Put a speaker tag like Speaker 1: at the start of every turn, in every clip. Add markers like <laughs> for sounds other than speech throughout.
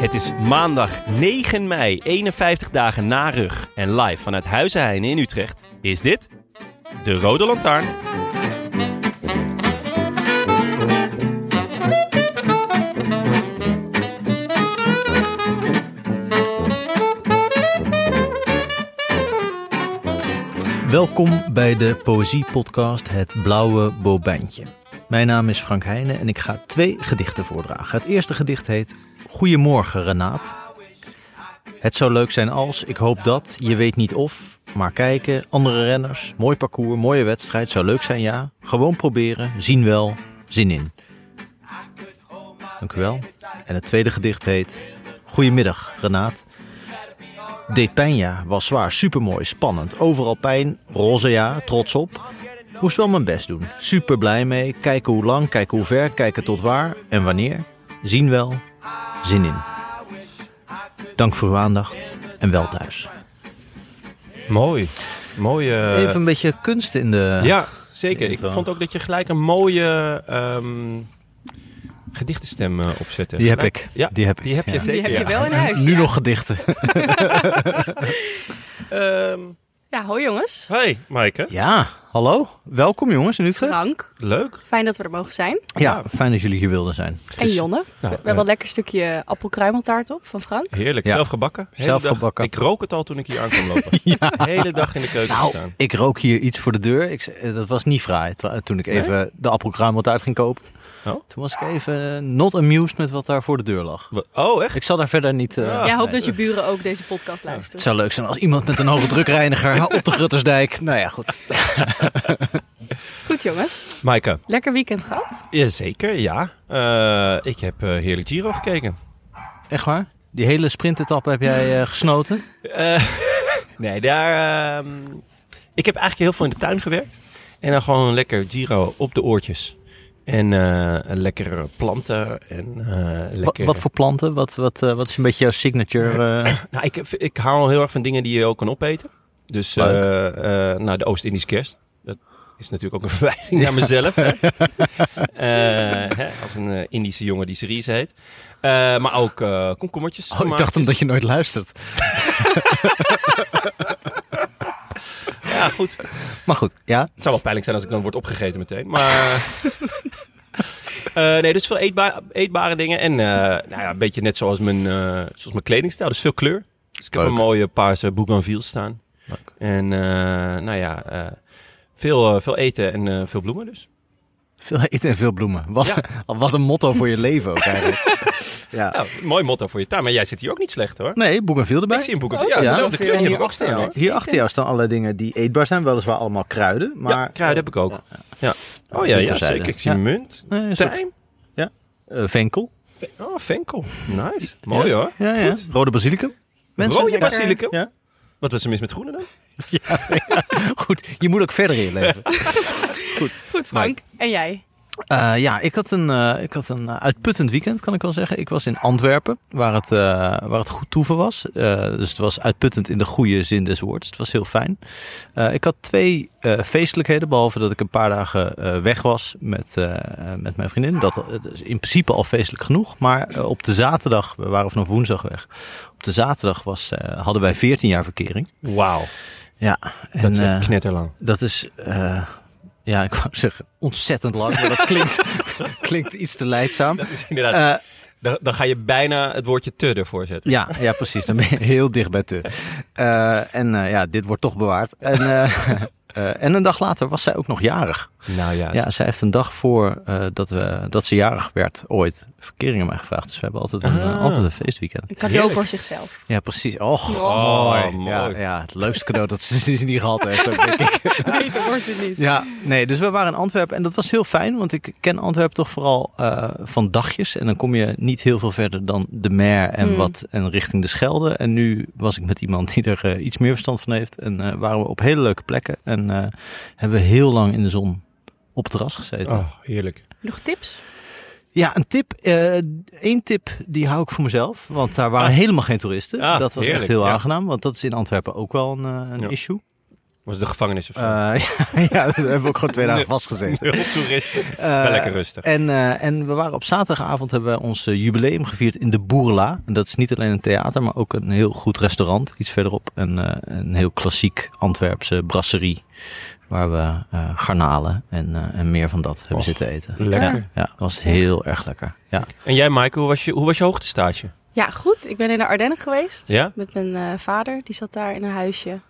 Speaker 1: Het is maandag 9 mei, 51 dagen na rug. En live vanuit Huizenheine in Utrecht is dit de Rode Lantaarn.
Speaker 2: Welkom bij de poëziepodcast Het Blauwe Bobijntje. Mijn naam is Frank Heijnen en ik ga twee gedichten voordragen. Het eerste gedicht heet Goedemorgen Renaat. Het zou leuk zijn als, ik hoop dat, je weet niet of, maar kijken, andere renners, mooi parcours, mooie wedstrijd, zou leuk zijn ja. Gewoon proberen, zien wel, zin in. Dank u wel. En het tweede gedicht heet Goedemiddag Renaat. Deed pijn, ja. Was zwaar, supermooi, spannend. Overal pijn, roze, ja, trots op. Moest wel mijn best doen. Super blij mee. Kijken hoe lang, kijken hoe ver, kijken tot waar en wanneer. Zien wel, zin in. Dank voor uw aandacht en wel thuis.
Speaker 1: Mooi. Mooie.
Speaker 2: Even een beetje kunst in de...
Speaker 1: Ja, zeker. Ik
Speaker 2: intro.
Speaker 1: vond ook dat je gelijk een mooie ehm, gedichtenstem eh, opzette.
Speaker 2: Die heb
Speaker 1: Gelijk-
Speaker 2: ik.
Speaker 1: Ja,
Speaker 2: Die heb ik.
Speaker 1: die heb je
Speaker 2: ja.
Speaker 1: zeker.
Speaker 3: Die heb je
Speaker 1: ja.
Speaker 3: wel in huis.
Speaker 2: Nu
Speaker 3: ja.
Speaker 2: nog gedichten.
Speaker 1: <laughs> Ehm,
Speaker 3: Ja, hoi jongens.
Speaker 1: hey, Maaike.
Speaker 2: Ja, hallo. Welkom jongens in Utrecht.
Speaker 3: Frank,
Speaker 1: Leuk.
Speaker 3: fijn dat we er mogen zijn.
Speaker 2: Ja, fijn dat jullie hier wilden zijn. Dus-
Speaker 3: En Jonne. we
Speaker 1: Nou,
Speaker 3: hebben
Speaker 1: eh,
Speaker 3: een lekker stukje appelkruimeltaart op van Frank.
Speaker 1: Heerlijk,
Speaker 2: Ja.
Speaker 1: zelf gebakken. Hele
Speaker 2: Zelf
Speaker 1: dag-
Speaker 2: gebakken.
Speaker 1: Ik rook het al toen ik hier
Speaker 2: <laughs>
Speaker 1: aan kwam lopen. De hele dag in de keuken
Speaker 2: Nou,
Speaker 1: staan.
Speaker 2: ik rook hier iets voor de deur. Ik, zei- eh, dat was niet fraai twa- toen ik even de appelkruimeltaart ging kopen.
Speaker 1: Oh.
Speaker 2: Toen was ik even eh, not amused met wat daar voor de deur lag.
Speaker 1: Oh, echt?
Speaker 2: Ik zal daar verder niet... eh,
Speaker 1: Ja.
Speaker 3: Jij
Speaker 1: Ah,
Speaker 3: hoopt
Speaker 2: nee.
Speaker 3: dat je buren ook deze podcast
Speaker 2: Het
Speaker 3: luisteren.
Speaker 2: zou leuk zijn als iemand met een hoge drukreiniger <laughs> op de Gruttersdijk... Nou ja, goed.
Speaker 3: Goed jongens.
Speaker 1: Maaike.
Speaker 3: Lekker weekend gehad.
Speaker 1: Jazeker, ja. Eh, ik heb eh, heerlijk Giro gekeken.
Speaker 2: Echt waar? Die hele sprintetappe heb jij eh, gesnoten?
Speaker 1: Eh, <laughs> nee, daar. ehm, ik heb eigenlijk heel veel in de tuin gewerkt. En dan gewoon lekker Giro op de oortjes. En eh lekker planten. En, eh,
Speaker 2: Wa-
Speaker 1: lekker,
Speaker 2: Wat voor planten? Wat, wat, eh, wat is een beetje jouw <laughs> signature? eh?
Speaker 1: Nou, ik, ik hou heel erg van dingen die je ook kan opeten. Dus eh
Speaker 2: Leuk.
Speaker 1: eh, nou, de Oost-Indische kerst. Dat is natuurlijk ook een <laughs> verwijzing naar mezelf.
Speaker 2: <laughs>
Speaker 1: Hè? Eh, hè, als een eh, Indische jongen die Cerise heet. Eh, maar ook eh komkommertjes.
Speaker 2: oh, ik dacht
Speaker 1: tomaatjes.
Speaker 2: omdat je nooit luistert.
Speaker 1: Ja, goed.
Speaker 2: Maar goed, ja.
Speaker 1: Het zou wel pijnlijk zijn als ik dan word opgegeten meteen. Maar. <laughs> Eh, nee, dus veel eetba- eetbare dingen. En eh, nou ja, een beetje net zoals mijn, eh, zoals mijn kledingstijl. Dus veel kleur. Dus ik heb
Speaker 2: Leuk.
Speaker 1: een mooie paarse bougainville staan.
Speaker 2: Leuk.
Speaker 1: En eh, nou ja, eh, veel, eh, veel eten en eh, veel bloemen dus.
Speaker 2: Veel eten en veel bloemen. Wat,
Speaker 1: Ja.
Speaker 2: <laughs> wat een motto voor je leven ook <laughs> eigenlijk. ja.
Speaker 1: Nou, mooi motto voor je tuin. Maar jij zit hier ook niet slecht hoor.
Speaker 2: Nee, Bougainville erbij.
Speaker 1: Ik zie een bougainville. Ja,
Speaker 2: Oh, ja.
Speaker 1: dezelfde kleur
Speaker 2: En
Speaker 1: die heb
Speaker 2: hier
Speaker 1: ik ook staan hoor.
Speaker 2: Hier achter jou staan allerlei dingen die eetbaar zijn. Weliswaar allemaal kruiden. Maar
Speaker 1: ja, kruid heb ik ook. Ja. Oh ja, ja
Speaker 2: Bitterzijde.
Speaker 1: zeker. Ik zie
Speaker 2: Ja.
Speaker 1: munt,
Speaker 2: Nee, een soort,
Speaker 1: tijm.
Speaker 2: eh, venkel.
Speaker 1: Oh, venkel. Nice. Mooi hoor.
Speaker 2: Ja, ja. Rode basilicum.
Speaker 1: Rode
Speaker 2: lekker.
Speaker 1: basilicum.
Speaker 2: Ja.
Speaker 1: Wat was er mis met groene dan?
Speaker 2: Goed, je moet ook verder in je leven.
Speaker 3: Goed Frank. En jij?
Speaker 2: Eh, ja, ik had, een, eh, ik had een eh, uitputtend weekend, kan ik wel zeggen. Ik was in Antwerpen, waar het, eh, waar het goed toeven was. Eh, dus het was uitputtend in de goede zin des woords. Het was heel fijn. Eh, ik had twee eh, feestelijkheden, behalve dat ik een paar dagen eh, weg was met, eh, met mijn vriendin. Dat eh, is in principe al feestelijk genoeg. Maar eh, op de zaterdag, we waren vanaf woensdag weg. Op de zaterdag was, eh, hadden wij 14 jaar verkering.
Speaker 1: Wauw.
Speaker 2: Ja,
Speaker 1: Dat is
Speaker 2: eh,
Speaker 1: echt knetterlang.
Speaker 2: dat is, eh, ja,
Speaker 1: <laughs>
Speaker 2: ik wou zeggen ontzettend lang, maar dat klinkt, klinkt iets te leidzaam.
Speaker 1: Dat is <laughs> inderdaad.
Speaker 2: Eh,
Speaker 1: Dan, dan ga je bijna het woordje te ervoor zetten.
Speaker 2: Ja, ja, precies. Dan ben je heel dicht bij te. Eh, en eh, ja, dit wordt toch bewaard. En, eh, <laughs> eh, en een dag later was zij ook nog jarig.
Speaker 1: Nou ja,
Speaker 2: Ja, zij heeft een dag voor eh, dat, we, dat ze jarig werd ooit verkeringen mij gevraagd. Dus we hebben altijd een,
Speaker 1: Ah.
Speaker 2: eh, altijd een feestweekend.
Speaker 3: Een cadeau
Speaker 1: Heerlijk.
Speaker 3: voor
Speaker 1: <laughs>
Speaker 3: zichzelf.
Speaker 2: Ja, precies. Och,
Speaker 1: Oh,
Speaker 2: Ja,
Speaker 1: mooi.
Speaker 2: ja, het leukste cadeau dat ze sinds niet gehad heeft. ook, denk ik.
Speaker 3: Beter wordt het niet.
Speaker 2: Ja, nee, dus we waren in Antwerpen en dat was heel fijn, want ik ken Antwerpen toch vooral eh, van dagjes. En dan kom je niet heel veel verder dan de Mer en,
Speaker 3: Mm.
Speaker 2: wat, en richting de Schelde. En nu was ik met iemand die er eh, iets meer verstand van heeft. En eh, waren we op hele leuke plekken en eh, hebben we heel lang in de zon op het terras gezeten.
Speaker 1: Oh, heerlijk.
Speaker 3: Nog tips?
Speaker 2: Ja, een tip. Eén tip, die hou ik voor mezelf. Want daar waren
Speaker 1: Ah.
Speaker 2: helemaal geen toeristen.
Speaker 1: Ah,
Speaker 2: dat was echt
Speaker 1: heerlijk,
Speaker 2: heel
Speaker 1: ja.
Speaker 2: aangenaam. Want dat is in Antwerpen ook wel een, eh, een
Speaker 1: Ja.
Speaker 2: issue.
Speaker 1: Was het de gevangenis of zo?
Speaker 2: Eh, <laughs> ja, daar hebben we ook gewoon twee dagen
Speaker 1: Nee.
Speaker 2: vastgezeten.
Speaker 1: <laughs> Heel toeristen.
Speaker 2: Eh,
Speaker 1: Wel lekker rustig.
Speaker 2: En, eh, en we waren op zaterdagavond hebben we ons eh, jubileum gevierd in de Boerla. En dat is niet alleen een theater, maar ook een heel goed restaurant. Iets verderop. En, eh, een heel klassiek Antwerpse brasserie. Waar we eh, garnalen en, eh, en meer van dat hebben
Speaker 1: Och.
Speaker 2: zitten eten.
Speaker 1: Lekker.
Speaker 2: Ja, ja, dat was heel erg lekker. Ja.
Speaker 1: En jij, Maaike, hoe was je, hoe was je hoogtestage?
Speaker 3: Ja, goed. Ik ben in de Ardennen geweest.
Speaker 1: Ja?
Speaker 3: Met mijn eh, vader. Die zat daar in een huisje.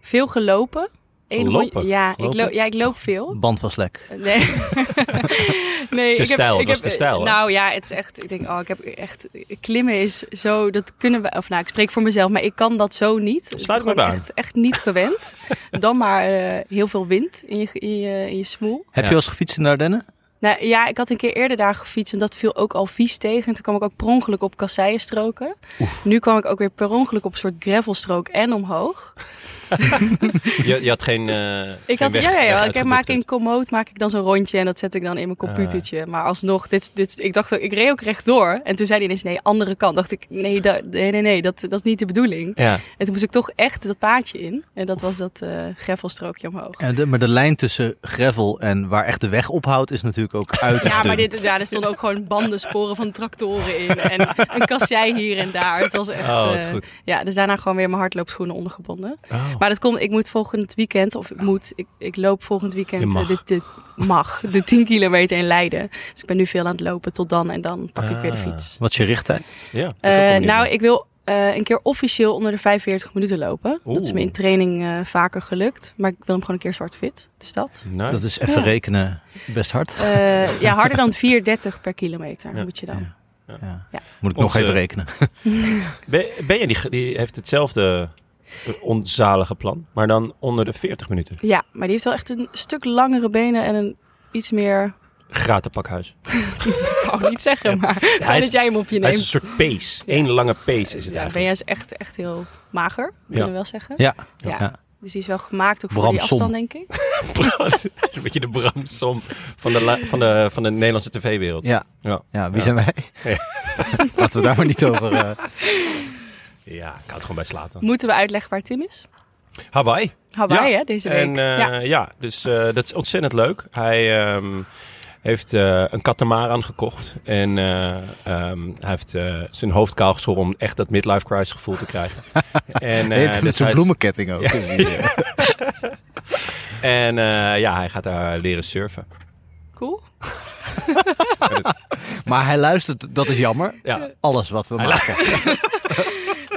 Speaker 3: Veel gelopen. Eén
Speaker 1: Gelopen?
Speaker 3: hondje- Ja, ik
Speaker 1: Gelopen?
Speaker 3: loop, ja, ik loop veel.
Speaker 2: Band was lek.
Speaker 3: Nee.
Speaker 1: <laughs>
Speaker 3: nee
Speaker 1: Te
Speaker 3: ik
Speaker 1: stijl,
Speaker 3: heb,
Speaker 1: het
Speaker 3: ik
Speaker 1: was
Speaker 3: heb,
Speaker 1: te stijl, hè?
Speaker 3: Nou ja, het is echt. Ik denk, oh, ik heb echt. Klimmen is zo. Dat kunnen we. Of nou, ik spreek voor mezelf, maar ik kan dat zo niet.
Speaker 1: Sluit
Speaker 3: Ik ben
Speaker 1: me bij
Speaker 3: gewoon
Speaker 1: aan.
Speaker 3: echt, echt niet
Speaker 1: <laughs>
Speaker 3: gewend. Dan maar eh, heel veel wind in je, in je, in je smoel.
Speaker 2: Heb
Speaker 1: Ja.
Speaker 2: je wel eens gefietst in de Ardennen?
Speaker 3: Nou ja, ik had een keer eerder daar gefietst en dat viel ook al vies tegen. En toen kwam ik ook per ongeluk op kasseienstroken. Nu kwam ik ook weer per ongeluk op een soort gravelstrook en omhoog.
Speaker 1: Je, je had geen. eh, geen
Speaker 3: Ik had,
Speaker 1: weg-
Speaker 3: ja, ja,
Speaker 1: weg
Speaker 3: ja. Ik heb-
Speaker 1: uitgeboekt, dus. Ah.
Speaker 3: maak
Speaker 1: hè?
Speaker 3: in Komoot maak ik dan zo'n rondje en dat zet ik dan in mijn computertje. Maar alsnog, dit, dit, ik dacht, ook- ik reed ook rechtdoor. En toen zei hij ineens, nee, andere kant. Dacht ik, nee, da- nee, nee, nee dat, dat is niet de bedoeling.
Speaker 1: Ja.
Speaker 3: En toen moest ik toch echt dat paadje in. En dat was dat eh gravelstrookje omhoog.
Speaker 2: Ja, de- maar de lijn tussen gravel en waar echt de weg ophoudt is natuurlijk ook <laughs> uit.
Speaker 3: Ja, maar dit, ja, er stonden ook gewoon bandensporen van tractoren in. En een kassei hier en daar. Het was echt...
Speaker 1: Oh, wat
Speaker 3: eh,
Speaker 1: goed. Oh,
Speaker 3: ja, dus daarna gewoon weer mijn hardloopschoenen ondergebonden. Maar eh, dat komt, ik moet volgend weekend, of ik moet, ik, ik loop volgend weekend
Speaker 1: Je mag.
Speaker 3: eh, De, de, mag, de 10 kilometer in Leiden. Dus ik ben nu veel aan het lopen tot dan en dan pak ik weer de
Speaker 1: Ah.
Speaker 3: fiets.
Speaker 2: Wat is je richttijd?
Speaker 1: ja, dat
Speaker 3: Eh,
Speaker 1: kan me niet
Speaker 3: nou,
Speaker 1: meer.
Speaker 3: ik wil eh, een keer officieel onder de 45 minuten lopen. Dat is
Speaker 1: Oeh.
Speaker 3: me in training eh, vaker gelukt. Maar ik wil hem gewoon een keer zwart-wit. Dus dat.
Speaker 1: Nou,
Speaker 2: Dat is even
Speaker 3: Ja.
Speaker 2: rekenen best hard.
Speaker 3: Eh, ja, harder dan 4,30 per kilometer
Speaker 1: Ja.
Speaker 3: moet je dan.
Speaker 2: Ja.
Speaker 3: Ja.
Speaker 2: Moet ik nog
Speaker 1: Onze-
Speaker 2: even rekenen.
Speaker 1: Ben, ben je die, ge- die heeft hetzelfde eh, onzalige plan, maar dan onder de 40 minuten.
Speaker 3: Ja, maar die heeft wel echt een stuk langere benen en een iets meer...
Speaker 1: Gratenpakhuis.
Speaker 3: Ik wou niet zeggen, maar fijn
Speaker 1: is-
Speaker 3: dat jij hem op je
Speaker 1: Hij is een
Speaker 3: neemt.
Speaker 1: soort pees. Eén lange pees is het
Speaker 3: Ja,
Speaker 1: eigenlijk.
Speaker 3: ben is echt, echt heel mager, kunnen we wel zeggen.
Speaker 2: Ja.
Speaker 3: Ja.
Speaker 2: Ja.
Speaker 3: Dus die is wel gemaakt ook voor
Speaker 2: Bram
Speaker 3: die
Speaker 2: Som.
Speaker 3: afstand, denk ik.
Speaker 1: Het is <laughs> een beetje de bramsom van de, la- van de, van de Nederlandse tv-wereld.
Speaker 2: Ja.
Speaker 1: Ja.
Speaker 2: Ja, wie
Speaker 1: Ja.
Speaker 2: zijn wij?
Speaker 1: Ja.
Speaker 2: <laughs> Laten we het daar maar niet over. eh.
Speaker 1: Ja, ik had het gewoon bij Slaten.
Speaker 3: Moeten we uitleggen waar Tim is?
Speaker 1: Hawaii.
Speaker 3: Hawaii,
Speaker 1: Ja.
Speaker 3: hè, deze week.
Speaker 1: En eh,
Speaker 3: ja.
Speaker 1: ja. dus eh, dat is ontzettend leuk. Hij ehm, heeft eh, een katamaran gekocht. En eh, ehm, hij heeft eh, zijn hoofd kaal geschoren om echt dat midlife crisis gevoel te krijgen. en, eh,
Speaker 2: Nee, het is
Speaker 1: dus
Speaker 2: met zo'n
Speaker 1: hij is-
Speaker 2: bloemenketting ook. Dus die, eh,
Speaker 1: <laughs> en eh, ja, hij gaat daar leren surfen.
Speaker 3: Cool.
Speaker 2: Maar hij luistert, dat is jammer.
Speaker 1: Ja.
Speaker 2: Alles wat we
Speaker 1: Hij
Speaker 2: maken.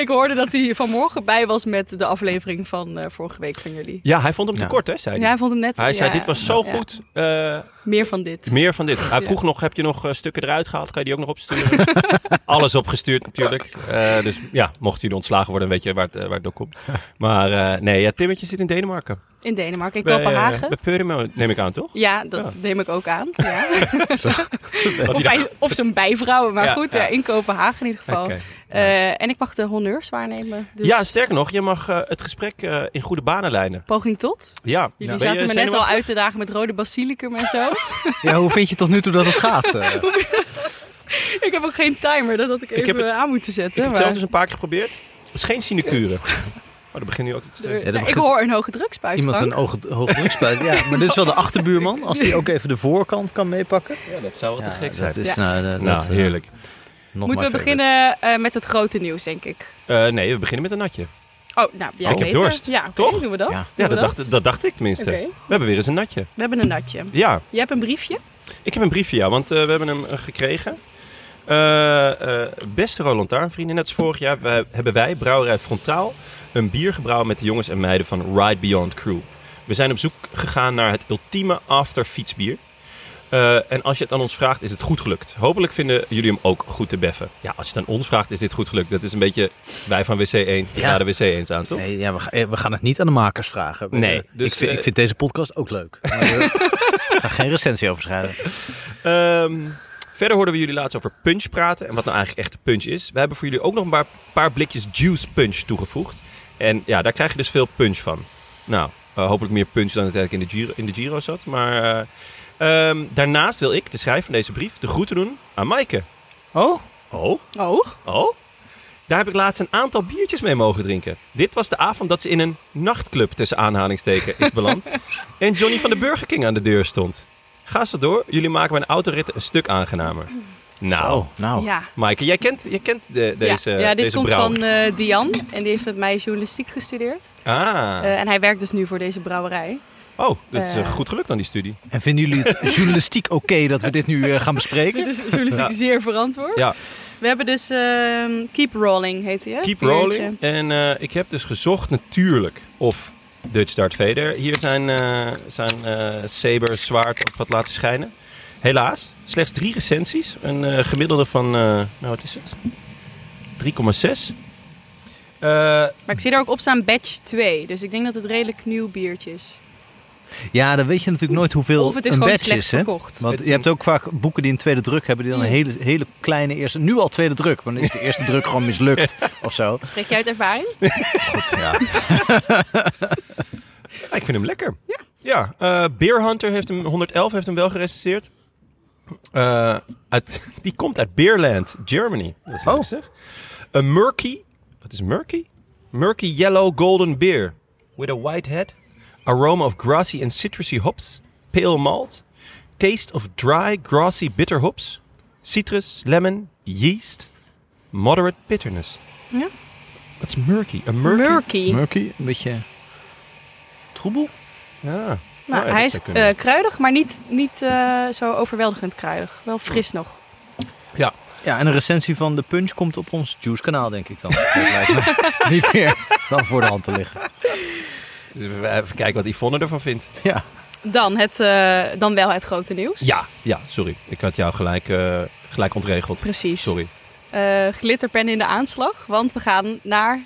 Speaker 3: Ik hoorde dat hij vanmorgen bij was met de aflevering van eh, vorige week van jullie.
Speaker 1: ja, hij vond hem te
Speaker 2: Ja.
Speaker 1: kort, hè, zei
Speaker 3: Ja,
Speaker 1: hij.
Speaker 3: hij vond hem net...
Speaker 1: Hij zei,
Speaker 3: ja,
Speaker 1: dit was zo
Speaker 3: ja.
Speaker 1: goed. eh,
Speaker 3: Meer van dit.
Speaker 1: meer van dit. Hij
Speaker 3: <laughs> Ja.
Speaker 1: vroeg nog, heb je nog eh, stukken eruit gehaald? Kan je die ook nog opsturen? <laughs> Alles opgestuurd natuurlijk. Eh, dus ja, mocht jullie ontslagen worden, weet je waar het, eh, waar het door
Speaker 3: <laughs>
Speaker 1: komt. Maar eh, nee, ja, Timmetje zit in Denemarken.
Speaker 3: In Denemarken, in
Speaker 1: Bij, eh,
Speaker 3: Kopenhagen.
Speaker 1: Bij Purmerend, neem ik aan, toch?
Speaker 3: ja, dat neem ik ook aan. Ja.
Speaker 1: <laughs> Dat
Speaker 3: Of,
Speaker 1: hij daar-
Speaker 3: bij- of zijn bijvrouwen, maar
Speaker 1: Ja,
Speaker 3: goed,
Speaker 1: ja.
Speaker 3: ja. in Kopenhagen in ieder geval.
Speaker 1: <laughs> Oké, nice.
Speaker 3: Eh, en ik mag de honneurs waarnemen. Dus
Speaker 1: Ja, sterker nog, je mag eh, het gesprek eh, in goede banen leiden.
Speaker 3: poging tot.
Speaker 1: Ja.
Speaker 3: Jullie
Speaker 1: Ben je
Speaker 3: zaten me net al
Speaker 1: zenuwachtig?
Speaker 3: uit te dagen met rode basilicum en zo.
Speaker 2: Ja, hoe vind je tot nu toe dat het gaat? eh?
Speaker 3: ik heb ook geen timer, dat had ik even
Speaker 1: heb het-
Speaker 3: aan moeten zetten.
Speaker 1: Ik heb het
Speaker 3: maar-
Speaker 1: zelf dus een paar keer geprobeerd. Het is geen
Speaker 3: <laughs>
Speaker 1: sinecure. Oh, Maar dat begint nu ook iets te...
Speaker 3: Nou,
Speaker 2: dat
Speaker 3: ik
Speaker 2: begint-
Speaker 3: hoor een hoge drukspuit.
Speaker 2: Iemand
Speaker 3: Frank.
Speaker 2: een oog, hoogdrukspuit. Ja, maar dit is wel de achterbuurman. Als die ook even de voorkant kan meepakken.
Speaker 1: Ja, dat zou wel
Speaker 2: Ja,
Speaker 1: te gek
Speaker 2: dat
Speaker 1: zijn.
Speaker 2: Is,
Speaker 3: Ja.
Speaker 2: nou, dat,
Speaker 1: Nou,
Speaker 2: dat, eh,
Speaker 1: heerlijk.
Speaker 2: not my
Speaker 3: Moeten we
Speaker 2: favorite.
Speaker 3: beginnen eh, met het grote nieuws, denk ik.
Speaker 1: Eh, nee, we beginnen met een natje.
Speaker 3: Oh, nou, ja,
Speaker 1: Ik heb
Speaker 3: beter.
Speaker 1: dorst.
Speaker 3: Ja, oké,
Speaker 1: Toch?
Speaker 3: doen we dat?
Speaker 2: Ja.
Speaker 3: Doen
Speaker 1: Ja,
Speaker 3: we
Speaker 1: dat dacht, dat dacht ik tenminste.
Speaker 3: Oké.
Speaker 1: We hebben weer eens een natje.
Speaker 3: We hebben een natje.
Speaker 1: Ja,
Speaker 3: Je hebt een briefje?
Speaker 1: ik heb een briefje, ja, want eh, we hebben hem eh, gekregen. Eh, eh, beste Roland Taarnvrienden, net als vorig jaar wij- hebben wij, Brouwerij Frontaal, een bier gebrouwen met de jongens en meiden van Ride Beyond Crew. We zijn op zoek gegaan naar het ultieme afterfietsbier. Eh en als je het aan ons vraagt, is het goed gelukt. Hopelijk vinden jullie hem ook goed te beffen. Ja, als je het aan ons vraagt, is dit goed gelukt. Dat is een beetje wij van WC Eend,
Speaker 2: Ja.
Speaker 1: ja. de WC Eend aan, toch?
Speaker 2: Nee, ja, we, ga- eh, we gaan het niet aan de makers vragen. We-
Speaker 1: Nee,
Speaker 2: eh,
Speaker 1: dus,
Speaker 2: ik, vind,
Speaker 1: eh,
Speaker 2: ik vind deze podcast ook
Speaker 1: <laughs>
Speaker 2: leuk. Maar dat- Ik ga geen recensie over schrijven.
Speaker 1: Ehm, verder hoorden we jullie laatst over punch praten en wat nou eigenlijk echt punch is. We hebben voor jullie ook nog een paar, paar blikjes juice punch toegevoegd. En ja, daar krijg je dus veel punch van. Nou, eh, hopelijk meer punch dan het eigenlijk in de Giro, in de Giro zat. Maar eh, ehm, daarnaast wil ik, de schrijver van deze brief, de groeten doen aan Maaike.
Speaker 2: Oh?
Speaker 1: Oh,
Speaker 3: Oh,
Speaker 1: oh. Daar heb ik laatst een aantal biertjes mee mogen drinken. Dit was de avond dat ze in een nachtclub tussen aanhalingstekens is beland. en Johnny van de Burger King aan de deur stond. Ga zo door, jullie maken mijn autorit een stuk aangenamer. Nou,
Speaker 2: Oh, nou.
Speaker 3: ja.
Speaker 1: Maaike, jij kent, jij kent de, deze,
Speaker 3: ja. ja, dit
Speaker 1: deze
Speaker 3: komt
Speaker 1: brouwer.
Speaker 3: van eh Dian en die heeft met mij journalistiek gestudeerd.
Speaker 1: Ah,
Speaker 3: Eh, en hij werkt dus nu voor deze brouwerij.
Speaker 1: oh, dat is eh,
Speaker 3: eh,
Speaker 1: goed gelukt dan die studie.
Speaker 2: En vinden jullie het journalistiek oké dat we dit nu eh, gaan bespreken?
Speaker 3: Dit is journalistiek
Speaker 1: Ja.
Speaker 3: zeer verantwoord.
Speaker 1: Ja.
Speaker 3: We hebben dus ehm, Keep Rolling, heet hij. hè?
Speaker 1: Keep
Speaker 3: Biertje.
Speaker 1: rolling. En eh, ik heb dus gezocht natuurlijk of Dutch Dart Vader hier zijn, eh, zijn eh saber zwaard op wat laten schijnen. Helaas, slechts drie recensies. Een eh, gemiddelde van, eh, nou wat is het? 3,6. Eh,
Speaker 3: Maar ik zie daar ook op staan batch 2. Dus ik denk dat het redelijk nieuw biertje is.
Speaker 2: Ja, dan weet je natuurlijk nooit hoeveel
Speaker 3: Of het is
Speaker 2: een
Speaker 3: gewoon
Speaker 2: batch
Speaker 3: slecht
Speaker 2: is, hè?
Speaker 3: verkocht.
Speaker 2: Want
Speaker 1: Het
Speaker 2: je
Speaker 1: is
Speaker 2: hebt ook vaak boeken die een tweede druk hebben, die dan een
Speaker 3: Mm.
Speaker 2: hele, hele kleine eerste... Nu al tweede druk, maar dan is de eerste druk gewoon mislukt of zo.
Speaker 3: Spreek je uit ervaring?
Speaker 2: Goed,
Speaker 1: <laughs>
Speaker 2: ja.
Speaker 1: Ja, Ah, ik vind hem lekker. Ja. Ja, eh, Beer Hunter heeft hem, 111 heeft hem wel gerecenseerd. Eh, uit, <laughs> die komt uit Beerland, Germany. Dat is
Speaker 2: Oh.
Speaker 1: oh. zeg. Een murky, wat is murky? Murky yellow golden beer with a white head. Aroma of grassy and citrusy hops. Pale malt. Taste of dry, grassy bitter hops. Citrus, lemon, yeast. Moderate bitterness.
Speaker 3: Ja.
Speaker 1: Wat is murky? Een murky?
Speaker 3: Murky.
Speaker 2: Murky, een beetje troebel.
Speaker 1: Ja.
Speaker 3: Nou,
Speaker 1: oh Ja, dat
Speaker 3: hij is
Speaker 1: zou kunnen.
Speaker 3: eh, kruidig, maar niet, niet eh, zo overweldigend kruidig. Wel fris nog.
Speaker 2: Ja, en een recensie van de Punch komt op ons Juice-kanaal, denk ik dan. Dat lijkt me niet meer dan voor de hand te liggen.
Speaker 1: Dus Even kijken wat Yvonne ervan vindt.
Speaker 2: Ja.
Speaker 3: Dan, het, eh, dan wel het grote nieuws.
Speaker 1: Ja, ja, sorry. Ik had jou gelijk, eh, gelijk ontregeld.
Speaker 3: Precies.
Speaker 1: Sorry.
Speaker 3: Eh, glitterpen in de aanslag, want we gaan naar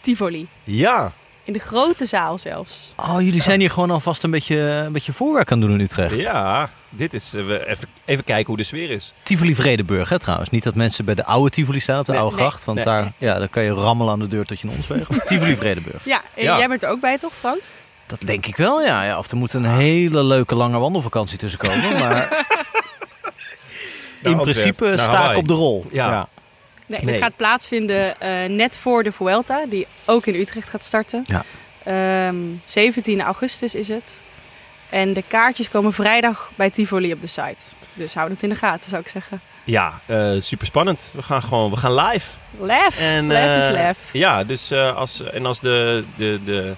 Speaker 3: Tivoli.
Speaker 1: Ja.
Speaker 3: In de grote zaal zelfs.
Speaker 2: Oh, jullie zijn hier gewoon alvast een beetje, een beetje voorwerk aan het doen in Utrecht.
Speaker 1: Ja, dit is... eh, we even, even kijken hoe de sfeer is.
Speaker 2: Tivoli Vredeburg, hè, trouwens. Niet dat mensen bij de oude Tivoli staan, op de
Speaker 1: Nee,
Speaker 2: oude
Speaker 3: nee,
Speaker 2: gracht. Want
Speaker 1: nee.
Speaker 2: daar ja, dan kan je rammelen aan de deur tot je een ons <laughs> weegt. Tivoli Vredeburg.
Speaker 3: Ja, en
Speaker 1: Ja.
Speaker 3: jij bent er ook bij toch, Frank?
Speaker 2: Dat denk ik wel, ja. ja of er moet een hele leuke lange wandelvakantie tussen <laughs> komen. Maar in
Speaker 1: Antwerpen,
Speaker 2: principe
Speaker 1: naar
Speaker 2: sta ik
Speaker 1: Hawaii.
Speaker 2: op de rol.
Speaker 1: Ja.
Speaker 3: Nee,
Speaker 1: Nee.
Speaker 3: dit gaat plaatsvinden eh, net voor de Vuelta, die ook in Utrecht gaat starten.
Speaker 2: Ja.
Speaker 3: Ehm, 17 augustus is het. En de kaartjes komen vrijdag bij Tivoli op de site. Dus hou het in de gaten, zou ik zeggen.
Speaker 1: Ja, eh super spannend. We gaan gewoon... We gaan live.
Speaker 3: Lef!
Speaker 1: En,
Speaker 3: lef is
Speaker 1: eh,
Speaker 3: lef.
Speaker 1: Ja, dus eh, als, en als de, de, de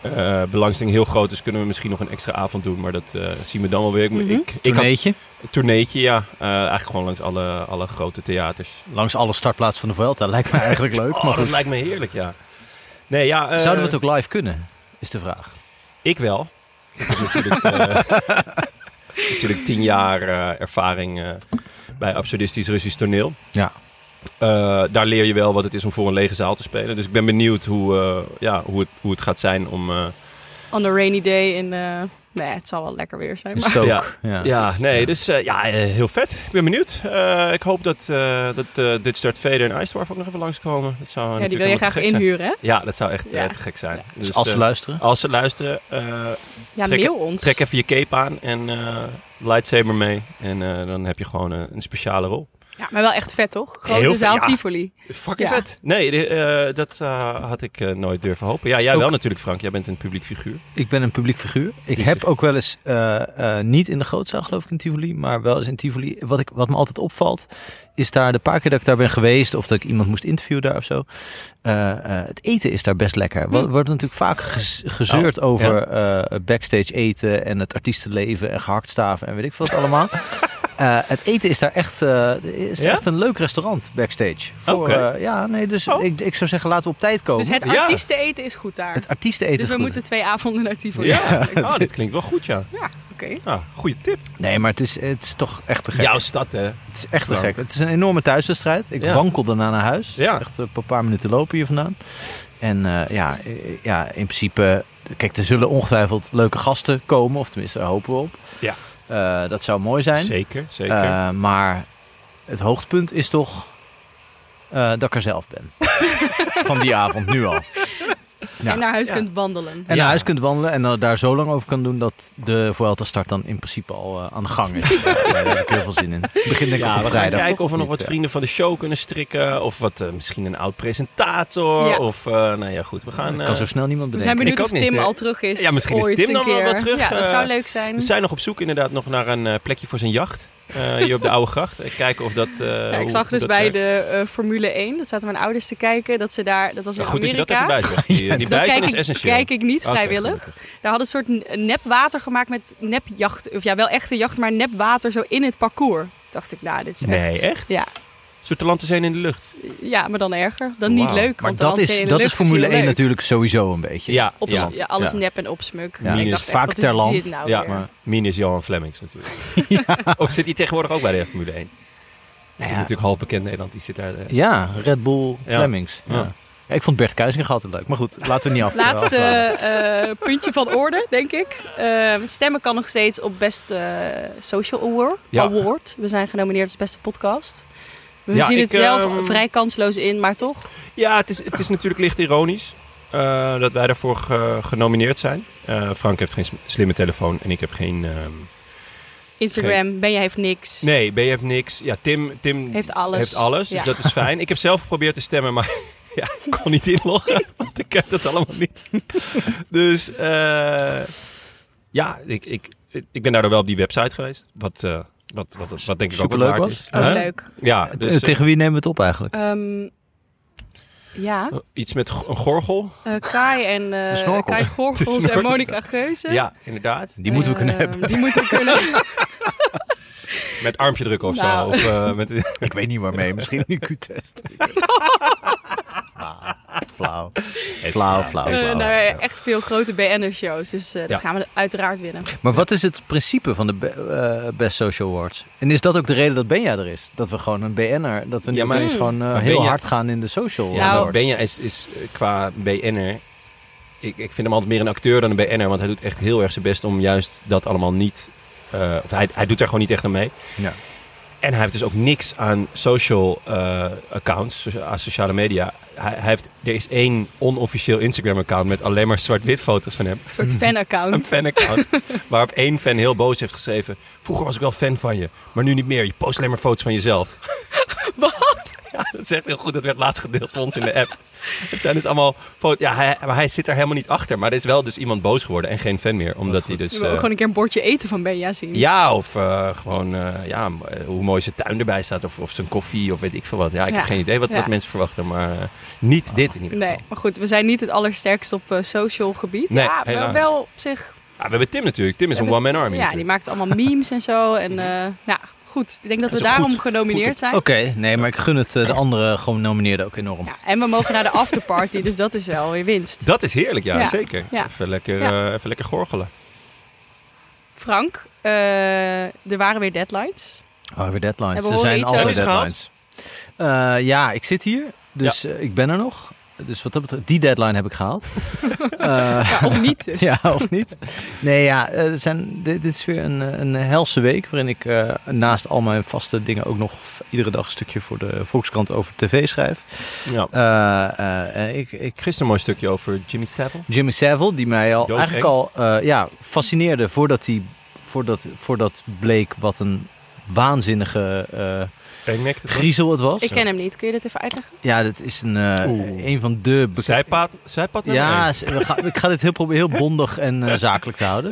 Speaker 1: eh, belangstelling heel groot is... kunnen we misschien nog een extra avond doen. Maar dat eh, zien we dan wel weer. Ik-
Speaker 3: Mhm.
Speaker 1: ik, ik had
Speaker 2: Tourneetje.
Speaker 1: een tourneetje, ja. Eh, eigenlijk gewoon langs alle, alle grote theaters.
Speaker 2: Langs alle startplaatsen van de Vuelta. Lijkt me <laughs> eigenlijk leuk. Maar
Speaker 1: Oh, dat
Speaker 2: goed.
Speaker 1: lijkt me heerlijk, ja. Nee, ja eh,
Speaker 2: Zouden we het ook live kunnen? Is de vraag.
Speaker 1: Ik wel. Ik heb natuurlijk, eh, natuurlijk tien jaar eh, ervaring eh, bij absurdistisch Russisch toneel.
Speaker 2: Ja.
Speaker 1: Eh, daar leer je wel wat het is om voor een lege zaal te spelen. Dus ik ben benieuwd hoe, eh, ja, hoe, het, hoe het gaat zijn om... eh,
Speaker 3: On a rainy day in... eh, nee, het zal wel lekker weer zijn.
Speaker 2: In
Speaker 3: Maar
Speaker 2: Stoke.
Speaker 1: Ja. ja,
Speaker 2: precies.
Speaker 1: nee, dus eh, ja, eh, heel vet. Ik ben benieuwd. Eh, ik hoop dat, eh dat eh Dutch Dart Vader en Ice Dwarf ook nog even langskomen. Dat zou
Speaker 3: ja,
Speaker 1: natuurlijk
Speaker 3: die wil je
Speaker 1: helemaal te
Speaker 3: graag
Speaker 1: gek zijn.
Speaker 3: inhuren, hè?
Speaker 1: Ja, dat zou echt eh,
Speaker 3: Ja.
Speaker 1: te gek zijn.
Speaker 2: Dus als ze
Speaker 1: eh,
Speaker 2: luisteren.
Speaker 1: als ze luisteren, eh,
Speaker 3: Ja,
Speaker 1: Trek-
Speaker 3: mail ons.
Speaker 1: Trek even je cape aan en eh, lightsaber mee. En eh, dan heb je gewoon eh, een speciale rol.
Speaker 3: Ja, maar wel echt vet, toch? Grote
Speaker 1: Heel vet,
Speaker 3: zaal
Speaker 1: ja.
Speaker 3: Tivoli.
Speaker 1: Fucking
Speaker 3: Ja.
Speaker 1: vet. Nee, de- eh, dat eh, had ik eh, nooit durven hopen. Ja, jij
Speaker 2: Ook-
Speaker 1: wel natuurlijk, Frank. Jij bent een publiek figuur.
Speaker 2: Ik ben een publiek figuur. Ik
Speaker 1: Precies.
Speaker 2: heb ook wel eens, eh, eh, niet in de grootzaal geloof ik in Tivoli, maar wel eens in Tivoli. Wat, ik, wat me altijd opvalt, is daar de paar keer dat ik daar ben geweest of dat ik iemand moest interviewen daar of zo. eh, eh, het eten is daar best lekker. Er wordt natuurlijk vaak gez- gezeurd
Speaker 3: Oh, <laughs>
Speaker 2: over eh, backstage eten en het artiestenleven en gehaktstaven en weet ik veel wat allemaal. Eh, het eten is daar echt, eh, is
Speaker 1: Ja?
Speaker 2: echt een leuk restaurant backstage. Voor,
Speaker 1: Oké.
Speaker 2: eh, ja, nee, dus
Speaker 1: Oh.
Speaker 2: ik, ik zou zeggen, laten we op tijd komen.
Speaker 3: Dus het
Speaker 1: Ja.
Speaker 3: artiesteneten is goed daar.
Speaker 2: het artiesten eten
Speaker 3: dus we
Speaker 2: is goed.
Speaker 3: moeten twee avonden naar
Speaker 2: Oh,
Speaker 3: Tivoli.
Speaker 1: Ja.
Speaker 2: <laughs>
Speaker 3: eigenlijk.
Speaker 1: Ah, dit klinkt wel goed, ja.
Speaker 3: Ja, oké.
Speaker 1: Nou, goede tip.
Speaker 2: Nee, maar het is, het is toch echt te gek.
Speaker 1: Jouw stad, hè?
Speaker 2: Het is echt te
Speaker 1: Gewoon.
Speaker 2: gek. Het is een enorme thuiswedstrijd. Ik
Speaker 1: Ja.
Speaker 2: wankel daarna naar huis.
Speaker 1: Ja.
Speaker 2: Echt eh, een paar minuten lopen hier vandaan. En eh, ja, eh, ja, in principe... Kijk, er zullen ongetwijfeld leuke gasten komen. Of tenminste, daar hopen we op.
Speaker 1: Ja.
Speaker 2: Eh, dat zou mooi zijn.
Speaker 1: Zeker, zeker.
Speaker 2: Eh, maar het hoogtepunt is toch eh, dat ik er zelf
Speaker 1: <laughs>
Speaker 2: ben. Van die avond, nu al. Ja.
Speaker 3: En naar huis
Speaker 1: Ja.
Speaker 3: kunt wandelen.
Speaker 2: En
Speaker 1: Ja.
Speaker 2: naar huis kunt wandelen en dan daar zo lang over kan doen... dat de Vuelta start dan in principe al eh, aan de gang
Speaker 1: <laughs>
Speaker 2: is. ja, daar heb ik heel veel zin in. Het begint denk ik
Speaker 1: ja,
Speaker 2: op
Speaker 1: we
Speaker 2: een
Speaker 1: gaan
Speaker 2: vrijdag.
Speaker 1: kijken of we
Speaker 2: Niet,
Speaker 1: nog wat
Speaker 2: ja.
Speaker 1: vrienden van de show kunnen strikken. Of wat, eh, misschien een oud presentator.
Speaker 3: Ja.
Speaker 1: Of, eh, nou ja, goed, we gaan...
Speaker 2: Ik
Speaker 1: eh,
Speaker 2: kan zo snel niemand
Speaker 3: We
Speaker 2: bedenken.
Speaker 3: zijn benieuwd
Speaker 1: Ik ook
Speaker 3: of Tim
Speaker 1: niet, hè?
Speaker 3: al terug is.
Speaker 1: Ja, misschien is
Speaker 3: ooit
Speaker 1: Tim
Speaker 3: een
Speaker 1: dan wel
Speaker 3: keer.
Speaker 1: wel terug,
Speaker 3: Ja, dat zou
Speaker 1: eh,
Speaker 3: leuk zijn.
Speaker 1: We zijn nog op zoek inderdaad nog naar een eh, plekje voor zijn jacht. eh, hier op de
Speaker 2: <laughs>
Speaker 1: Oude Gracht. Eh, Kijken of dat... eh,
Speaker 3: Ja,
Speaker 1: hoe-
Speaker 3: ik zag
Speaker 1: hoe
Speaker 3: dus
Speaker 1: dat
Speaker 3: bij
Speaker 1: werkt.
Speaker 3: de eh, Formule 1, dat zaten mijn ouders te kijken, dat ze daar, dat was in
Speaker 1: Ja, goed dat je dat even
Speaker 3: Amerika.
Speaker 1: bij
Speaker 3: <laughs>
Speaker 1: zegt. Die, die bij zijn
Speaker 3: kijk
Speaker 1: is
Speaker 3: ik,
Speaker 1: essentieel.
Speaker 3: kijk ik niet
Speaker 1: Oké,
Speaker 3: vrijwillig.
Speaker 1: gelukkig.
Speaker 3: Daar hadden ze een soort n- nep water gemaakt met nepjacht. Of ja, wel echte jacht, maar nep water zo in het parcours. Dacht ik, nou, dit is
Speaker 1: Nee,
Speaker 3: echt...
Speaker 1: echt?
Speaker 3: Ja,
Speaker 1: Soeterland zijn in de lucht.
Speaker 3: ja, maar dan erger. Dan niet
Speaker 1: Wauw.
Speaker 3: leuk,
Speaker 2: Maar
Speaker 3: want
Speaker 2: dat
Speaker 3: dan
Speaker 2: is,
Speaker 3: zee in de
Speaker 2: dat is
Speaker 3: lucht
Speaker 2: Formule
Speaker 3: heel
Speaker 2: 1
Speaker 3: leuk.
Speaker 2: natuurlijk sowieso een beetje.
Speaker 1: Ja,
Speaker 3: Op,
Speaker 1: ja.
Speaker 3: ja. alles
Speaker 2: Ja.
Speaker 3: nep en opsmuk.
Speaker 2: Ja.
Speaker 3: Ik
Speaker 1: Minus
Speaker 3: dacht echt,
Speaker 2: vaak
Speaker 3: wat
Speaker 2: ter
Speaker 3: is
Speaker 2: land.
Speaker 3: dit nou
Speaker 1: Ja,
Speaker 3: weer?
Speaker 2: maar-
Speaker 1: Minus Johan Flemings
Speaker 3: <laughs>
Speaker 1: natuurlijk. Of zit hij tegenwoordig ook bij de Formule 1? Dat
Speaker 3: Nou
Speaker 1: is
Speaker 2: Ja.
Speaker 1: natuurlijk half bekend Nederland. Die zit daar... eh,
Speaker 2: Ja, Red Bull,
Speaker 1: Ja.
Speaker 2: Flemings. Ja.
Speaker 1: Ja.
Speaker 2: Ja, ik vond Bert Kuizing altijd leuk. Maar goed, laten we niet af.
Speaker 3: Laatste
Speaker 2: afdwalen.
Speaker 3: eh, puntje van orde, denk ik. Eh, stemmen kan nog steeds op Best eh, Social Award.
Speaker 1: Ja.
Speaker 3: Award. We zijn genomineerd als beste podcast. We
Speaker 1: Ja,
Speaker 3: zien het
Speaker 1: ik,
Speaker 3: zelf
Speaker 1: ehm,
Speaker 3: vrij kansloos in, maar toch.
Speaker 1: Ja, het is, het is natuurlijk licht ironisch eh, dat wij daarvoor ge- genomineerd zijn. Eh, Frank heeft geen s- slimme telefoon en ik heb geen... ehm,
Speaker 3: Instagram, Ben jij heeft niks.
Speaker 1: Nee, B heeft niks. Ja, Tim, Tim
Speaker 3: Heeft alles.
Speaker 1: heeft alles, dus
Speaker 3: Ja.
Speaker 1: dat is fijn. Ik heb zelf geprobeerd te stemmen, maar <laughs> ja, ik kon niet inloggen, want ik heb dat allemaal niet. <laughs> dus eh, ja, ik, ik, ik ben daardoor wel op die website geweest, wat, eh, wat, wat, wat, denk ik
Speaker 2: Superleuk
Speaker 1: ook wat waard
Speaker 2: was.
Speaker 1: is.
Speaker 3: Oh,
Speaker 1: Huh?
Speaker 3: leuk.
Speaker 1: Ja,
Speaker 2: Eh,
Speaker 1: dus eh,
Speaker 2: Tegen wie nemen we het op eigenlijk?
Speaker 3: Ehm, ja,
Speaker 1: iets met go- een gorgel.
Speaker 3: eh, Kai en
Speaker 2: De
Speaker 3: eh
Speaker 2: snorkel.
Speaker 3: Kai
Speaker 1: Oh. <laughs> De
Speaker 3: Gorgels en
Speaker 1: snorkel.
Speaker 3: Monica Geuze.
Speaker 1: Ja, inderdaad.
Speaker 2: Die moeten we kunnen
Speaker 3: Ehm,
Speaker 2: hebben.
Speaker 3: Die moeten we
Speaker 1: <laughs>
Speaker 3: kunnen.
Speaker 1: Met armpje drukken of
Speaker 3: Nou.
Speaker 1: zo. Of, eh, met,
Speaker 2: Ik weet niet waarmee. Misschien een
Speaker 3: <laughs>
Speaker 2: IQ-test. flauw. Flauw, flauw,
Speaker 3: Eh,
Speaker 2: flauw.
Speaker 3: nou, echt veel grote BN'er-shows, dus eh, dat
Speaker 1: Oh, Ja.
Speaker 3: gaan we uiteraard winnen.
Speaker 2: Maar wat is het principe van de be- eh, Best Social Awards? En is dat ook de reden dat Benja er is? Dat we gewoon een BN'er, dat we nu
Speaker 1: Ja, maar-
Speaker 2: ineens gewoon eh,
Speaker 1: Maar
Speaker 2: heel
Speaker 1: Benja-
Speaker 2: hard gaan in de social
Speaker 1: Ja,
Speaker 3: Nou.
Speaker 1: maar Benja is, is eh, qua BN'er... Ik, ik vind hem altijd meer een acteur dan een BN'er. Want hij doet echt heel erg zijn best om juist dat allemaal niet... eh, of hij, hij doet daar gewoon niet echt aan mee.
Speaker 2: Ja.
Speaker 1: En hij heeft dus ook niks aan social eh, accounts, so- aan sociale media. Hij, hij heeft, er is één onofficieel Instagram-account met alleen maar zwart-wit foto's van hem.
Speaker 3: Een
Speaker 1: <laughs>
Speaker 3: soort fan-account.
Speaker 1: Een
Speaker 3: <laughs>
Speaker 1: fan-account. waarop één fan heel boos heeft geschreven... Vroeger was ik wel fan van je, maar nu niet meer. Je post alleen maar foto's van jezelf.
Speaker 3: <laughs> Wat?
Speaker 1: Ja, dat is echt heel goed. Dat werd laatst gedeeld voor ons in de app. Het zijn dus allemaal foto's. Ja, hij, maar hij zit er helemaal niet achter. Maar er is wel dus iemand boos geworden en geen fan meer. Omdat hij dus...
Speaker 3: Oh, Je wil ook
Speaker 1: eh,
Speaker 3: gewoon een keer een bordje eten van Benja zien.
Speaker 1: ja, of eh, gewoon eh, ja, m- eh, hoe mooi zijn tuin erbij staat. Of, of zijn koffie of weet ik veel wat. Ja, ik
Speaker 3: Ja.
Speaker 1: heb geen idee wat, wat
Speaker 3: Ja.
Speaker 1: mensen verwachten. Maar eh, niet dit in ieder geval.
Speaker 3: Nee, maar goed, we zijn niet het allersterkst op eh, social gebied.
Speaker 1: Nee,
Speaker 3: ja, maar
Speaker 1: helaas.
Speaker 3: wel op zich.
Speaker 1: Ja, Ah, we hebben Tim natuurlijk. Tim is
Speaker 3: We
Speaker 1: een
Speaker 3: hebben-
Speaker 1: one-man army
Speaker 3: Ja, die
Speaker 1: natuurlijk.
Speaker 3: maakt allemaal memes en zo. En eh, nou, goed. Ik denk
Speaker 1: Mhm. Dat
Speaker 3: dat we
Speaker 1: is ook
Speaker 3: daarom
Speaker 1: goed.
Speaker 3: genomineerd zijn.
Speaker 2: Oké, nee, maar ik gun het eh, de andere genomineerden ook enorm.
Speaker 3: Nou, Ja, en we mogen naar de afterparty, dus dat is wel weer winst.
Speaker 1: Dat is heerlijk, ja,
Speaker 3: Ja.
Speaker 1: zeker.
Speaker 3: Ja.
Speaker 1: Even, lekker,
Speaker 3: Ja.
Speaker 1: eh, even lekker gorgelen.
Speaker 3: Frank, eh, er waren weer deadlines.
Speaker 2: Oh, weer deadlines.
Speaker 3: Hebben we
Speaker 2: Er
Speaker 3: horen
Speaker 2: zijn
Speaker 3: iets
Speaker 2: altijd
Speaker 1: over- Hebben we
Speaker 2: deadlines. Eh, ja, ik zit hier. Dus eh, ik ben er nog. Dus wat dat betreft, die deadline heb ik gehaald. <laughs> Eh,
Speaker 3: Ja,
Speaker 1: <laughs>
Speaker 3: of niet dus.
Speaker 2: ja, of niet? Nee, ja, eh, er zijn, dit, dit is weer een, eh, een helse week. Waarin ik eh, naast al mijn vaste dingen ook nog v- iedere dag een stukje voor de Volkskrant over tv schrijf.
Speaker 1: Ja.
Speaker 2: Eh, eh, eh, ik, ik,
Speaker 1: Gisteren een mooi stukje over Jimmy Savile.
Speaker 2: Jimmy Savile, die mij al
Speaker 1: Jood
Speaker 2: eigenlijk
Speaker 1: eng.
Speaker 2: al eh, ja, fascineerde voordat, hij, voordat, voordat bleek wat een waanzinnige eh,
Speaker 1: Pengnek. dat was-
Speaker 2: griezel het was.
Speaker 3: Ik ken hem niet. Kun je dat even uitleggen?
Speaker 2: Ja, dat is een, eh,
Speaker 1: Oeh.
Speaker 2: een van de beke-
Speaker 1: Zijpaad, zijpaad naar
Speaker 2: Ja,
Speaker 1: beneden.
Speaker 2: s- we gaan- ik ga dit heel, proberen, heel bondig en eh, zakelijk te houden.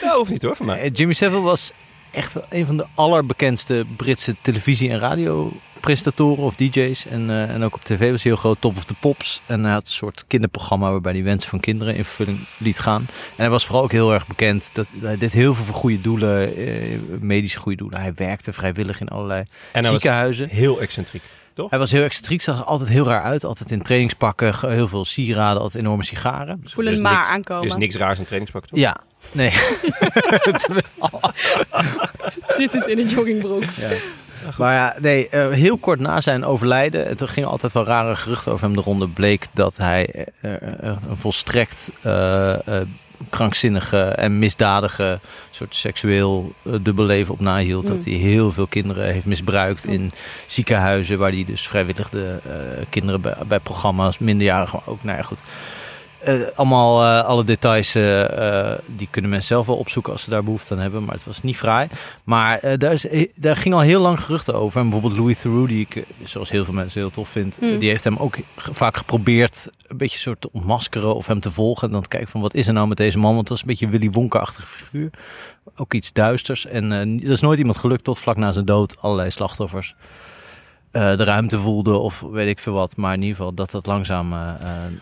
Speaker 1: Dat hoeft niet hoor van mij.
Speaker 2: Eh, Jimmy Savile was echt wel een van de allerbekendste Britse televisie- en radio presentatoren of DJ's. En, eh, en ook op tv was hij heel groot, Top of the Pops. En hij had een soort kinderprogramma waarbij hij wensen van kinderen in vervulling liet gaan. En hij was vooral ook heel erg bekend. Dat, hij deed heel veel voor goede doelen, eh, medische goede doelen. Hij werkte vrijwillig in allerlei
Speaker 1: En hij was
Speaker 2: ziekenhuizen.
Speaker 1: heel excentriek.
Speaker 2: Hij was heel excentriek, zag er altijd heel raar uit. Altijd in trainingspakken, ge- heel veel sieraden, altijd enorme sigaren.
Speaker 3: Voelen
Speaker 1: Dus
Speaker 3: maar
Speaker 1: niks-
Speaker 3: aankomen.
Speaker 1: Dus niks raars in trainingspak. Toch?
Speaker 2: Ja, nee.
Speaker 3: <laughs> Zittend in een joggingbroek.
Speaker 1: Eh,
Speaker 2: maar ja, nee, eh, heel kort na zijn overlijden, eh, toen gingen altijd wel rare geruchten over hem de ronde, bleek dat hij eh, eh, een volstrekt eh, eh, krankzinnige en misdadige soort seksueel eh, dubbelleven op nahield.
Speaker 3: Mm.
Speaker 2: Dat hij heel veel kinderen heeft misbruikt
Speaker 3: Mm.
Speaker 2: in ziekenhuizen, waar hij dus vrijwillig de eh, kinderen bij, bij programma's, minderjarigen ook, nou ja, goed. Eh, allemaal, eh, alle details, eh, eh, die kunnen mensen zelf wel opzoeken als ze daar behoefte aan hebben. Maar het was niet fraai. Maar eh, daar, is, eh, daar ging al heel lang geruchten over. En bijvoorbeeld Louis Theroux, die ik, eh, zoals heel veel mensen heel tof vind,
Speaker 3: Hmm.
Speaker 2: eh, die heeft hem ook ge- vaak geprobeerd een beetje soort te ontmaskeren of hem te volgen. En dan te kijken van wat is er nou met deze man? Want dat is een beetje een Willy Wonka-achtige figuur. Ook iets duisters. En eh, ni- er is nooit iemand gelukt tot vlak na zijn dood allerlei slachtoffers. eh, de ruimte voelde of weet ik veel wat. Maar in ieder geval dat dat langzaam eh, eh,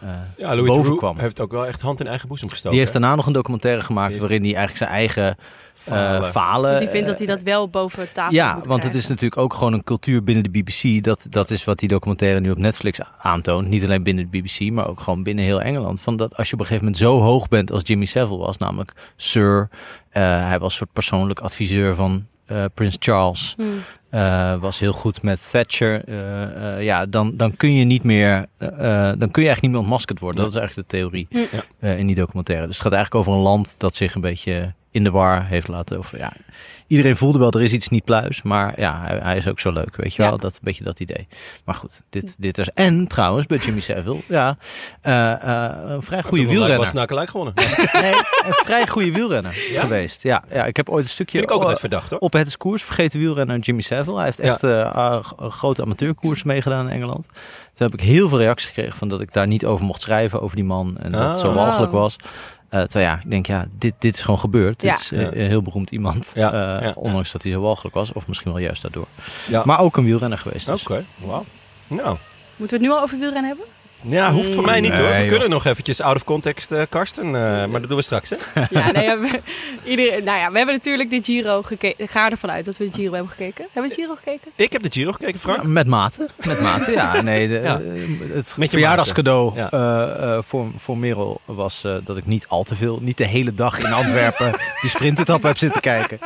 Speaker 2: eh,
Speaker 1: Ja, Louis
Speaker 2: boven
Speaker 1: Theroux
Speaker 2: kwam.
Speaker 1: heeft ook wel echt hand in eigen boezem gestoken.
Speaker 2: Die heeft daarna nog een documentaire gemaakt
Speaker 1: Die heeft-
Speaker 2: waarin hij eigenlijk zijn eigen eh,
Speaker 1: Falen.
Speaker 2: falen.
Speaker 3: Want die vindt dat hij
Speaker 2: eh,
Speaker 3: dat wel boven de tafel
Speaker 2: ja,
Speaker 3: moet
Speaker 2: want het is
Speaker 3: krijgen.
Speaker 2: natuurlijk ook gewoon een cultuur binnen de BBC. Dat, dat is wat die documentaire nu op Netflix a- aantoont. Niet alleen binnen de BBC, maar ook gewoon binnen heel Engeland. Van dat als je op een gegeven moment zo hoog bent als Jimmy Savile was, namelijk Sir. eh, hij was een soort persoonlijk adviseur van eh, Prins Charles.
Speaker 3: Hmm.
Speaker 2: Eh, was heel goed met Thatcher. eh, eh, ja, dan, dan kun je niet meer. eh, eh, dan kun je eigenlijk niet meer ontmaskerd worden. Dat is eigenlijk de theorie
Speaker 3: Ja.
Speaker 2: eh, in die documentaire. Dus het gaat eigenlijk over een land dat zich een beetje in de war heeft laten. Of, ja, iedereen voelde wel, er is iets niet pluis. Maar ja, hij, hij is ook zo leuk, weet je
Speaker 3: Ja.
Speaker 2: wel. Dat een beetje dat idee. Maar goed, dit, dit is. En trouwens, bij Jimmy Savile, ja, eh, eh, een vrij goede
Speaker 1: Was
Speaker 2: wielrenner.
Speaker 1: na gelijk gewonnen. Ja,
Speaker 2: Nee, een vrij goede wielrenner
Speaker 1: Ja?
Speaker 2: geweest. Ja, ja, ik heb ooit een stukje.
Speaker 1: vind ik ook
Speaker 2: oh,
Speaker 1: altijd verdacht hoor.
Speaker 2: op het is koers vergeten wielrenner Jimmy Savile. Hij heeft echt eh a- een grote amateurkoers meegedaan in Engeland. Toen heb ik heel veel reacties gekregen van dat ik daar niet over mocht schrijven over die man en dat het zo
Speaker 1: Ah.
Speaker 2: walgelijk
Speaker 3: Oh.
Speaker 2: was. Eh terwijl ja, ik denk ja, dit, dit is gewoon gebeurd.
Speaker 3: Ja.
Speaker 2: Dit is eh,
Speaker 1: Ja.
Speaker 2: een heel beroemd iemand,
Speaker 1: Ja,
Speaker 2: eh,
Speaker 1: ja, ja.
Speaker 2: ondanks dat hij zo walgelijk was. Of misschien wel juist daardoor.
Speaker 1: Ja.
Speaker 2: Maar ook een wielrenner geweest. dus.
Speaker 1: Oké, wauw. Nou,
Speaker 3: Moeten we het nu al over wielrennen hebben?
Speaker 1: ja, hoeft voor mij niet hoor. We
Speaker 2: Nee, joh.
Speaker 1: kunnen nog eventjes out of context, eh, Karsten. eh, maar dat doen we straks, hè?
Speaker 3: Ja, nee, ja, we, iedereen, nou ja, we hebben natuurlijk de Giro gekeken. Ik ga ervan uit dat we de Giro hebben gekeken. Hebben we de Giro gekeken?
Speaker 1: Ik heb de Giro gekeken, Frank.
Speaker 2: Ja, Nou, met mate. Met mate,
Speaker 3: <laughs>
Speaker 2: ja. Nee, de,
Speaker 1: Ja.
Speaker 2: eh, Het
Speaker 1: mate.
Speaker 2: verjaardagscadeau
Speaker 1: Ja.
Speaker 2: eh, eh, voor, voor Merel was eh, dat ik niet al te veel, niet de hele dag in
Speaker 3: <laughs>
Speaker 2: Antwerpen die sprintetap heb zitten kijken.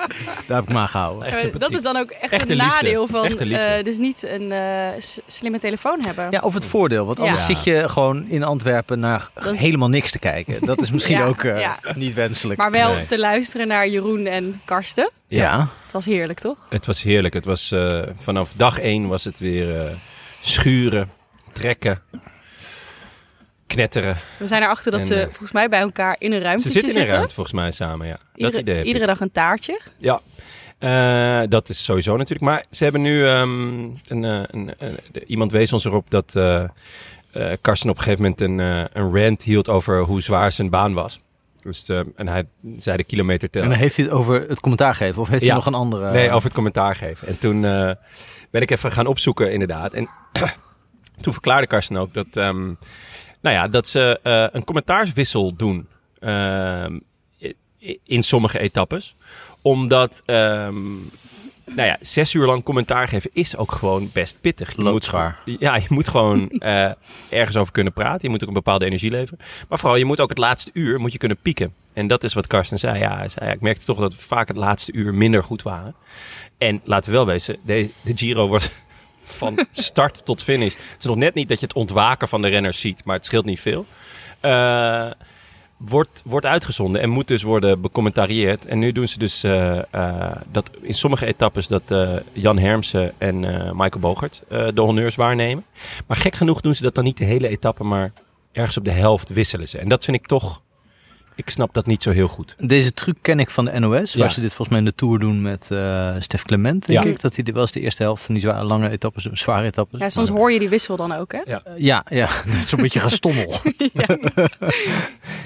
Speaker 2: Daar heb ik me aan gehouden.
Speaker 1: Echt
Speaker 3: Eh, dat
Speaker 1: sympathiek.
Speaker 3: is dan ook echt
Speaker 1: Echte
Speaker 3: een
Speaker 1: liefde.
Speaker 3: nadeel van
Speaker 1: Echte liefde.
Speaker 3: eh, dus niet een eh, s- slimme telefoon hebben.
Speaker 2: Ja, of het voordeel, want
Speaker 3: Ja.
Speaker 1: Ja.
Speaker 2: anders zit je gewoon in Antwerpen naar
Speaker 3: Dat is-
Speaker 2: helemaal niks te kijken. Dat is misschien
Speaker 3: <laughs> Ja,
Speaker 2: ook eh,
Speaker 3: ja.
Speaker 2: niet wenselijk.
Speaker 3: Maar wel
Speaker 1: Nee.
Speaker 3: te luisteren naar Jeroen en Karsten.
Speaker 2: ja.
Speaker 3: Het was heerlijk, toch?
Speaker 1: Het was heerlijk. Het was, eh, vanaf dag één was het weer eh, schuren, trekken, knetteren.
Speaker 3: We zijn erachter dat
Speaker 1: En,
Speaker 3: ze
Speaker 1: eh,
Speaker 3: volgens mij bij elkaar in een ruimte
Speaker 1: Ze
Speaker 3: zitten.
Speaker 1: zitten in een ruimte volgens mij samen, ja.
Speaker 3: Iedere,
Speaker 1: dat idee heb ik.
Speaker 3: iedere dag een taartje.
Speaker 1: Ja, eh, dat is sowieso natuurlijk. Maar ze hebben nu ehm, een, eh, een, een- de- iemand wees ons erop dat eh eh, Karsten op een gegeven moment een, eh, een rant hield over hoe zwaar zijn baan was. Dus, ehm, en hij zei de kilometer
Speaker 2: En dan
Speaker 1: tellen.
Speaker 2: heeft hij het over het commentaar gegeven of heeft
Speaker 1: Ja.
Speaker 2: hij nog een andere? eh,
Speaker 1: Nee, over het commentaar geven. En toen eh, ben ik even gaan opzoeken, inderdaad. En <clears throat> toen verklaarde Karsten ook dat, ehm, nou ja, dat ze eh, een commentaarswissel doen ehm, i- i- in sommige etappes. Omdat, ehm, nou ja, zes uur lang commentaar geven is ook gewoon best pittig. Je moet,
Speaker 2: Loodzwaar.
Speaker 1: ja, je moet gewoon <laughs> eh, ergens over kunnen praten. Je moet ook een bepaalde energie leveren. Maar vooral, je moet ook het laatste uur moet je kunnen pieken. En dat is wat Karsten zei. Ja, hij zei, ja, ik merkte toch dat we vaak het laatste uur minder goed waren. En laten we wel wezen, de, de Giro wordt <laughs> van start tot finish. Het is nog net niet dat je het ontwaken van de renners ziet, maar het scheelt niet veel. Eh, wordt, wordt uitgezonden en moet dus worden becommentarieerd. En nu doen ze dus eh, eh, dat in sommige etappes dat eh, Jan Hermsen en eh, Michael Bogert eh, de honneurs waarnemen. Maar gek genoeg doen ze dat dan niet de hele etappe, maar ergens op de helft wisselen ze. En dat vind ik toch, ik snap dat niet zo heel goed.
Speaker 2: Deze truc ken ik van de NOS, waar
Speaker 1: Ja.
Speaker 2: ze dit volgens mij in de Tour doen met eh Stef Clement, denk
Speaker 1: Ja.
Speaker 2: ik. Dat hij dit wel eens de eerste helft van die zware, lange etappes, zware etappes. Oh.
Speaker 3: Ja, soms hoor je die wissel dan ook, hè?
Speaker 2: Eh, Ja,
Speaker 1: <laughs>
Speaker 2: ja,
Speaker 3: <laughs>
Speaker 2: dat is een beetje gestommel.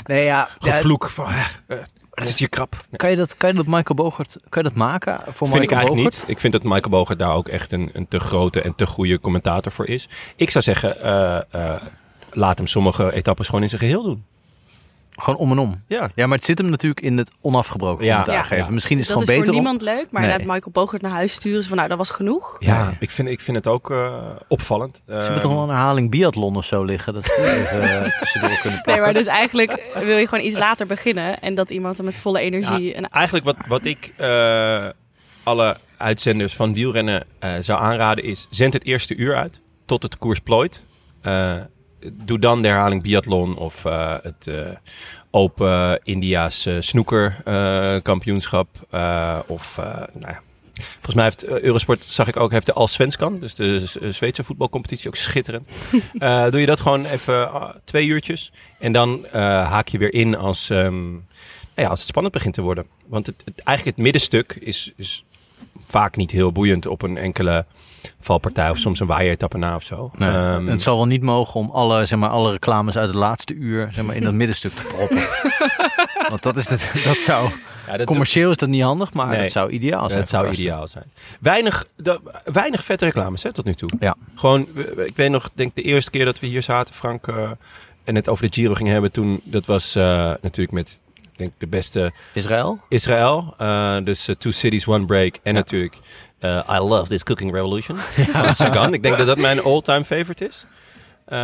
Speaker 2: nee, ja, ja,
Speaker 1: Gevloek van, eh, eh, Het is hier krap.
Speaker 2: Kan je dat, kan je dat Michael Bogert, kan je dat maken voor
Speaker 1: vind ik
Speaker 2: Michael
Speaker 1: eigenlijk
Speaker 2: Bogert?
Speaker 1: niet. Ik vind dat Michael Bogert daar ook echt een, een te grote en te goede commentator voor is. Ik zou zeggen, eh, eh, laat hem sommige etappes gewoon in zijn geheel doen.
Speaker 2: Gewoon om en om.
Speaker 1: Ja.
Speaker 2: Ja, maar het zit hem natuurlijk in het onafgebroken
Speaker 1: Ja.
Speaker 2: commentaar
Speaker 3: Ja.
Speaker 2: geven.
Speaker 1: Ja.
Speaker 2: Misschien is
Speaker 3: dat
Speaker 2: het
Speaker 3: is
Speaker 2: gewoon
Speaker 3: voor
Speaker 2: beter om...
Speaker 3: niemand leuk, maar
Speaker 2: Nee.
Speaker 3: laat Michael Bogert naar huis sturen. Zo van, nou, dat was genoeg.
Speaker 1: Ja,
Speaker 2: Ja.
Speaker 1: Ik, vind, ik vind het ook eh, opvallend.
Speaker 2: Ze
Speaker 1: Ehm,
Speaker 2: hebben toch wel een herhaling biathlon of zo liggen. Dat ze even eh,
Speaker 3: <laughs>
Speaker 2: tussendoor kunnen
Speaker 3: Nee,
Speaker 2: pakken.
Speaker 3: maar dus eigenlijk wil je gewoon iets later beginnen. En dat iemand dan met volle energie...
Speaker 1: Ja,
Speaker 3: en-
Speaker 1: Eigenlijk wat, wat ik eh, alle uitzenders van wielrennen eh, zou aanraden is... zend het eerste uur uit tot het koers plooit. Eh, doe dan de herhaling biathlon of eh, het eh, Open India's eh, snoekerkampioenschap. of eh, nou ja, Volgens mij heeft eh, Eurosport, zag ik ook, heeft de Allsvenskan, dus de Z- eh, Zweedse voetbalcompetitie, ook schitterend. Eh, doe je dat gewoon even ah, twee uurtjes en dan eh, haak je weer in als, ehm, nou ja, als het spannend begint te worden. Want het, het- eigenlijk het middenstuk is, is vaak niet heel boeiend op een enkele valpartij of soms een waaieretappe na of zo.
Speaker 2: Nee,
Speaker 1: Ehm,
Speaker 2: het zal wel niet mogen om alle, zeg maar, alle reclames uit het laatste uur zeg maar, in dat middenstuk te <laughs> proppen. Want dat, is net, dat zou...
Speaker 1: ja, dat-
Speaker 2: Commercieel is dat niet handig, maar
Speaker 1: Nee.
Speaker 2: dat zou ideaal zijn.
Speaker 1: Dat zou
Speaker 2: Karsten.
Speaker 1: ideaal zijn. Weinig, da- weinig vette reclames hè, tot nu toe.
Speaker 2: Ja.
Speaker 1: Gewoon, we- we- ik weet nog, denk de eerste keer dat we hier zaten, Frank, eh, en het over de Giro gingen hebben toen, dat was eh, natuurlijk met, ik denk de beste
Speaker 2: Israël?
Speaker 1: Israël. eh, dus eh, Two Cities, One Break. En natuurlijk eh, I Love This Cooking <laughs> Revolution van Sagan. Ik denk dat dat mijn all-time favorite is. Eh,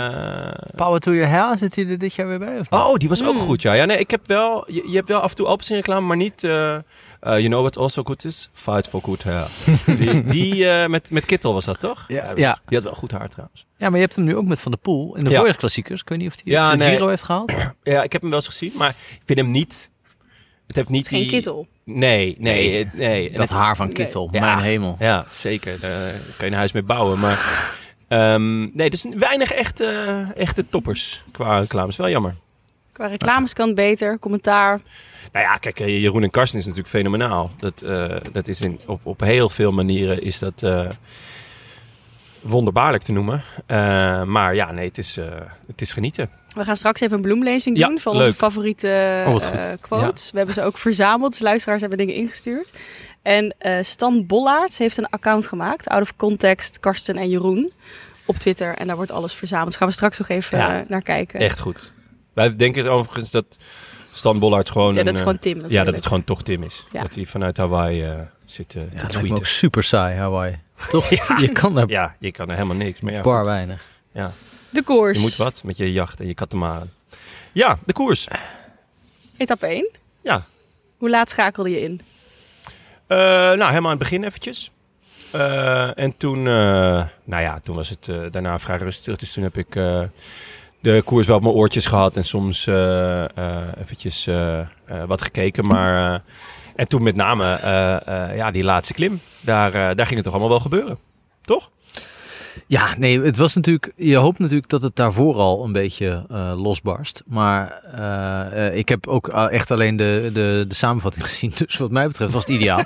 Speaker 2: Power to your hair zit hij er dit jaar weer bij? Of niet?
Speaker 1: Oh, die was ook
Speaker 3: Mm.
Speaker 1: goed, ja. ja nee, ik heb wel, je, je hebt wel af en toe Alpes in reclame, maar niet... eh, eh, you know what also goed is? Fight for good hair. die die eh, met, met Kittel was dat, toch?
Speaker 2: Ja.
Speaker 1: die-
Speaker 2: Ja.
Speaker 1: Die had wel goed haar, trouwens.
Speaker 2: Ja, maar je hebt hem nu ook met Van der Poel in de
Speaker 1: Ja.
Speaker 2: voorjaarsklassiekers. Ik weet niet of hij
Speaker 1: Ja,
Speaker 2: de
Speaker 1: nee.
Speaker 2: Giro heeft gehaald.
Speaker 1: Ja, ik heb hem wel eens gezien, maar ik vind hem niet... Het heeft niet
Speaker 3: Het is geen
Speaker 1: die...
Speaker 3: kittel.
Speaker 1: Nee, nee, het- nee. En
Speaker 2: Dat
Speaker 1: het-
Speaker 2: haar van
Speaker 3: Nee.
Speaker 2: Kittel,
Speaker 1: Ja.
Speaker 2: mijn hemel.
Speaker 1: Ja, zeker. Daar kan je een huis mee bouwen, maar... ehm, nee, dus weinig echte, echte toppers qua reclames. Wel jammer.
Speaker 3: Qua reclames kan het beter, commentaar.
Speaker 1: Nou ja, kijk, eh, Jeroen en Karsten is natuurlijk fenomenaal. Dat, eh, dat is in, op, op heel veel manieren is dat eh, wonderbaarlijk te noemen. Eh, maar ja, nee, het is, eh, het is genieten.
Speaker 3: We gaan straks even een bloemlezing
Speaker 1: Ja,
Speaker 3: doen van
Speaker 1: leuk.
Speaker 3: onze favoriete
Speaker 1: Oh, wat goed.
Speaker 3: eh, quotes. We hebben ze ook verzameld. Dus luisteraars hebben dingen ingestuurd. En eh, Stan Bollaerts heeft een account gemaakt. Out of Context, Karsten en Jeroen. Op Twitter. En daar wordt alles verzameld. Dus gaan we straks nog even
Speaker 1: Ja,
Speaker 3: eh, naar kijken.
Speaker 1: Echt goed. Wij denken overigens dat Stan Bollaerts gewoon...
Speaker 3: Ja,
Speaker 1: een,
Speaker 3: dat is
Speaker 1: eh,
Speaker 3: gewoon Tim.
Speaker 1: ja,
Speaker 3: natuurlijk.
Speaker 1: dat het gewoon toch Tim is.
Speaker 3: Ja.
Speaker 1: Dat hij vanuit Hawaii eh, zit eh, te
Speaker 2: dat lijkt me
Speaker 1: tweeten.
Speaker 2: ook super saai, Hawaii. Toch? Je kan daar
Speaker 1: Ja, je kan er helemaal niks. Maar ja,
Speaker 2: bar
Speaker 1: goed.
Speaker 2: weinig.
Speaker 1: ja,
Speaker 3: De koers.
Speaker 1: je moet wat met je jacht en je katamaren. Ja, de koers.
Speaker 3: Etappe 1.
Speaker 1: Ja,
Speaker 3: Hoe laat schakelde je in?
Speaker 1: Eh, nou, helemaal aan het begin eventjes. Eh, en toen, eh, nou ja, toen was het eh, daarna vrij rustig. Dus toen heb ik eh, de koers wel op mijn oortjes gehad. En soms eh, eh, eventjes eh, eh, wat gekeken. Maar, eh, en toen met name, eh, eh, ja, die laatste klim. Daar, eh, daar ging het toch allemaal wel gebeuren. Toch?
Speaker 2: Ja, nee, het was natuurlijk... Je hoopt natuurlijk dat het daarvoor al een beetje eh, losbarst. Maar eh, eh, ik heb ook eh, echt alleen de, de, de samenvatting <laughs> gezien. Dus wat mij betreft was het ideaal.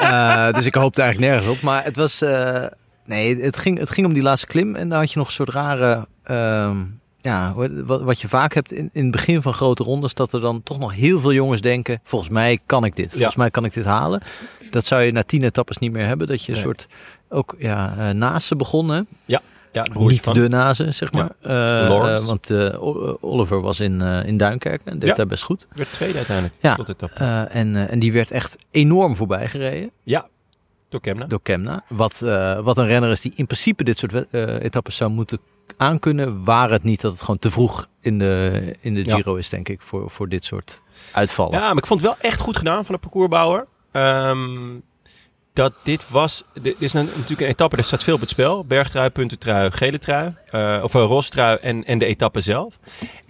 Speaker 2: Eh, dus ik hoopte eigenlijk nergens op. Maar het was... eh, nee, het ging, het ging om die laatste klim. En daar had je nog een soort rare... ehm, ja, hoe- wat, wat je vaak hebt in, in het begin van grote rondes... dat er dan toch nog heel veel jongens denken... volgens mij kan ik dit. Volgens mij kan ik dit halen. Dat zou je na tien etappes niet meer hebben. Dat je een
Speaker 1: Nee.
Speaker 2: soort... Ook ja, eh Naassen begon, hè?
Speaker 1: Ja, broertje
Speaker 2: Niet
Speaker 1: van.
Speaker 2: de Nase, zeg
Speaker 1: Ja.
Speaker 2: maar. Eh,
Speaker 1: Lawrence.
Speaker 2: eh, want eh, O- eh, Oliver was in, eh, in Duinkerk en deed
Speaker 1: Ja.
Speaker 2: daar best goed.
Speaker 1: Werd tweede uiteindelijk.
Speaker 2: Ja.
Speaker 1: Slotetappe.
Speaker 2: Eh, en, eh, en die werd echt enorm voorbij gereden
Speaker 1: ja, door Kemna.
Speaker 2: door Kemna. Wat, eh, wat een renner is die in principe dit soort wed- eh, etappes zou moeten aankunnen. Waar het niet dat het gewoon te vroeg in de, in de
Speaker 1: Ja.
Speaker 2: Giro is, denk ik, voor, voor dit soort uitvallen.
Speaker 1: Ja, maar ik vond het wel echt goed gedaan van de parcoursbouwer. Ehm, dat dit was... Dit is een- natuurlijk een etappe, er staat veel op het spel. Bergtrui, puntentrui, gele trui. eh, of een roze trui en, en de etappe zelf.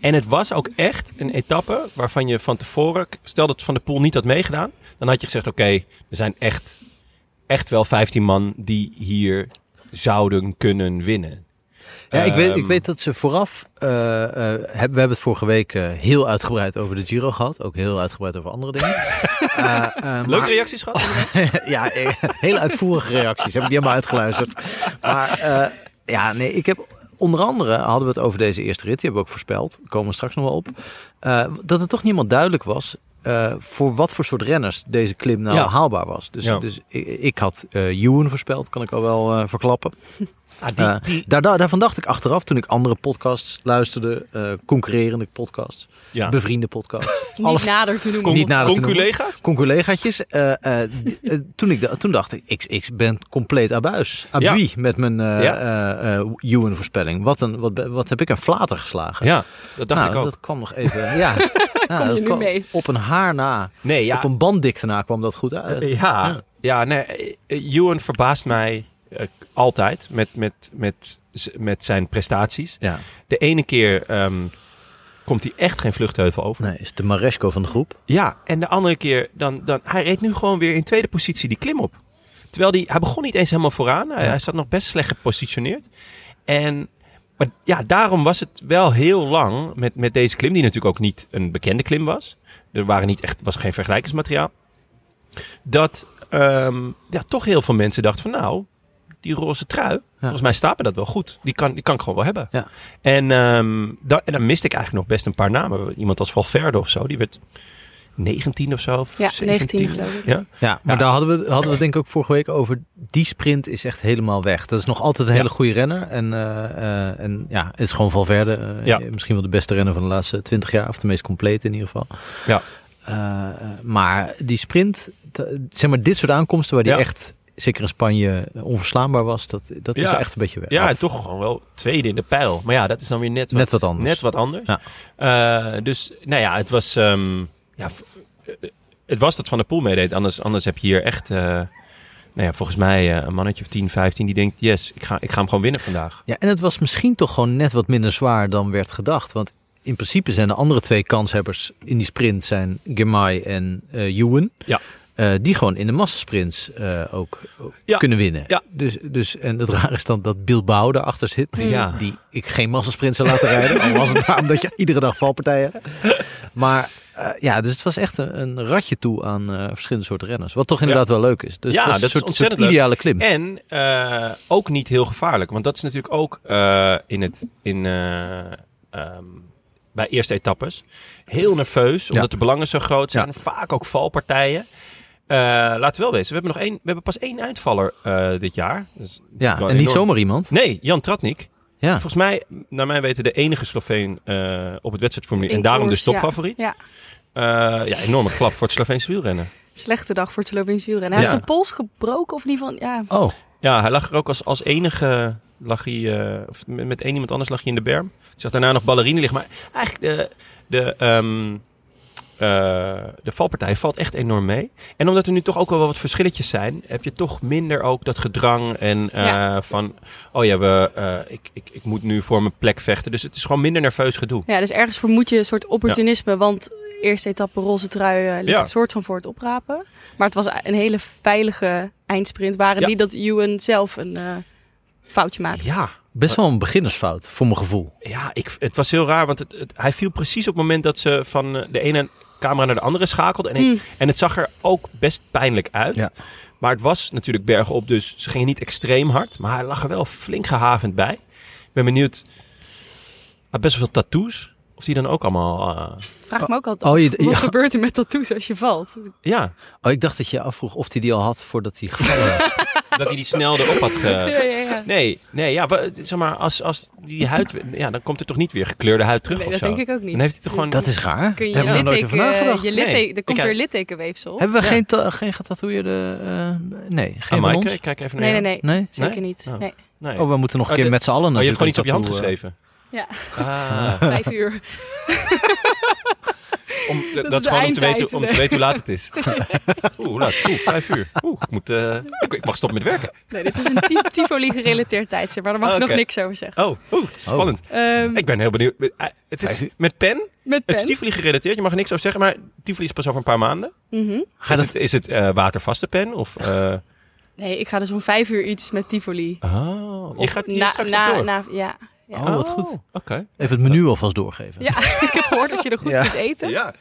Speaker 1: En het was ook echt een etappe waarvan je van tevoren... Stel dat Van der Poel niet had meegedaan. Dan had je gezegd, oké, er zijn echt, echt wel 15 man die hier zouden kunnen winnen.
Speaker 2: Ja, ik, weet, ik
Speaker 1: Ehm,
Speaker 2: weet dat ze vooraf. eh, eh, heb- we hebben het vorige week eh, heel uitgebreid over de Giro gehad. Ook heel uitgebreid over andere
Speaker 1: <laughs>
Speaker 2: dingen. Eh, eh, maar-
Speaker 1: Leuke reacties gehad?
Speaker 2: <laughs> ja, eh, hele uitvoerige reacties. Heb ik die helemaal uitgeluisterd. Maar eh, ja, nee, ik heb onder andere hadden we het over deze eerste rit. Die hebben we ook voorspeld. We komen straks nog wel op. eh, dat het toch niet helemaal duidelijk was eh, voor wat voor soort renners deze klim nou
Speaker 1: Ja.
Speaker 2: haalbaar was. Dus,
Speaker 1: Ja.
Speaker 2: dus ik, ik had eh Ewan voorspeld, kan ik al wel eh,
Speaker 1: <laughs>
Speaker 2: verklappen.
Speaker 1: Ah, die-
Speaker 2: Eh, daar, daar, daarvan dacht ik achteraf toen ik andere podcasts luisterde, eh, concurrerende podcasts,
Speaker 1: Ja.
Speaker 2: bevriende podcasts,
Speaker 1: <laughs>
Speaker 3: Niet
Speaker 2: Alles-
Speaker 3: nader te noemen.
Speaker 2: Kon- Niet nader te noemen.
Speaker 1: Conculega's?
Speaker 2: conculegaatjes. eh, eh, d- eh, toen, ik da- toen dacht ik, ik, ik ben compleet abuis, abui met mijn eh
Speaker 1: Ja.
Speaker 2: eh, eh, Ewan voorspelling. Wat, een, wat, be- wat heb ik een flater geslagen.
Speaker 1: Ja, dat dacht
Speaker 2: Nou,
Speaker 1: ik ook.
Speaker 2: Dat kwam nog even.
Speaker 1: <laughs>
Speaker 2: Ja, Ja,
Speaker 3: Kom je
Speaker 2: dat
Speaker 3: nu mee?
Speaker 2: Op een haar na,
Speaker 1: Nee, ja.
Speaker 2: op een banddikte na kwam dat goed uit.
Speaker 1: Eh, Ja, ja nee, eh, eh, Ewan verbaast mij eh, altijd met, met, met, z- met zijn prestaties.
Speaker 2: Ja,
Speaker 1: De ene keer ehm, komt hij echt geen vluchtheuvel over.
Speaker 2: nee, is de Maresco van de groep.
Speaker 1: Ja, en de andere keer, dan, dan, hij reed nu gewoon weer in tweede positie die klim op. Terwijl die, hij begon niet eens helemaal vooraan. Hij,
Speaker 2: Ja.
Speaker 1: hij zat nog best slecht gepositioneerd. En, maar ja, daarom was het wel heel lang met, met deze klim, die natuurlijk ook niet een bekende klim was. Er waren niet echt, was geen vergelijkingsmateriaal. Dat ehm, ja, toch heel veel mensen dachten van nou, die roze trui, volgens mij staat me dat wel goed. Die kan, die kan ik gewoon wel hebben.
Speaker 2: Ja.
Speaker 1: En, ehm, da- en dan miste ik eigenlijk nog best een paar namen. Iemand als Valverde of zo, die werd 19 of zo. of
Speaker 3: Ja,
Speaker 1: 17.
Speaker 3: 19 geloof ik.
Speaker 1: Ja,
Speaker 2: Ja, maar
Speaker 1: Ja.
Speaker 2: daar hadden we, hadden we het denk ik ook vorige week over. Die sprint is echt helemaal weg. Dat is nog altijd een hele goede renner. En, eh, eh, en ja, het is gewoon Valverde. eh,
Speaker 1: Ja.
Speaker 2: Misschien wel de beste renner van de laatste twintig jaar. Of de meest complete in ieder geval.
Speaker 1: Ja.
Speaker 2: Eh, eh, maar die sprint, d- zeg maar dit soort aankomsten waar die
Speaker 1: Ja.
Speaker 2: echt, zeker in Spanje, eh, onverslaanbaar was. Dat, dat is
Speaker 1: Ja.
Speaker 2: echt een beetje weg.
Speaker 1: ja
Speaker 2: Of
Speaker 1: en toch gewoon wel tweede in de pijl. Maar ja, dat is dan weer net wat,
Speaker 2: net wat anders.
Speaker 1: net wat anders.
Speaker 2: Ja.
Speaker 1: Eh, dus nou ja, het was, ehm, ja, v- eh, het was dat Van der Poel meedeed. Anders, anders heb je hier echt... eh, nou ja, volgens mij eh, een mannetje of 10, 15 die denkt... Yes, ik ga, ik ga hem gewoon winnen vandaag.
Speaker 2: Ja, en het was misschien toch gewoon net wat minder zwaar dan werd gedacht. Want in principe zijn de andere twee kanshebbers in die sprint zijn Girmay en eh Ewan.
Speaker 1: Ja.
Speaker 2: Eh, die gewoon in de massasprints eh, ook ook
Speaker 1: Ja.
Speaker 2: kunnen winnen.
Speaker 1: Ja.
Speaker 2: Dus, dus, en het rare is dan dat Bilbao daarachter zit.
Speaker 1: Ja.
Speaker 2: Die ik geen massasprint zou
Speaker 1: <laughs>
Speaker 2: laten rijden. al was het maar omdat je iedere dag valpartijen hebt. Maar eh, ja, dus het was echt een, een ratje toe aan eh, verschillende soorten renners. Wat toch inderdaad wel leuk is. Dus
Speaker 1: Ja,
Speaker 2: het was
Speaker 1: dat
Speaker 2: een
Speaker 1: is
Speaker 2: soort, soort
Speaker 1: ontzettend leuk.
Speaker 2: ideale klim.
Speaker 1: En eh, ook niet heel gevaarlijk. Want dat is natuurlijk ook eh, in het, in, eh, ehm, bij eerste etappes heel nerveus. Omdat
Speaker 2: Ja.
Speaker 1: de belangen zo groot zijn.
Speaker 2: Ja.
Speaker 1: Vaak ook valpartijen. Eh, laten we wel wezen. We hebben, nog één, we hebben pas één uitvaller eh, dit jaar. Dus
Speaker 2: ja, en
Speaker 1: wel
Speaker 2: niet
Speaker 1: enorm.
Speaker 2: zomaar iemand.
Speaker 1: Nee, Jan Tratnik.
Speaker 2: Ja.
Speaker 1: Volgens mij, naar mijn weten, de enige Sloveen eh, op het wedstrijdformulier.
Speaker 3: In
Speaker 1: En daarom
Speaker 3: koers,
Speaker 1: dus topfavoriet.
Speaker 3: Ja.
Speaker 1: Ja. ja, enorme klap voor het Sloveense wielrennen.
Speaker 3: Slechte dag voor het Slovenisch wielrennen. Hij
Speaker 2: Ja.
Speaker 3: had zijn pols gebroken of in ieder geval... Ja,
Speaker 2: Oh,
Speaker 1: Ja, hij lag er ook als, als enige. Lag hij, eh, of met, met één iemand anders lag hij in de berm. Ik zag daarna nog ballerine liggen. Maar eigenlijk de, de, ehm, eh, de valpartij valt echt enorm mee. En omdat er nu toch ook wel wat verschilletjes zijn, heb je toch minder ook dat gedrang. En eh,
Speaker 3: Ja.
Speaker 1: van, oh ja, we, eh, ik, ik, ik moet nu voor mijn plek vechten. Dus het is gewoon minder nerveus gedoe.
Speaker 3: ja dus ergens vermoed je een soort opportunisme. Want eerste etappe roze trui eh, ligt
Speaker 1: Ja.
Speaker 3: het soort van voor het oprapen. Maar het was een hele veilige eindsprint. Waren
Speaker 1: Ja.
Speaker 3: niet dat Ewan zelf een eh, foutje maakte.
Speaker 1: Ja,
Speaker 2: Best wel een beginnersfout, voor mijn gevoel.
Speaker 1: Ja, ik, het was heel raar, want het, het- hij viel precies op het moment dat ze van eh, de ene camera naar de andere schakelde. En, ik-
Speaker 3: Mm.
Speaker 1: en het zag er ook best pijnlijk uit.
Speaker 2: Ja.
Speaker 1: Maar het was natuurlijk bergop, dus ze gingen niet extreem hard. Maar hij lag er wel flink gehavend bij. Ik ben benieuwd, hij had best wel veel tattoos. Of die dan ook allemaal... eh,
Speaker 3: Vraag me ook altijd
Speaker 2: Oh,
Speaker 1: <laughs>
Speaker 3: af,
Speaker 2: je-
Speaker 3: wat
Speaker 2: ja.
Speaker 3: gebeurt er met tattoos als je valt?
Speaker 1: ja,
Speaker 2: Oh, ik dacht dat je je afvroeg of hij die al had voordat hij gevallen
Speaker 1: <laughs>
Speaker 2: was.
Speaker 1: dat hij die snel erop had
Speaker 3: Ja, <laughs>
Speaker 1: ge...
Speaker 3: ja, ja.
Speaker 1: Nee, nee, ja, wa- zeg maar, als, als die huid... Ja, dan komt er toch niet weer gekleurde huid terug
Speaker 3: Nee,
Speaker 1: of
Speaker 3: dat
Speaker 1: zo.
Speaker 3: denk ik ook niet.
Speaker 1: Dan heeft hij toch
Speaker 3: Dus
Speaker 1: gewoon...
Speaker 2: dat is raar.
Speaker 3: Kun je
Speaker 2: Hebben we
Speaker 3: je
Speaker 2: er nooit
Speaker 3: litteken, eh,
Speaker 2: over nagedacht.
Speaker 3: je litteken,
Speaker 1: Nee.
Speaker 3: er komt
Speaker 1: Ik-
Speaker 3: weer littekenweefsel. op.
Speaker 2: Hebben we
Speaker 1: Ja.
Speaker 2: geen, ta- geen getatoeëerde... eh, nee, geen
Speaker 1: Ah,
Speaker 2: van
Speaker 1: Maaike,
Speaker 2: ons?
Speaker 1: ik kijk even naar
Speaker 3: Nee, nee,
Speaker 1: jou.
Speaker 3: nee,
Speaker 2: Nee?
Speaker 3: Zeker niet.
Speaker 1: Oh.
Speaker 3: Nee.
Speaker 1: nee.
Speaker 2: Oh, we moeten nog een
Speaker 1: Oh,
Speaker 2: keer
Speaker 1: dit-
Speaker 2: met z'n allen
Speaker 1: Oh, je hebt
Speaker 2: natuurlijk
Speaker 1: gewoon iets op je hand
Speaker 2: tattoo, eh.
Speaker 1: geschreven.
Speaker 3: Ja.
Speaker 1: Ah,
Speaker 3: Vijf uur.
Speaker 1: om, dat,
Speaker 3: is
Speaker 1: dat is gewoon om
Speaker 3: de
Speaker 1: te,
Speaker 3: eindtijd,
Speaker 1: weten, om te
Speaker 3: nee.
Speaker 1: weten hoe laat het is. <laughs> Oeh, hoe laat? is het? Oeh, vijf uur. Oeh, ik, moet, eh, ik, ik mag stoppen met werken.
Speaker 3: Nee, dit is een ti-
Speaker 1: <laughs>
Speaker 3: Tivoli-gerelateerd tijdstip, maar daar mag ik
Speaker 1: Oké.
Speaker 3: nog niks over zeggen.
Speaker 1: Oh, oeh, het is
Speaker 2: Oh.
Speaker 1: spannend.
Speaker 3: Ehm,
Speaker 1: Ik ben heel benieuwd. Eh, Het
Speaker 2: Vijf
Speaker 1: is
Speaker 2: uur.
Speaker 1: met pen.
Speaker 3: met
Speaker 1: Het
Speaker 3: pen.
Speaker 1: is Tivoli gerelateerd. Je mag er niks over zeggen, maar Tivoli is pas over een paar maanden.
Speaker 3: Mhm.
Speaker 2: Ga
Speaker 1: is,
Speaker 2: dat-
Speaker 1: het, is het eh, watervaste pen? Of, eh
Speaker 3: Nee, ik ga dus om vijf uur iets met Tivoli.
Speaker 1: oh, je
Speaker 3: Of
Speaker 1: gaat hier
Speaker 3: na,
Speaker 1: straks
Speaker 3: na,
Speaker 1: nog door.
Speaker 3: na- ja.
Speaker 2: Oh, wat goed.
Speaker 1: Oké.
Speaker 2: Even het menu alvast doorgeven.
Speaker 3: ja, <laughs> ik heb gehoord dat je er goed
Speaker 2: Ja.
Speaker 3: kunt eten.
Speaker 1: Ja.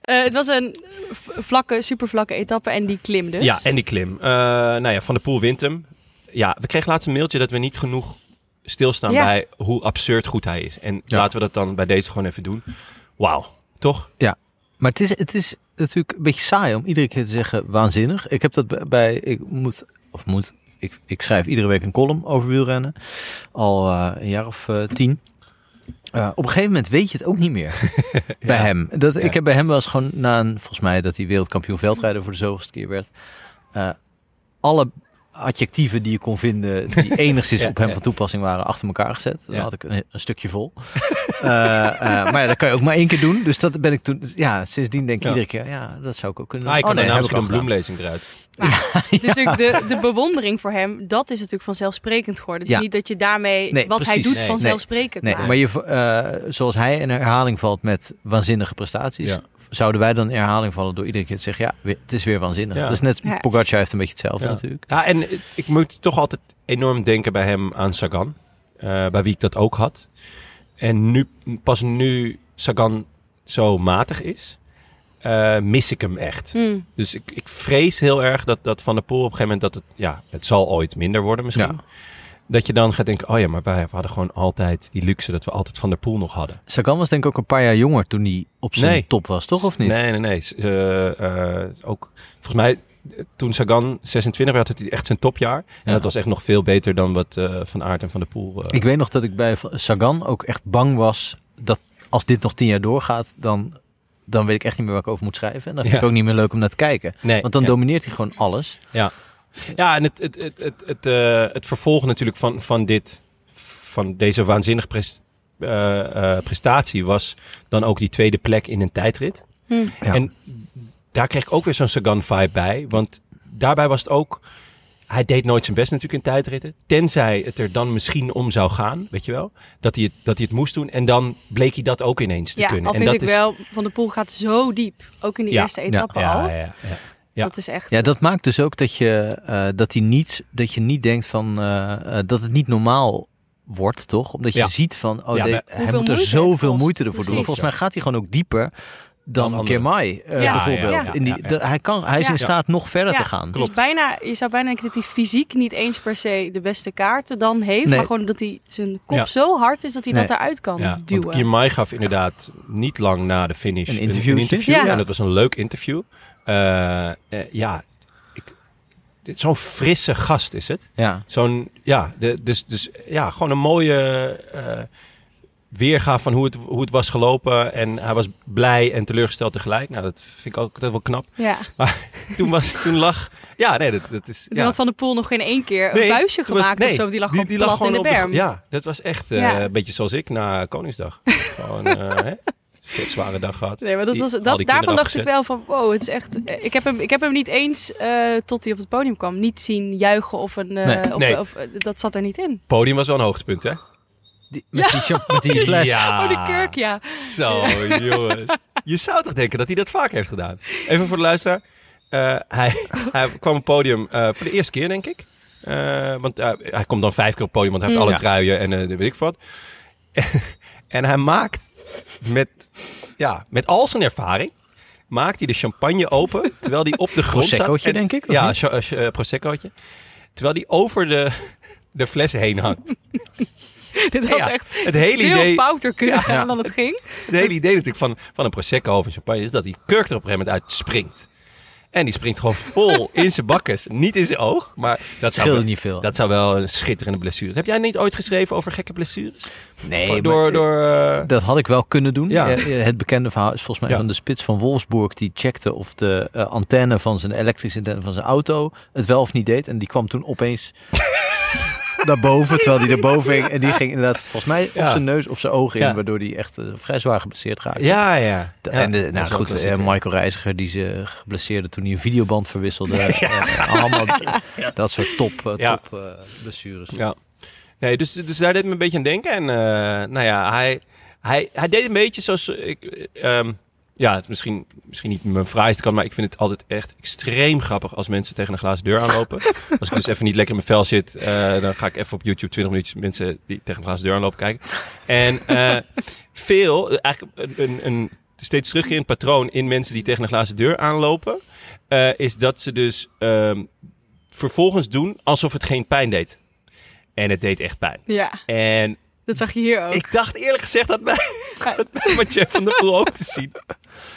Speaker 3: Eh, het was een v- vlakke, supervlakke etappe en die klim dus.
Speaker 1: ja, en die klim. Eh, nou ja, Van der Poel wint hem. Ja, we kregen laatst een mailtje dat we niet genoeg stilstaan
Speaker 3: Ja.
Speaker 1: bij hoe absurd goed hij is. En
Speaker 2: Ja.
Speaker 1: laten we dat dan bij deze gewoon even doen. Wauw, toch?
Speaker 2: Ja. Maar het is, het is natuurlijk een beetje saai om iedere keer te zeggen waanzinnig. Ik heb dat bij, bij- ik moet, of moet, ik, ik schrijf iedere week een column over wielrennen. Al eh, een jaar of eh, tien. Eh, op een gegeven moment weet je het ook niet
Speaker 1: <laughs>
Speaker 2: meer bij hem. Dat,
Speaker 1: Ja.
Speaker 2: Ik heb bij hem wel eens gewoon na een, volgens mij dat hij wereldkampioen veldrijder voor de zoveelste keer werd. eh, alle adjectieven die je kon
Speaker 1: <laughs>
Speaker 2: vinden die enigszins
Speaker 1: Ja,
Speaker 2: op hem
Speaker 1: ja.
Speaker 2: van toepassing waren achter elkaar gezet. Dan
Speaker 1: Ja.
Speaker 2: had ik een, een stukje vol. Eh, eh, maar ja, dat kan je ook maar één keer doen. Dus dat ben ik toen. Ja, sindsdien denk ik
Speaker 1: Ja.
Speaker 2: iedere keer. Ja, dat zou ik ook kunnen.
Speaker 1: Ah, ik
Speaker 2: Oh,
Speaker 1: kan er
Speaker 2: nee,
Speaker 1: namelijk
Speaker 2: heb
Speaker 1: een
Speaker 2: ik al gedaan.
Speaker 1: bloemlezing eruit.
Speaker 3: Het is natuurlijk de, de bewondering voor hem, dat is natuurlijk vanzelfsprekend geworden. Het is
Speaker 2: Ja.
Speaker 3: niet dat je daarmee
Speaker 2: Nee,
Speaker 3: wat hij
Speaker 2: precies.
Speaker 3: doet
Speaker 1: Nee,
Speaker 3: vanzelfsprekend
Speaker 2: Nee,
Speaker 3: maakt.
Speaker 2: maar je, eh, zoals hij in herhaling valt met waanzinnige prestaties,
Speaker 1: Ja.
Speaker 2: zouden wij dan in herhaling vallen door iedere keer te zeggen: ja, we- het is weer waanzinnig.
Speaker 1: Ja.
Speaker 2: Dat is net
Speaker 3: Ja.
Speaker 2: Pogacar heeft een beetje hetzelfde
Speaker 1: Ja.
Speaker 2: natuurlijk.
Speaker 1: Ja, en eh, ik moet toch altijd enorm denken bij hem aan Sagan. eh, bij wie ik dat ook had. En nu, pas nu Sagan zo matig is, eh, mis ik hem echt.
Speaker 3: Hmm.
Speaker 1: Dus ik, ik vrees heel erg dat, dat Van der Poel op een gegeven moment dat het, ja, het zal ooit minder worden misschien.
Speaker 2: Ja.
Speaker 1: Dat je dan gaat denken, oh ja, maar wij hadden gewoon altijd die luxe dat we altijd Van der Poel nog hadden.
Speaker 2: Sagan was denk ik ook een paar jaar jonger toen hij op zijn
Speaker 1: Nee.
Speaker 2: top was, toch? Of niet?
Speaker 1: Nee, nee, nee. S- eh, eh, ook, volgens mij, eh, toen Sagan 26 werd, had hij echt zijn topjaar.
Speaker 2: Ja.
Speaker 1: En dat was echt nog veel beter dan wat eh, Van Aert en Van der Poel... eh,
Speaker 2: Ik weet nog dat ik bij Sagan ook echt bang was dat als dit nog tien jaar doorgaat, dan, dan weet ik echt niet meer waar ik over moet schrijven. En dan vind
Speaker 1: Ja.
Speaker 2: ik ook niet meer leuk om naar te kijken.
Speaker 1: nee,
Speaker 2: Want dan
Speaker 1: ja.
Speaker 2: domineert hij gewoon alles.
Speaker 1: Ja, en het, het, het, het, het, eh, het vervolg natuurlijk van, van dit, van deze waanzinnige pres- eh, eh, prestatie was dan ook die tweede plek in een tijdrit.
Speaker 3: Hmm.
Speaker 2: Ja.
Speaker 1: En daar kreeg ik ook weer zo'n Sagan-vibe bij, want daarbij was het ook... Hij deed nooit zijn best natuurlijk in tijdritten. Tenzij het er dan misschien om zou gaan, weet je wel. Dat hij het, dat hij het moest doen. En dan bleek hij dat ook ineens te
Speaker 3: Ja,
Speaker 1: kunnen.
Speaker 3: al
Speaker 1: en
Speaker 3: vind
Speaker 1: dat
Speaker 3: ik wel, Van de Poel gaat zo diep. Ook in die
Speaker 1: Ja,
Speaker 3: eerste etappe al.
Speaker 1: Ja, ja, ja, ja. ja.
Speaker 3: Dat is echt...
Speaker 2: Ja, dat maakt dus ook dat je, eh, dat hij niet, dat je niet denkt van eh, eh, dat het niet normaal wordt, toch? Omdat je
Speaker 1: Ja.
Speaker 2: ziet van, oh,
Speaker 1: Ja,
Speaker 2: de-
Speaker 1: maar-
Speaker 2: hij
Speaker 3: Hoeveel
Speaker 2: moet er
Speaker 3: moeite het
Speaker 2: zoveel
Speaker 3: kost.
Speaker 2: moeite ervoor doen.
Speaker 3: Precies.
Speaker 2: Volgens mij gaat hij gewoon ook dieper dan,
Speaker 1: anderen.
Speaker 2: Kermai eh,
Speaker 3: Ja,
Speaker 2: bijvoorbeeld.
Speaker 3: ja, ja.
Speaker 2: In die,
Speaker 1: Ja, ja.
Speaker 2: dat- hij, kan, hij is
Speaker 3: Ja.
Speaker 2: in staat nog verder
Speaker 3: Ja,
Speaker 2: te
Speaker 1: Hm.
Speaker 2: gaan.
Speaker 3: Dus bijna, je zou bijna denken dat hij fysiek niet eens per se de beste kaarten dan heeft.
Speaker 2: Nee.
Speaker 3: Maar gewoon dat hij zijn kop
Speaker 1: Ja.
Speaker 3: zo hard is dat hij dat
Speaker 2: Nee.
Speaker 3: eruit kan
Speaker 1: Ja, want
Speaker 3: duwen.
Speaker 1: Kiermai gaf inderdaad niet lang na de finish
Speaker 2: Een interviewtje.
Speaker 1: interview.
Speaker 3: Ja.
Speaker 1: En dat was een leuk interview. Eh, eh, ja, ik, dit, zo'n frisse gast is het.
Speaker 2: Ja.
Speaker 1: Zo'n, ja, de, dus, dus ja, gewoon een mooie eh weergave van hoe het, hoe het was gelopen. En hij was blij en teleurgesteld tegelijk. Nou, dat vind ik ook altijd wel knap.
Speaker 3: Ja.
Speaker 1: Toen, was, toen lag... Ja, nee, dat, dat is...
Speaker 3: Toen
Speaker 1: ja.
Speaker 3: had Van de Poel nog geen één keer een
Speaker 1: Nee,
Speaker 3: vuistje
Speaker 1: toen was-
Speaker 3: gemaakt
Speaker 1: nee,
Speaker 3: of zo. want Die lag gewoon plat in de
Speaker 1: op
Speaker 3: berm.
Speaker 1: ja, dat was echt eh,
Speaker 3: Ja.
Speaker 1: een beetje zoals ik na Koningsdag. Gewoon eh, <laughs> hè, vet zware dag gehad.
Speaker 3: Nee, maar dat
Speaker 1: Die-
Speaker 3: was,
Speaker 1: al
Speaker 3: dat,
Speaker 1: die
Speaker 3: daarvan
Speaker 1: kinderen
Speaker 3: dacht ik
Speaker 1: afgezet.
Speaker 3: wel van, wow, het is echt... eh, Ik heb hem, ik heb hem niet eens, eh, tot hij op het podium kwam, niet zien juichen of een... eh,
Speaker 2: Nee.
Speaker 3: Of,
Speaker 1: Nee.
Speaker 3: of, eh, dat zat er niet in.
Speaker 1: Podium was wel een hoogtepunt, hè?
Speaker 2: Die- met, die, chap- met die fles.
Speaker 1: Ja.
Speaker 3: Oh, de kurk, ja. <laughs>
Speaker 1: Zo, jongens. Je zou toch denken dat hij dat vaak heeft gedaan? Even voor de luisteraar. Eh, <laughs> hij, hij kwam op het podium eh, voor de eerste keer, denk ik. Eh, want eh, hij komt dan vijf keer op het podium, want hij heeft
Speaker 2: Mm.
Speaker 1: alle
Speaker 2: Ja.
Speaker 1: truien en eh, weet ik wat. <laughs> en hij maakt met, ja, met al zijn ervaring, maakt hij de champagne open, terwijl hij op de grond staat.
Speaker 2: Proseccootje,
Speaker 1: En-
Speaker 2: denk ik, of
Speaker 1: Ja,
Speaker 2: niet?
Speaker 1: cha- eh, eh, proseccootje. Terwijl hij over de, de fles heen hangt.
Speaker 3: Dit had
Speaker 1: Ja,
Speaker 3: echt
Speaker 1: het hele
Speaker 3: veel
Speaker 1: idee-
Speaker 3: fouter kunnen
Speaker 1: Ja.
Speaker 3: gaan dan het ging.
Speaker 1: Het hele idee natuurlijk van, van een prosecco of een champagne is dat die kurk er op een gegeven moment uit springt. En die springt gewoon
Speaker 2: <laughs>
Speaker 1: vol in zijn bakkes. Niet in zijn oog, maar dat zou,
Speaker 2: Scheelde
Speaker 1: wel,
Speaker 2: niet veel.
Speaker 1: dat zou wel een schitterende blessure. Heb jij niet ooit geschreven over gekke blessures?
Speaker 2: nee,
Speaker 1: Van-
Speaker 2: maar-
Speaker 1: door, door, eh,
Speaker 2: Dat had ik wel kunnen doen.
Speaker 1: Ja.
Speaker 2: Eh, eh, Het bekende verhaal is volgens mij
Speaker 1: Ja.
Speaker 2: van de spits van Wolfsburg. Die checkte of de eh, antenne van zijn elektrische antenne van zijn auto het wel of niet deed. En die kwam toen opeens <laughs> naar boven, terwijl die erboven hing. En die ging inderdaad volgens mij
Speaker 1: Ja.
Speaker 2: op zijn neus of zijn ogen in.
Speaker 1: Ja.
Speaker 2: Waardoor die echt eh, vrij zwaar geblesseerd raakte.
Speaker 1: ja, ja.
Speaker 2: De-
Speaker 1: Ja,
Speaker 2: en de,
Speaker 1: dat
Speaker 2: nou
Speaker 1: is wel
Speaker 2: goed, eh,
Speaker 1: klassieker.
Speaker 2: Michael Reiziger die ze geblesseerde toen hij een videoband
Speaker 1: <laughs>
Speaker 2: verwisselde. Eh, allemaal dat soort top, eh,
Speaker 1: Ja.
Speaker 2: top eh, blessures.
Speaker 1: Ja. Nee, dus, dus daar deed het me een beetje aan denken. En eh, nou ja, hij, hij, hij deed een beetje zoals... Ik, eh, ehm, ja, het is misschien, misschien niet mijn fraaiste kant, maar ik vind het altijd echt extreem grappig als mensen tegen een glazen deur aanlopen. als ik dus even niet lekker in mijn vel zit, eh, dan ga ik even op YouTube 20 minuutjes mensen die tegen een glazen deur aanlopen kijken. En eh, veel, eigenlijk een, een, een steeds terugkerend patroon in mensen die tegen een glazen deur aanlopen, eh, is dat ze dus ehm, vervolgens doen alsof het geen pijn deed. En het deed echt pijn.
Speaker 3: Ja,
Speaker 1: En
Speaker 3: dat zag je hier ook.
Speaker 1: ik dacht eerlijk gezegd dat bij,
Speaker 3: <laughs> Ja.
Speaker 1: dat bij Mathieu van der Poel ook te zien.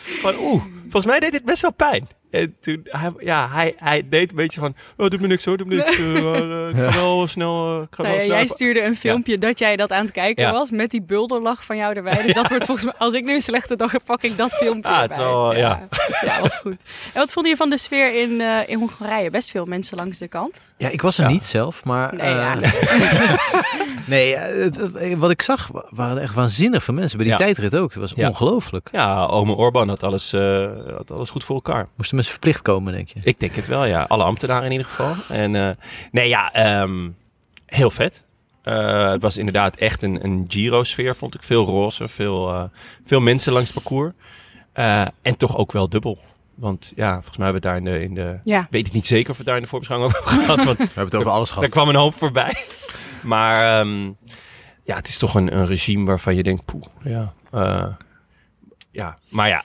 Speaker 1: Van oeh, volgens mij deed dit best wel pijn. En toen, hij, ja, hij, hij deed een beetje van, oh, doet me niks hoor, doet me
Speaker 3: <laughs>
Speaker 1: niks. eh, eh, ik ga wel snel, eh, ik ga
Speaker 3: Nou
Speaker 1: wel
Speaker 3: ja,
Speaker 1: snel.
Speaker 3: jij stuurde een filmpje dat jij dat aan het kijken
Speaker 1: Ja.
Speaker 3: was met die bulderlach van jou erbij. Dus dat wordt volgens mij, als ik nu een slechte dag heb, pak ik dat filmpje
Speaker 1: Ah, het is
Speaker 3: erbij.
Speaker 1: wel,
Speaker 3: ja. Ja, was goed. En wat vond je van de sfeer in, eh, in Hongarije? Best veel mensen langs de kant.
Speaker 2: Ja, ik was er
Speaker 1: Ja.
Speaker 2: niet zelf, maar...
Speaker 3: Nee, ja.
Speaker 2: eh, nee eh, het- eh, wat ik zag wa- waren echt waanzinnig veel mensen. Bij die
Speaker 1: Ja.
Speaker 2: tijdrit ook. Het was
Speaker 1: Ja.
Speaker 2: ongelooflijk.
Speaker 1: Ja, Ome Orban had alles, eh, had alles goed voor elkaar.
Speaker 2: Moesten mensen verplicht komen, denk je?
Speaker 1: Ik denk het wel, ja. Alle ambtenaren in ieder geval. En eh, nee, ja, ehm, heel vet. Eh, het was inderdaad echt een, een Giro-sfeer, vond ik. Veel roze, veel, eh, veel mensen langs het parcours. Eh, en toch ook wel dubbel. Want ja, volgens mij hebben we het daar in de... In de
Speaker 3: Ja.
Speaker 1: weet ik niet zeker of we het daar in de voorbeschouwing over hebben gehad.
Speaker 2: <laughs>
Speaker 1: Want
Speaker 2: We hebben het over alles
Speaker 1: daar kwam een hoop voorbij. Maar ehm, ja, het is toch een, een regime waarvan je denkt, poeh, ja. eh, ja, maar ja.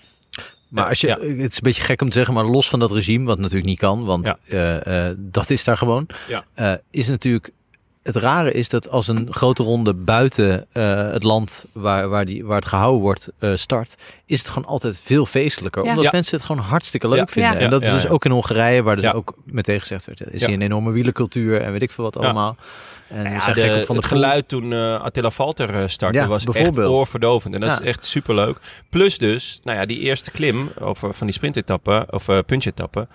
Speaker 2: Maar als je, eh,
Speaker 1: Ja.
Speaker 2: het is een beetje gek om te zeggen, maar los van dat regime, wat natuurlijk niet kan, want
Speaker 1: Ja.
Speaker 2: eh, eh, dat is daar gewoon,
Speaker 1: Ja.
Speaker 2: eh, is natuurlijk. Het rare is dat als een grote ronde buiten eh, het land waar, waar, die, waar het gehouden wordt eh, start, is het gewoon altijd veel feestelijker.
Speaker 3: Ja.
Speaker 2: Omdat
Speaker 1: Ja.
Speaker 2: mensen het gewoon hartstikke leuk
Speaker 1: Ja.
Speaker 2: vinden.
Speaker 3: Ja.
Speaker 2: En dat is
Speaker 1: Ja,
Speaker 2: dus
Speaker 1: ja.
Speaker 2: ook in Hongarije, waar dus
Speaker 1: Ja.
Speaker 2: ook meteen gezegd werd, er is
Speaker 1: Ja.
Speaker 2: hier een enorme wielercultuur en weet ik veel wat allemaal. En we
Speaker 1: Ja,
Speaker 2: zijn
Speaker 1: de-
Speaker 2: gek op van de
Speaker 1: het
Speaker 2: Poel.
Speaker 1: geluid toen eh Attila Valter eh, startte
Speaker 2: Ja,
Speaker 1: was echt
Speaker 2: bijvoorbeeld.
Speaker 1: oorverdovend. En dat
Speaker 2: Ja.
Speaker 1: is echt superleuk. Plus dus, nou ja, die eerste klim of, eh, van die sprintetappen of eh punchetappen.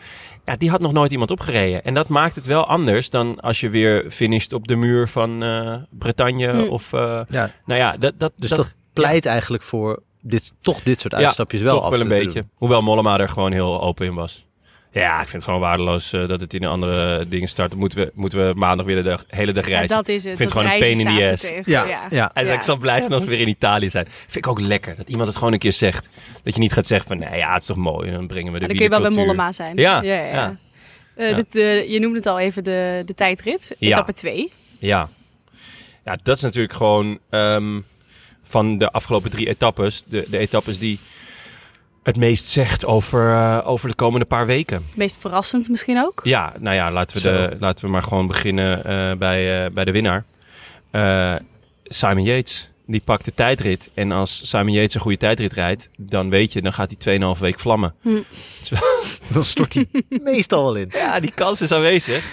Speaker 1: Ja, die had nog nooit iemand opgereden. En dat maakt het wel anders dan als je weer finisht op de muur van eh, Bretagne.
Speaker 3: Hm.
Speaker 1: Of, eh,
Speaker 2: Ja.
Speaker 1: nou ja, dat, dat,
Speaker 2: Dus dat, pleit eigenlijk voor dit, toch dit soort
Speaker 1: Ja,
Speaker 2: uitstapjes wel
Speaker 1: toch
Speaker 2: af
Speaker 1: wel
Speaker 2: en
Speaker 1: een
Speaker 2: toe te
Speaker 1: beetje. Hoewel Mollema er gewoon heel open in was. Ja, ik vind het gewoon waardeloos eh, dat het in andere dingen start. Moeten we, moeten we maandag weer de dag- hele dag
Speaker 3: Ja,
Speaker 1: reizen.
Speaker 3: dat is het.
Speaker 1: Vind
Speaker 3: dat
Speaker 1: gewoon een
Speaker 3: reizen
Speaker 1: pain in the
Speaker 3: staat
Speaker 1: ass.
Speaker 3: ze tegen.
Speaker 2: doen.
Speaker 3: Ja.
Speaker 2: ja.
Speaker 3: Ja.
Speaker 2: ja.
Speaker 1: Hij zei,
Speaker 3: Ja.
Speaker 1: ik zal blij zijn als we weer in Italië zijn. Vind ik ook lekker. Dat iemand het gewoon een keer zegt. Dat je niet gaat zeggen van, nee, ja, het is toch mooi. En dan brengen we de
Speaker 3: dan kun je wel bij
Speaker 1: wielercultuur.
Speaker 3: Mollema zijn.
Speaker 1: Ja,
Speaker 3: ja, ja.
Speaker 1: ja.
Speaker 3: Eh,
Speaker 1: Ja.
Speaker 3: dit, eh, je noemde het al even de, de tijdrit,
Speaker 1: Ja.
Speaker 3: etappe 2.
Speaker 1: Ja. ja, dat is natuurlijk gewoon ehm, van de afgelopen drie etappes. De, de etappes die het meest zegt over, eh, over de komende paar weken.
Speaker 3: Meest verrassend misschien ook.
Speaker 1: Ja, nou ja, laten we,
Speaker 2: Zo.
Speaker 1: de, laten we maar gewoon beginnen eh, bij, eh, bij de winnaar. Eh, Simon Yates. Die pakt de tijdrit. En als Simon Yates een goede tijdrit rijdt, dan weet je, dan gaat hij 2,5 week vlammen.
Speaker 2: Dan
Speaker 1: <laughs>
Speaker 2: stort hij meestal wel in.
Speaker 1: Ja, die kans is aanwezig.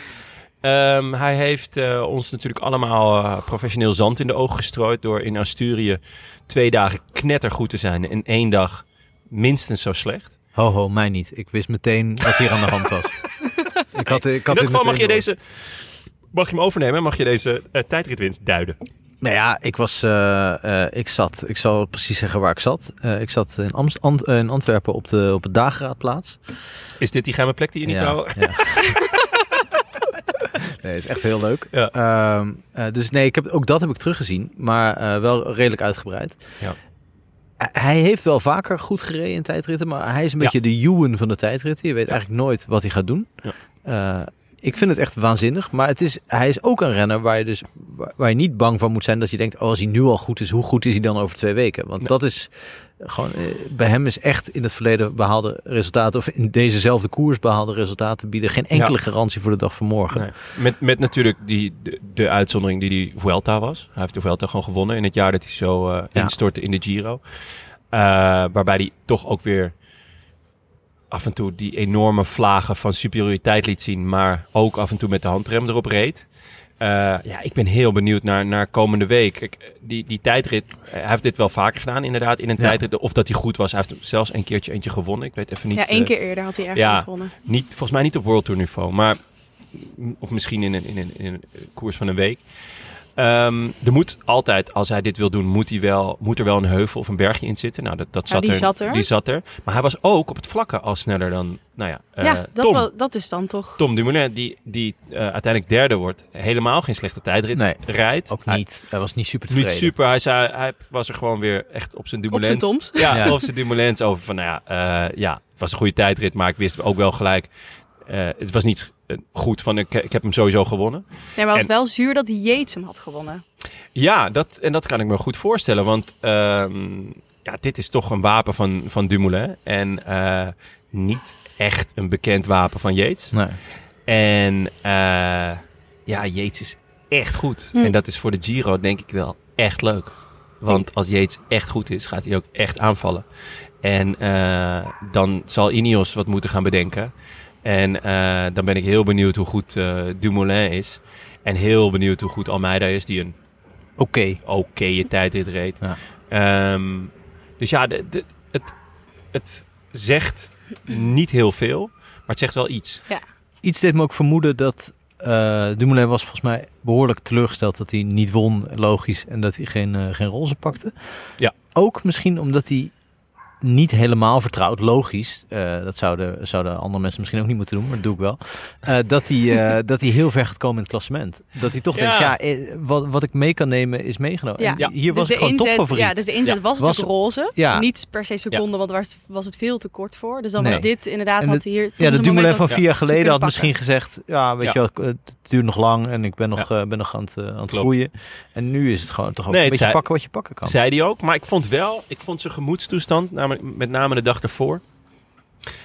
Speaker 1: Ehm, hij heeft eh, ons natuurlijk allemaal eh, professioneel zand in de ogen gestrooid... door in Asturië twee dagen knettergoed te zijn... en één dag minstens zo slecht.
Speaker 2: Ho, ho, mij niet. Ik wist meteen wat hier aan de
Speaker 1: <laughs>
Speaker 2: hand was. Ik had, ik
Speaker 1: In
Speaker 2: had
Speaker 1: dat
Speaker 2: dit
Speaker 1: geval mag je
Speaker 2: meteen door.
Speaker 1: deze... Mag je hem overnemen? Mag je deze eh, tijdritwinst duiden?
Speaker 2: Nou ja, ik was... eh, eh, ik zat... Ik zal precies zeggen waar ik zat. Eh, ik zat in, Amst, Ant- eh, in Antwerpen op de, op het dageraadplaats.
Speaker 1: Is dit die geheime plek die je niet wou?
Speaker 2: ja. <laughs> Nee, is echt heel leuk.
Speaker 1: Ja.
Speaker 2: Ehm, eh, dus nee, ik heb, ook dat heb ik teruggezien. Maar eh, wel redelijk uitgebreid.
Speaker 1: Ja.
Speaker 2: Eh, Hij heeft wel vaker goed gereden in tijdritten, maar hij is een
Speaker 1: Ja.
Speaker 2: beetje de Ewan van de tijdritten. Je weet eigenlijk nooit wat hij gaat doen.
Speaker 1: Ja.
Speaker 2: Eh, ik vind het echt waanzinnig, maar het is, hij is ook een renner waar je dus waar, waar je niet bang van moet zijn dat je denkt, oh, als hij nu al goed is, hoe goed is hij dan over twee weken? Want
Speaker 1: Nee.
Speaker 2: dat is gewoon, eh, bij hem is echt in het verleden behaalde resultaten of in dezezelfde koers behaalde resultaten bieden geen enkele
Speaker 1: Ja.
Speaker 2: garantie voor de dag van morgen.
Speaker 1: Nee. Met, met natuurlijk die, de, de uitzondering die die Vuelta was. Hij heeft de Vuelta gewoon gewonnen in het jaar dat hij zo eh,
Speaker 2: Ja.
Speaker 1: instortte in de Giro. Eh, waarbij hij toch ook weer af en toe die enorme vlagen van superioriteit liet zien. Maar ook af en toe met de handrem erop reed. Eh, ja, ik ben heel benieuwd naar, naar komende week. Kijk, die, die tijdrit, eh, hij heeft dit wel vaker gedaan inderdaad in een
Speaker 2: Ja.
Speaker 1: tijdrit. Of dat hij goed was. Hij heeft zelfs een keertje eentje gewonnen. Ik weet even niet.
Speaker 3: ja, één
Speaker 1: eh,
Speaker 3: keer eerder had hij ergens
Speaker 1: ja.
Speaker 3: aan gewonnen.
Speaker 1: niet, volgens mij niet op World Tour niveau, maar of misschien in een, in een, in een koers van een week. Ehm, er moet altijd, als hij dit wil doen, moet, hij wel, moet er wel een heuvel of een bergje in zitten. Nou, dat, dat
Speaker 3: Ja,
Speaker 1: zat,
Speaker 3: die
Speaker 1: er,
Speaker 3: zat er.
Speaker 1: Die zat er. Maar hij was ook op het vlakke al sneller dan, nou ja, eh,
Speaker 3: ja, dat,
Speaker 1: Tom.
Speaker 3: wel, dat is dan toch...
Speaker 1: Tom Dumoulin, die, die eh, uiteindelijk derde wordt, helemaal geen slechte tijdrit
Speaker 2: Nee,
Speaker 1: rijdt.
Speaker 2: Ook
Speaker 1: Hij-
Speaker 2: niet, hij was niet super
Speaker 1: niet
Speaker 2: tevreden.
Speaker 1: super. Hij, zei, hij was er gewoon weer echt op zijn
Speaker 3: Op
Speaker 1: Dumoulins.
Speaker 3: zijn toms.
Speaker 1: Ja,
Speaker 2: Ja.
Speaker 1: op zijn Dumoulins over van, nou ja, eh, ja, het was een goede tijdrit, maar ik wist ook wel gelijk, eh, het was niet eh, goed van, ik, ik heb hem sowieso gewonnen.
Speaker 3: Nee, maar het
Speaker 1: En-
Speaker 3: was wel zuur dat Yates hem had gewonnen.
Speaker 1: Ja, dat, en dat kan ik me goed voorstellen, want ehm, ja, dit is toch een wapen van, van Dumoulin en eh, niet echt een bekend wapen van Yates.
Speaker 2: Nee.
Speaker 1: En eh, ja, Yates is echt goed.
Speaker 3: Hm.
Speaker 1: En dat is voor de Giro denk ik wel echt leuk. Want als Yates echt goed is, gaat hij ook echt aanvallen. En eh, dan zal Ineos wat moeten gaan bedenken. En eh, dan ben ik heel benieuwd hoe goed eh, Dumoulin is. En heel benieuwd hoe goed Almeida is, die een
Speaker 2: Oké.
Speaker 1: oké tijd dit reed.
Speaker 2: Ja.
Speaker 1: Ehm, dus ja, de- de- het, het zegt niet heel veel, maar het zegt wel iets.
Speaker 2: Iets deed me ook vermoeden dat eh Dumoulin was volgens mij behoorlijk teleurgesteld dat hij niet won, logisch, en dat hij geen, eh, geen roze pakte.
Speaker 1: Ja.
Speaker 2: Ook misschien omdat hij niet helemaal vertrouwd, logisch, eh, dat zouden, zouden andere mensen misschien ook niet moeten doen, maar dat doe ik wel, eh, dat, hij, eh, dat hij heel ver gaat komen in het klassement. Dat hij toch
Speaker 1: Ja.
Speaker 2: denkt, ja, eh, wat, wat ik mee kan nemen is meegenomen.
Speaker 3: Ja. Dus
Speaker 2: En
Speaker 1: Ja.
Speaker 2: Hier was
Speaker 3: de
Speaker 2: ik gewoon
Speaker 3: inzet,
Speaker 2: topfavoriet.
Speaker 3: Ja, dus de inzet
Speaker 1: Ja.
Speaker 3: was,
Speaker 2: Was-
Speaker 3: natuurlijk roze.
Speaker 2: Ja.
Speaker 3: Niet per se seconden, want daar was, was het veel te kort voor. Dus dan
Speaker 2: Nee.
Speaker 3: was dit inderdaad,
Speaker 2: En
Speaker 3: had
Speaker 2: het-
Speaker 3: hij hier...
Speaker 2: Ja, de Dumoulin van
Speaker 3: van
Speaker 2: vier jaar geleden had
Speaker 3: kunnen
Speaker 2: misschien gezegd... Ja, weet
Speaker 1: Ja.
Speaker 2: je wel, eh, het duurt nog lang en ik ben nog, eh, ben nog aan het, eh, aan het
Speaker 1: Klopt.
Speaker 2: groeien. En nu is het gewoon toch ook
Speaker 1: Nee,
Speaker 2: een
Speaker 1: het
Speaker 2: beetje
Speaker 1: zei-
Speaker 2: pakken wat je pakken kan.
Speaker 1: Zei die ook. Maar ik vond wel, ik vond zijn gemoedstoestand, namelijk- met name de dag ervoor,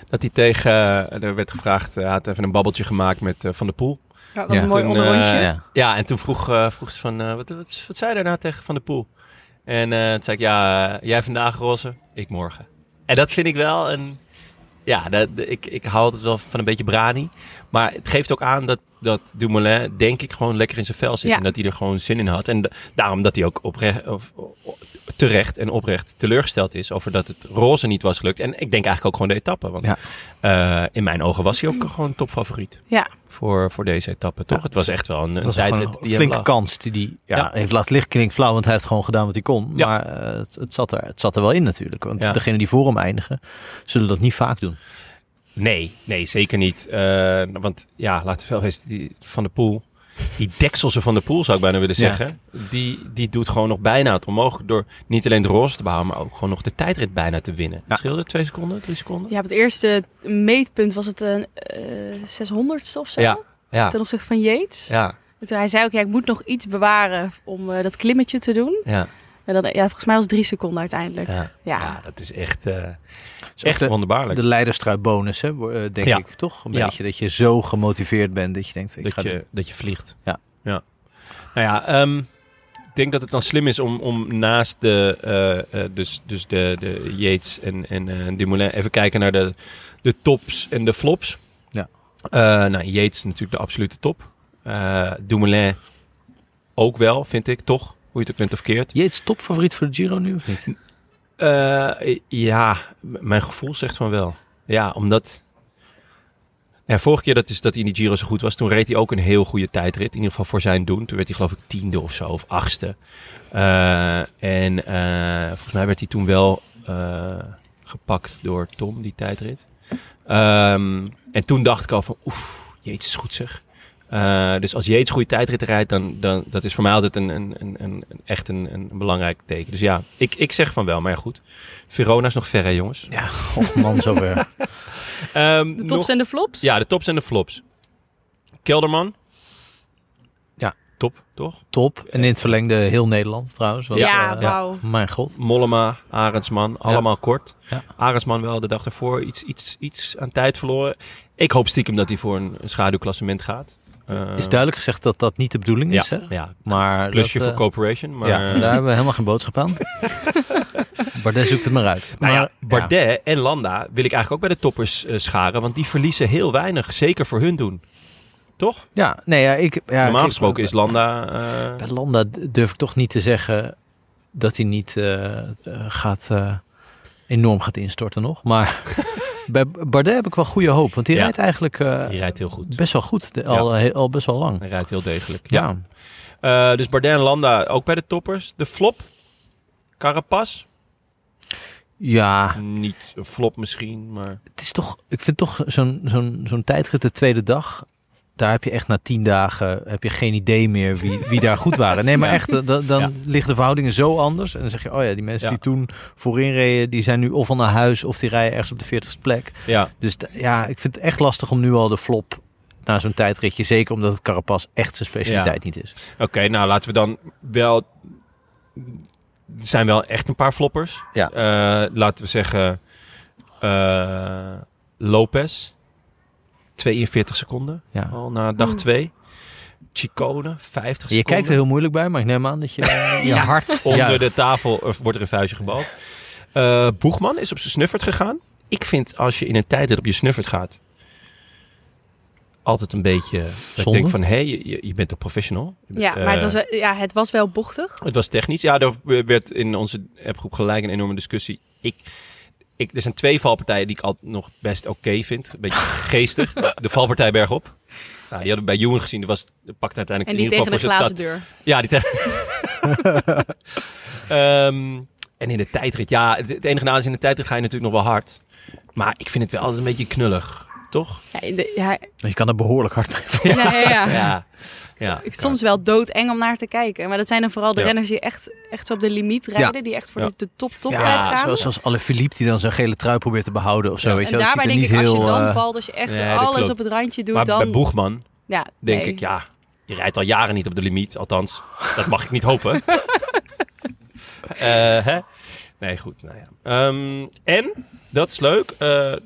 Speaker 1: dat hij tegen, eh, er werd gevraagd, eh, hij had even een babbeltje gemaakt met eh, Van der Poel.
Speaker 3: Dat was
Speaker 2: Ja.
Speaker 3: een mooi
Speaker 1: Toen,
Speaker 3: onderrondje.
Speaker 1: eh,
Speaker 2: ja.
Speaker 1: Ja, en toen vroeg, eh, vroeg ze van, eh, wat, wat, wat zei je daar nou tegen Van der Poel? En eh, toen zei ik, ja, eh, jij vandaag roze, ik morgen. En dat vind ik wel een... Ja, dat, ik, ik hou altijd wel van een beetje brani. Maar het geeft ook aan dat, dat Dumoulin, denk ik, gewoon lekker in zijn vel zit.
Speaker 3: Ja.
Speaker 1: En dat hij er gewoon zin in had. En da- daarom dat hij ook oprecht, of, o- terecht en oprecht teleurgesteld is over dat het roze niet was gelukt. En ik denk eigenlijk ook gewoon de etappe. Want
Speaker 2: Ja.
Speaker 1: eh, in mijn ogen was hij ook gewoon topfavoriet
Speaker 3: Ja.
Speaker 1: voor, voor deze etappe, toch?
Speaker 2: Ja.
Speaker 1: Het was echt wel een,
Speaker 2: Dat
Speaker 1: een
Speaker 2: was
Speaker 1: tijdrit
Speaker 2: gewoon
Speaker 1: die
Speaker 2: een
Speaker 1: hem
Speaker 2: flinke
Speaker 1: lag.
Speaker 2: kans die die ja,
Speaker 1: Ja.
Speaker 2: heeft laten liggen. Klinkt flauw, want hij heeft gewoon gedaan wat hij kon.
Speaker 1: Ja.
Speaker 2: Maar eh, het, het, zat er, het zat er wel in natuurlijk. Want
Speaker 1: Ja.
Speaker 2: degenen die voor hem eindigen, zullen dat niet vaak doen.
Speaker 1: Nee, nee, zeker niet. Eh, want ja, laten we wel wezen, die Van de Poel, die dekselse Van de Poel zou ik bijna willen
Speaker 2: Ja.
Speaker 1: zeggen, die, die doet gewoon nog bijna het onmogelijk door niet alleen de roze te behalen, maar ook gewoon nog de tijdrit bijna te winnen.
Speaker 2: Ja.
Speaker 1: Het scheelde twee seconden, drie seconden?
Speaker 3: Ja, op het eerste meetpunt was het een eh 600ste of zo.
Speaker 1: Ja, ja,
Speaker 3: Ten opzichte van Yates.
Speaker 1: ja,
Speaker 3: En toen hij zei ook, ja, ik moet nog iets bewaren om eh, dat klimmetje te doen.
Speaker 1: ja.
Speaker 3: En dan, ja, volgens mij was het drie seconden uiteindelijk.
Speaker 1: ja.
Speaker 3: Ja.
Speaker 1: Ja, dat is echt, eh,
Speaker 2: Dus
Speaker 1: echt
Speaker 2: ook de,
Speaker 1: wonderbaarlijk.
Speaker 2: de leiderstruitbonus, hè, wo- eh, denk
Speaker 1: Ja.
Speaker 2: ik, toch? Een
Speaker 1: Ja.
Speaker 2: beetje dat je zo gemotiveerd bent dat je denkt... Ik ga
Speaker 1: dat,
Speaker 2: dit-
Speaker 1: je, dat je vliegt.
Speaker 2: Ja.
Speaker 1: ja. Nou ja, ehm, ik denk dat het dan slim is om, om naast de, eh, eh, dus, dus de, de Yates en, en eh, Dumoulin even kijken naar de, de tops en de flops.
Speaker 2: Ja.
Speaker 1: Eh, nou, Yates is natuurlijk de absolute top. Eh Dumoulin ook wel, vind ik, toch? Hoe je het ook bent of keert.
Speaker 2: Jeets topfavoriet voor de Giro nu of niet?
Speaker 1: Eh, ja, m- mijn gevoel zegt van wel. Ja, omdat... Ja, vorige keer dat, is, dat hij in die Giro zo goed was, toen reed hij ook een heel goede tijdrit. In ieder geval voor zijn doen. Toen werd hij geloof ik tiende of zo, of achtste. Eh, en eh, volgens mij werd hij toen wel eh, gepakt door Tom, die tijdrit. Ehm, en toen dacht ik al van, oef, Jeets is goed zeg. Eh, dus als Jeets goede tijdrit rijdt, dan, dan dat is voor mij altijd een, een, een, een, een- echt een, een belangrijk teken. Dus ja, ik, ik zeg van wel, maar ja, goed. Verona is nog ver, hè, jongens.
Speaker 2: Ja, och man, zover.
Speaker 1: Ehm,
Speaker 3: De tops
Speaker 1: nog-
Speaker 3: en de flops.
Speaker 1: ja, de tops en de flops. Kelderman.
Speaker 2: Ja.
Speaker 1: Top, toch?
Speaker 2: Top. En in het verlengde heel Nederland trouwens.
Speaker 3: Ja,
Speaker 2: want, eh,
Speaker 3: wauw.
Speaker 2: Mijn god.
Speaker 1: Mollema, Arendsman, allemaal kort.
Speaker 2: Ja.
Speaker 1: Arendsman wel de dag ervoor iets, iets, iets aan tijd verloren. Ik hoop stiekem dat hij voor een schaduwklassement gaat. Eh,
Speaker 2: Is duidelijk gezegd dat dat niet de bedoeling
Speaker 1: Ja,
Speaker 2: is, hè?
Speaker 1: ja.
Speaker 2: Maar
Speaker 1: Plusje
Speaker 2: dat,
Speaker 1: voor
Speaker 2: eh,
Speaker 1: Corporation. Maar,
Speaker 2: Ja, daar hebben we helemaal geen boodschap aan. <laughs> Bardet zoekt het maar uit.
Speaker 1: <laughs>
Speaker 2: Maar,
Speaker 1: Nou ja, Bardet en Landa wil ik eigenlijk ook bij de toppers eh, scharen. Want die verliezen heel weinig. Zeker voor hun doen. Toch?
Speaker 2: Ja, Ja, nee, ja, ik... Ja,
Speaker 1: Normaal
Speaker 2: ik-
Speaker 1: gesproken is Landa... eh,
Speaker 2: Bij Landa d- durf ik toch niet te zeggen dat hij niet eh, eh, gaat... eh, enorm gaat instorten
Speaker 1: <laughs>
Speaker 2: nog. Maar bij Bardet heb ik wel goede hoop. Want die
Speaker 1: Ja.
Speaker 2: rijdt eigenlijk eh,
Speaker 1: die rijdt heel goed.
Speaker 2: best wel goed. de- al, he- al best wel lang.
Speaker 1: Hij rijdt heel degelijk. Ja.
Speaker 2: Ja.
Speaker 1: Eh, dus Bardet en Landa ook bij de toppers. De flop. Carapaz.
Speaker 2: Ja,
Speaker 1: Niet een flop misschien, maar...
Speaker 2: het is toch, ik vind toch zo'n zo'n zo'n tijdrit de tweede dag. Daar heb je echt na tien dagen heb je geen idee meer wie, wie daar goed waren. Nee, maar echt, da- da- dan
Speaker 1: Ja.
Speaker 2: liggen de verhoudingen zo anders. En dan zeg je, oh ja, die mensen
Speaker 1: Ja.
Speaker 2: die toen voorin reden, die zijn nu of al naar huis of die rijden ergens op de 40ste plek.
Speaker 1: Ja,
Speaker 2: Dus d- ja, ik vind het echt lastig om nu al de flop na zo'n tijdritje. Zeker omdat het Carapaz echt zijn specialiteit niet is.
Speaker 1: oké. nou, laten we dan wel... Er zijn wel echt een paar floppers.
Speaker 2: Ja.
Speaker 1: Eh, laten we zeggen... eh, Lopez. 42 seconden
Speaker 2: Ja.
Speaker 1: al na dag 2. Chicone, 50
Speaker 2: Je kijkt er heel moeilijk bij, maar ik neem aan dat
Speaker 1: <laughs>
Speaker 2: je eh, je hart
Speaker 1: Onder
Speaker 2: juicht.
Speaker 1: de tafel eh, wordt er een vuistje gebald. Eh, Boegman is op zijn snuffert gegaan. Ik vind als je in een tijd dat op je snuffert gaat, altijd een beetje. dat Ik
Speaker 2: Zonde.
Speaker 1: denk van hé, je, je- je bent toch professional? Je bent,
Speaker 3: Ja, maar het
Speaker 1: eh,
Speaker 3: was, wel, ja, het was wel bochtig.
Speaker 1: Het was technisch. Ja, er werd in onze appgroep gelijk een enorme discussie. Ik, ik, er zijn twee valpartijen die ik al nog best oké vind. Een
Speaker 3: <laughs>
Speaker 1: beetje geestig. De valpartij bergop. Nou, die hadden we bij Juwen gezien. Die was, pakte uiteindelijk
Speaker 3: En die
Speaker 1: in ieder
Speaker 3: tegen de
Speaker 1: geval voor
Speaker 3: glazen
Speaker 1: zijn
Speaker 3: deur.
Speaker 1: tat- Ja, die tegen... <laughs> Ehm, en in de tijdrit. Ja, het, het enige nadeel is in de tijdrit ga je natuurlijk nog wel hard. Maar ik vind het wel altijd een beetje knullig. Toch?
Speaker 3: Ja, in de, ja,
Speaker 2: Je kan er behoorlijk hard mee.
Speaker 3: ja, ja, ja. <laughs>
Speaker 1: Ja. ja.
Speaker 3: Ik- Soms wel doodeng om naar te kijken. Maar dat zijn dan vooral de
Speaker 1: Ja.
Speaker 3: renners die echt, echt zo op de limiet rijden. Die echt voor
Speaker 1: Ja.
Speaker 3: de- de top-top
Speaker 1: Ja,
Speaker 3: tijd gaan.
Speaker 2: Zoals, zoals alle Philippe die dan zijn gele trui probeert te behouden of zo. weet je,
Speaker 3: en
Speaker 2: wel. dat
Speaker 3: daarbij
Speaker 2: ziet er
Speaker 3: denk ik,
Speaker 2: niet
Speaker 3: als
Speaker 2: heel...
Speaker 3: je dan
Speaker 2: eh,
Speaker 3: valt, als je echt
Speaker 1: nee, dat
Speaker 3: alles
Speaker 1: klopt.
Speaker 3: op het randje doet,
Speaker 1: Maar
Speaker 3: dan...
Speaker 1: bij Boegman
Speaker 3: ja,
Speaker 1: denk
Speaker 3: nee.
Speaker 1: ik, ja, je rijdt al jaren niet op de limiet. Althans, dat mag ik niet
Speaker 3: <laughs>
Speaker 1: hopen. Eh, hè? Nee, goed. Nou ja. Ehm, en, dat is leuk, eh, eh,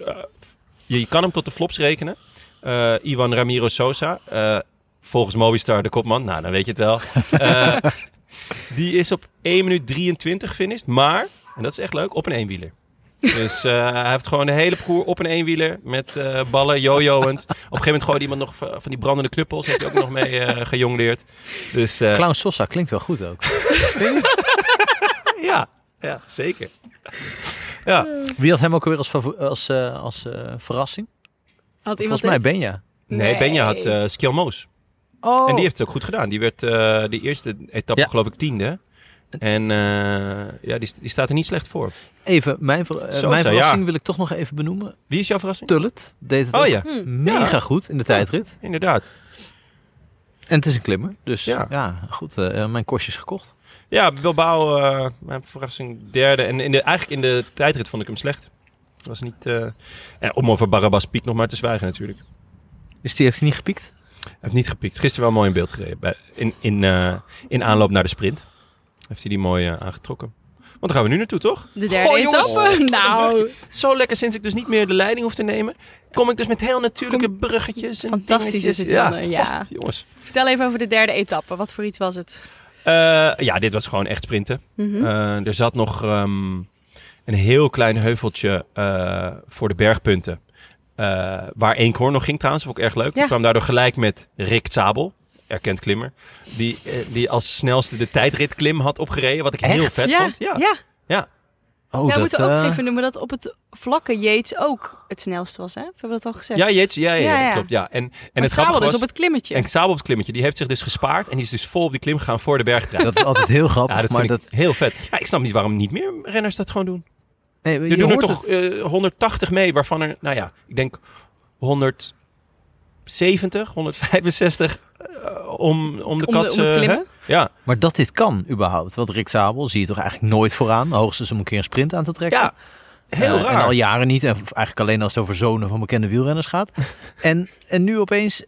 Speaker 1: je, je kan hem tot de flops rekenen. Eh, Ivan Ramiro Sosa, eh, volgens Movistar de kopman. Nou, dan weet je het wel. Eh, die is op 1 minuut 23 finished, maar, en dat is echt leuk, op een eenwieler. Dus eh, hij heeft gewoon de hele parcours op een eenwieler met eh, ballen, jojoend. Op een gegeven moment gooide iemand nog van van die brandende knuppels. Heeft hij ook nog mee eh gejongleerd. Dus eh,
Speaker 2: Clown Sosa klinkt wel goed ook.
Speaker 1: ja, ja, zeker. Eh, Ja,
Speaker 2: <laughs> Wie had hem ook weer als, favo- als, eh, als eh, verrassing?
Speaker 3: Had iemand
Speaker 2: Volgens mij
Speaker 3: het-
Speaker 2: Benja.
Speaker 1: nee, Benja had eh Skilmoos.
Speaker 2: Oh.
Speaker 1: En die heeft het ook goed gedaan. Die werd eh, de eerste etappe
Speaker 2: Ja.
Speaker 1: geloof ik tiende. En eh, ja, die, st- die staat er niet slecht voor.
Speaker 2: Even, mijn, ver- eh,
Speaker 1: Sosa,
Speaker 2: mijn verrassing
Speaker 1: ja.
Speaker 2: wil ik toch nog even benoemen.
Speaker 1: Wie is jouw verrassing?
Speaker 2: Tullet deed het
Speaker 1: Oh
Speaker 2: ook
Speaker 1: ja,
Speaker 3: Hm.
Speaker 2: mega
Speaker 1: Ja.
Speaker 2: goed in de tijdrit.
Speaker 1: inderdaad.
Speaker 2: En het is een klimmer, dus
Speaker 1: Ja.
Speaker 2: ja, goed. eh, mijn kostje is gekocht.
Speaker 1: Ja, Bilbao, eh, mijn verrassing derde. En in de, eigenlijk in de tijdrit vond ik hem slecht. Was niet, eh, eh, om over Barabas Piek nog maar te zwijgen natuurlijk.
Speaker 2: Dus die heeft hij niet gepiekt?
Speaker 1: Hij heeft niet gepiekt. Gisteren wel mooi in beeld gereden. Bij- In, in, eh, in aanloop naar de sprint. Heeft hij die mooi eh, aangetrokken. Want dan gaan we nu naartoe, toch?
Speaker 3: De derde
Speaker 1: Oh, jongens.
Speaker 3: etappe? Nou,
Speaker 1: Zo lekker sinds ik dus niet meer de leiding hoef te nemen. Kom ik dus met heel natuurlijke bruggetjes. En
Speaker 3: fantastisch is het,
Speaker 1: dingetjes.
Speaker 3: Jonne. Ja.
Speaker 1: Oh, jongens.
Speaker 3: Vertel even over de derde etappe. Wat voor iets was het?
Speaker 1: Eh, ja, dit was gewoon echt sprinten.
Speaker 3: Mhm.
Speaker 1: Eh, er zat nog ehm, een heel klein heuveltje eh, voor de bergpunten. Eh, waar Eenkhoorn nog ging trouwens, vond ik erg leuk.
Speaker 3: Ja.
Speaker 1: Die kwam daardoor gelijk met Rick Zabel, erkend klimmer. Die, eh, die als snelste de tijdritklim had opgereden, wat ik heel
Speaker 2: Echt?
Speaker 1: vet
Speaker 3: ja,
Speaker 1: vond. Ja.
Speaker 3: ja. Nou,
Speaker 2: Oh,
Speaker 3: we moeten ook
Speaker 2: eh,
Speaker 3: even noemen dat op het vlakke Yates ook het snelste was. Hè? Hebben we dat al gezegd?
Speaker 1: Ja, Jeets, ja, ja, ja,
Speaker 3: Ja, ja.
Speaker 1: klopt. Ja. En, en
Speaker 3: En
Speaker 1: het
Speaker 3: het
Speaker 1: grappige
Speaker 3: Zabel dus
Speaker 1: was,
Speaker 3: op het klimmetje.
Speaker 1: en Zabel op het klimmetje, die heeft zich dus gespaard. En die is dus vol op die klim gegaan voor de <laughs> bergtrein.
Speaker 2: <laughs> Dat is altijd heel grappig,
Speaker 1: ja, dat
Speaker 2: maar
Speaker 1: vind
Speaker 2: dat...
Speaker 1: ik heel vet. Ja, ik snap niet waarom niet meer renners dat gewoon doen.
Speaker 2: Nee,
Speaker 1: Je,
Speaker 2: je
Speaker 1: doen er
Speaker 2: hoort
Speaker 1: toch
Speaker 2: het.
Speaker 1: eh, 180 mee, waarvan er, nou ja, ik denk 170, 165 eh, om, om de
Speaker 3: om, de,
Speaker 1: kat.
Speaker 3: om het klimmen.
Speaker 1: ja,
Speaker 2: Maar dat dit kan überhaupt. Want Rick Zabel zie je toch eigenlijk nooit vooraan. Hoogstens om een keer een sprint aan te trekken.
Speaker 1: ja, heel
Speaker 2: Eh, En
Speaker 1: raar.
Speaker 2: al jaren niet. En eigenlijk alleen als het over zonen van bekende wielrenners
Speaker 1: <laughs>
Speaker 2: gaat. en, en nu opeens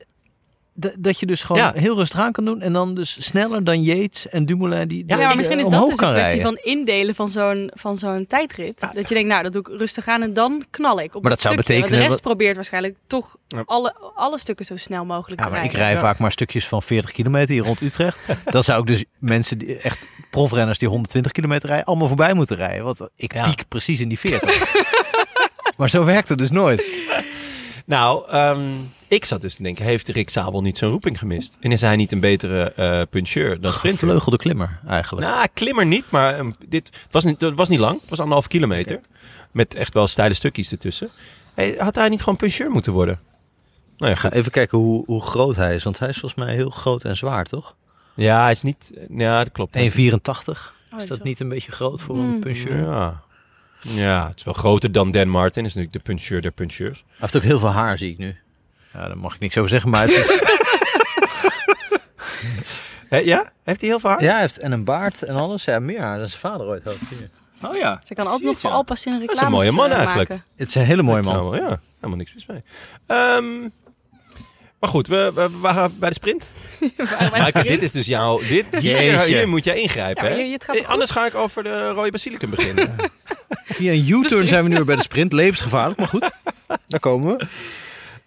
Speaker 2: d- dat je dus gewoon
Speaker 1: Ja.
Speaker 2: heel rustig aan kan doen. En dan dus sneller dan Yates en Dumoulin die,
Speaker 3: Ja,
Speaker 2: die,
Speaker 3: maar
Speaker 2: eh,
Speaker 3: misschien is dat
Speaker 2: omhoog
Speaker 3: dus een
Speaker 2: kan
Speaker 3: kwestie
Speaker 2: rijden.
Speaker 3: van indelen van zo'n, van zo'n tijdrit. dat je denkt, nou, dat doe ik rustig aan en dan knal ik op
Speaker 2: Maar
Speaker 3: het
Speaker 2: dat zou
Speaker 3: stukje. Want
Speaker 2: betekenen
Speaker 3: de rest
Speaker 2: dat-
Speaker 3: probeert waarschijnlijk toch
Speaker 1: Ja.
Speaker 3: alle, alle stukken zo snel mogelijk
Speaker 2: Ja,
Speaker 3: te
Speaker 2: maar ik
Speaker 3: rijden.
Speaker 2: rij
Speaker 1: Ja.
Speaker 2: vaak maar stukjes van 40 kilometer hier rond
Speaker 1: <laughs>
Speaker 2: Utrecht. Dan zou ik dus mensen, die, echt profrenners die 120 kilometer rijden, allemaal voorbij moeten rijden. Want ik
Speaker 1: Ja.
Speaker 2: piek precies in die 40. <laughs> maar zo werkt het dus nooit.
Speaker 1: Nou, ehm, ik zat dus te denken, heeft Rick Zabel niet zijn roeping gemist? En is hij niet een betere eh puncheur dan sprinter?
Speaker 2: Gevleugelde klimmer eigenlijk.
Speaker 1: Nou, klimmer niet, maar ehm, dit het was niet, het was niet lang. Het was anderhalf kilometer. Met echt wel steile stukjes ertussen. Hey, had hij niet gewoon puncheur moeten worden? Nou ja,
Speaker 2: Ik ga even kijken hoe, hoe groot hij is. Want hij is volgens mij heel groot en zwaar, toch? 1,84.
Speaker 1: Ja, hij is niet... eh, Ja, dat klopt. Hij is
Speaker 3: Oh,
Speaker 2: Is
Speaker 3: zo.
Speaker 2: dat niet een beetje groot voor
Speaker 3: Mm.
Speaker 2: een puncheur? Hij
Speaker 1: Ja. ja, het is wel groter dan Dan Martin. is natuurlijk de puncheur der puncheurs.
Speaker 2: heeft ook heel veel haar, zie ik nu. Ja, daar mag ik niks over zeggen, maar het is...
Speaker 1: Eh, ja? Heeft hij heel veel haar?
Speaker 2: <laughs> ja, hij heeft en een baard en alles. Ja, meer haar dan zijn vader ooit had. Hier.
Speaker 1: Oh ja.
Speaker 3: Ze kan altijd nog voor Alpas in reclames
Speaker 1: is een mooie man
Speaker 3: eh,
Speaker 1: eigenlijk.
Speaker 3: maken.
Speaker 2: Het is een hele mooie man.
Speaker 1: ja, helemaal niks mis mee. Ehm, maar goed, we, we, we waren bij de sprint.
Speaker 3: Waarom hij
Speaker 1: Maar
Speaker 3: erin?
Speaker 1: dit is dus jouw... Dit, hier,
Speaker 2: Jeetje.
Speaker 1: hier moet jij ingrijpen,
Speaker 3: Ja, maar
Speaker 1: hè?
Speaker 3: je- je- het gaat
Speaker 1: Eh,
Speaker 3: goed.
Speaker 1: Anders ga ik over de rode basilicum <laughs> beginnen.
Speaker 2: Via een U-turn zijn we nu weer bij de sprint. Levensgevaarlijk, maar goed. Daar komen we.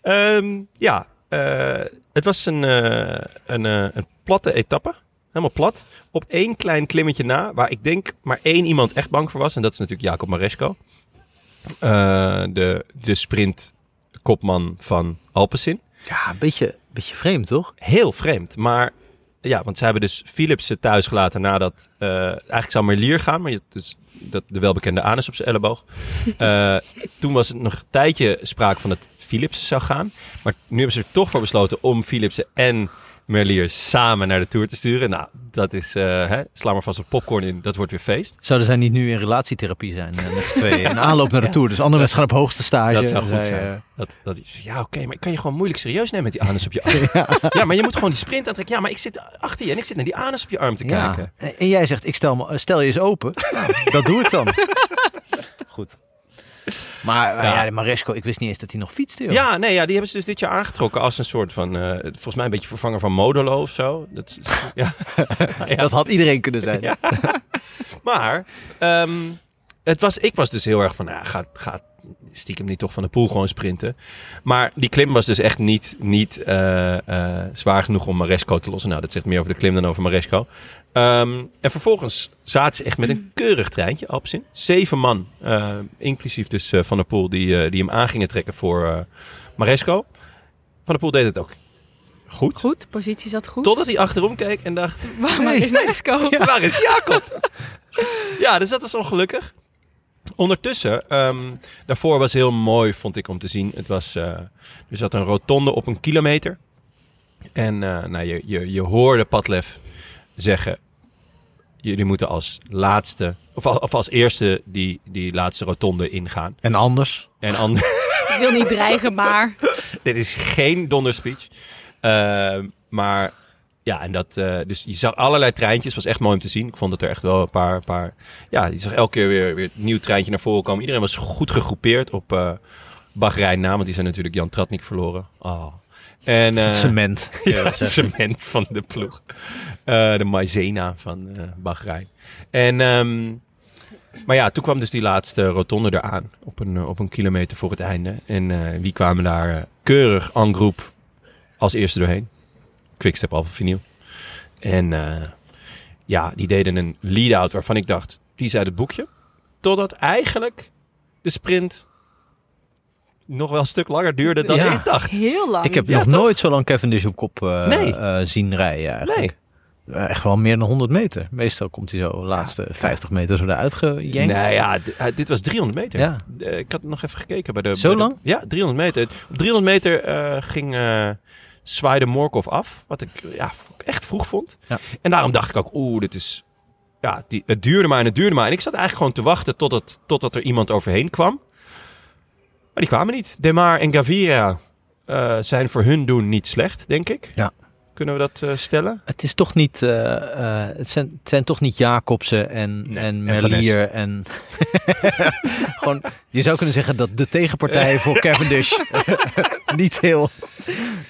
Speaker 1: Ehm, ja, eh, het was een, eh, een, eh, een platte etappe. Helemaal plat. Op één klein klimmetje na, waar ik denk maar één iemand echt bang voor was. En dat is natuurlijk Jacob Maresco. Eh, de, de sprintkopman van Alpecin.
Speaker 2: Ja, een beetje, beetje vreemd, toch?
Speaker 1: Heel vreemd. Maar ja, want ze hebben dus Philipsen thuis gelaten nadat... eh, eigenlijk zou Merlier gaan, maar je- dus dat, de welbekende anus op zijn elleboog. Eh, toen was het nog een tijdje sprake van dat Philipsen zou gaan. Maar nu hebben ze er toch voor besloten om Philipsen en Merlier samen naar de Tour te sturen. Nou, dat is... eh, hè, sla maar vast wat popcorn in, dat wordt weer feest.
Speaker 2: Zouden zij niet nu in relatietherapie zijn eh, <laughs> met z'n tweeën? In aanloop naar de Tour. Dus andere mensen gaan op hoogste stage.
Speaker 1: Dat zou
Speaker 2: en
Speaker 1: goed
Speaker 2: zij,
Speaker 1: zijn.
Speaker 2: eh,
Speaker 1: Dat, dat is, ja, oké, maar ik kan je gewoon moeilijk serieus nemen met die anus op
Speaker 2: <laughs>
Speaker 1: je arm. ja. maar je moet gewoon die sprint aantrekken. Ja, maar ik zit achter je en ik zit naar die anus op je arm te
Speaker 2: ja.
Speaker 1: kijken.
Speaker 2: En, en jij zegt, ik stel, me- stel je eens
Speaker 1: <laughs>
Speaker 2: open. Nou, dat doe ik dan. Goed. <laughs> Maar, maar ja.
Speaker 1: Ja.
Speaker 2: Maresco, ik wist niet eens dat hij nog fietste. joh.
Speaker 1: Ja, nee, ja, die hebben ze dus dit jaar aangetrokken als een soort van, eh, volgens mij een beetje vervanger van Modolo of zo. Dat, is- <laughs> ja. Ja.
Speaker 2: Dat had iedereen kunnen zijn.
Speaker 1: <laughs> Ja. Maar ehm, het was, ik was dus heel erg van, nou, gaat, gaat stiekem niet toch van de poel gewoon sprinten. Maar die klim was dus echt niet, niet eh, eh, zwaar genoeg om Maresco te lossen. Nou, dat zegt meer over de klim dan over Maresco. Ehm, en vervolgens zaten ze echt met een keurig treintje, Alpsin. Zeven man, eh, inclusief dus eh, Van der Poel, die, eh, die hem aan gingen trekken voor eh, Maresco. Van der Poel deed het ook goed.
Speaker 3: Goed, positie zat goed.
Speaker 1: Totdat hij achterom keek en dacht,
Speaker 3: Waar maar is Maresco?
Speaker 2: <laughs>
Speaker 1: Waar is Jacob? ja, dus dat was ongelukkig. Ondertussen, ehm, daarvoor was heel mooi, vond ik om te zien. Het was, eh, er zat een rotonde op een kilometer. En eh, nou, je, je, je hoorde Padlef zeggen: Jullie moeten als laatste, of, al- of als eerste, die, die laatste rotonde ingaan.
Speaker 2: En anders.
Speaker 1: En anders.
Speaker 3: Ik wil niet dreigen, maar...
Speaker 1: Dit is geen donderspeech. Ehm, maar ja, en dat, eh, dus je zag allerlei treintjes. was echt mooi om te zien. Ik vond dat er echt wel een paar, paar ja, je zag elke keer weer, weer een nieuw treintje naar voren komen. Iedereen was goed gegroepeerd op eh Bahrein na, want die zijn natuurlijk Jan Tratnik verloren. Oh. En, eh,
Speaker 2: Cement.
Speaker 1: ja, het cement van de ploeg. Eh, de Maizena van eh Bahrein. En, ehm, maar ja, toen kwam dus die laatste rotonde eraan. Op een, eh, op een kilometer voor het einde. En eh, wie kwamen daar eh, keurig en groep als eerste doorheen? Quickstep Alpha Vinyl. En eh, ja, die deden een lead-out waarvan ik dacht, die is uit het boekje. Totdat eigenlijk de sprint nog wel een stuk langer duurde dan
Speaker 2: Ja.
Speaker 1: ik dacht.
Speaker 3: Heel lang.
Speaker 2: Ik heb
Speaker 1: Ja,
Speaker 2: nog
Speaker 3: <laughs>
Speaker 1: toch?
Speaker 2: nooit zo lang Cavendish op kop eh,
Speaker 1: Nee.
Speaker 2: eh, zien rijden eigenlijk.
Speaker 1: Nee.
Speaker 2: Eh, Echt wel meer dan 100 meter. Meestal komt hij zo de laatste 50 meter zo eruit gejenkt.
Speaker 1: Nou ja, d- eh, dit was 300 meter.
Speaker 2: Ja.
Speaker 1: Eh, ik had nog even gekeken bij de...
Speaker 2: Zo
Speaker 1: bij de-
Speaker 2: lang?
Speaker 1: ja, 300 meter. Op 300 meter eh, ging eh zwaaide Morkov af. Wat ik ja, v- echt vroeg vond.
Speaker 2: Ja.
Speaker 1: En daarom dacht ik ook, oeh, dit is... Ja, die, het duurde maar en het duurde maar. En ik zat eigenlijk gewoon te wachten totdat, totdat er iemand overheen kwam. Maar die kwamen niet. Demar en Gaviria eh, zijn voor hun doen niet slecht, denk ik.
Speaker 2: Ja.
Speaker 1: Kunnen we dat eh, stellen?
Speaker 2: Het is toch niet, eh, eh, het, zijn, het zijn toch niet Jacobsen en,
Speaker 1: Nee,
Speaker 2: en
Speaker 1: en
Speaker 2: Merlier en... <laughs> Gewoon, je zou kunnen zeggen dat de
Speaker 1: <laughs>
Speaker 2: tegenpartij voor Cavendish <laughs> niet heel...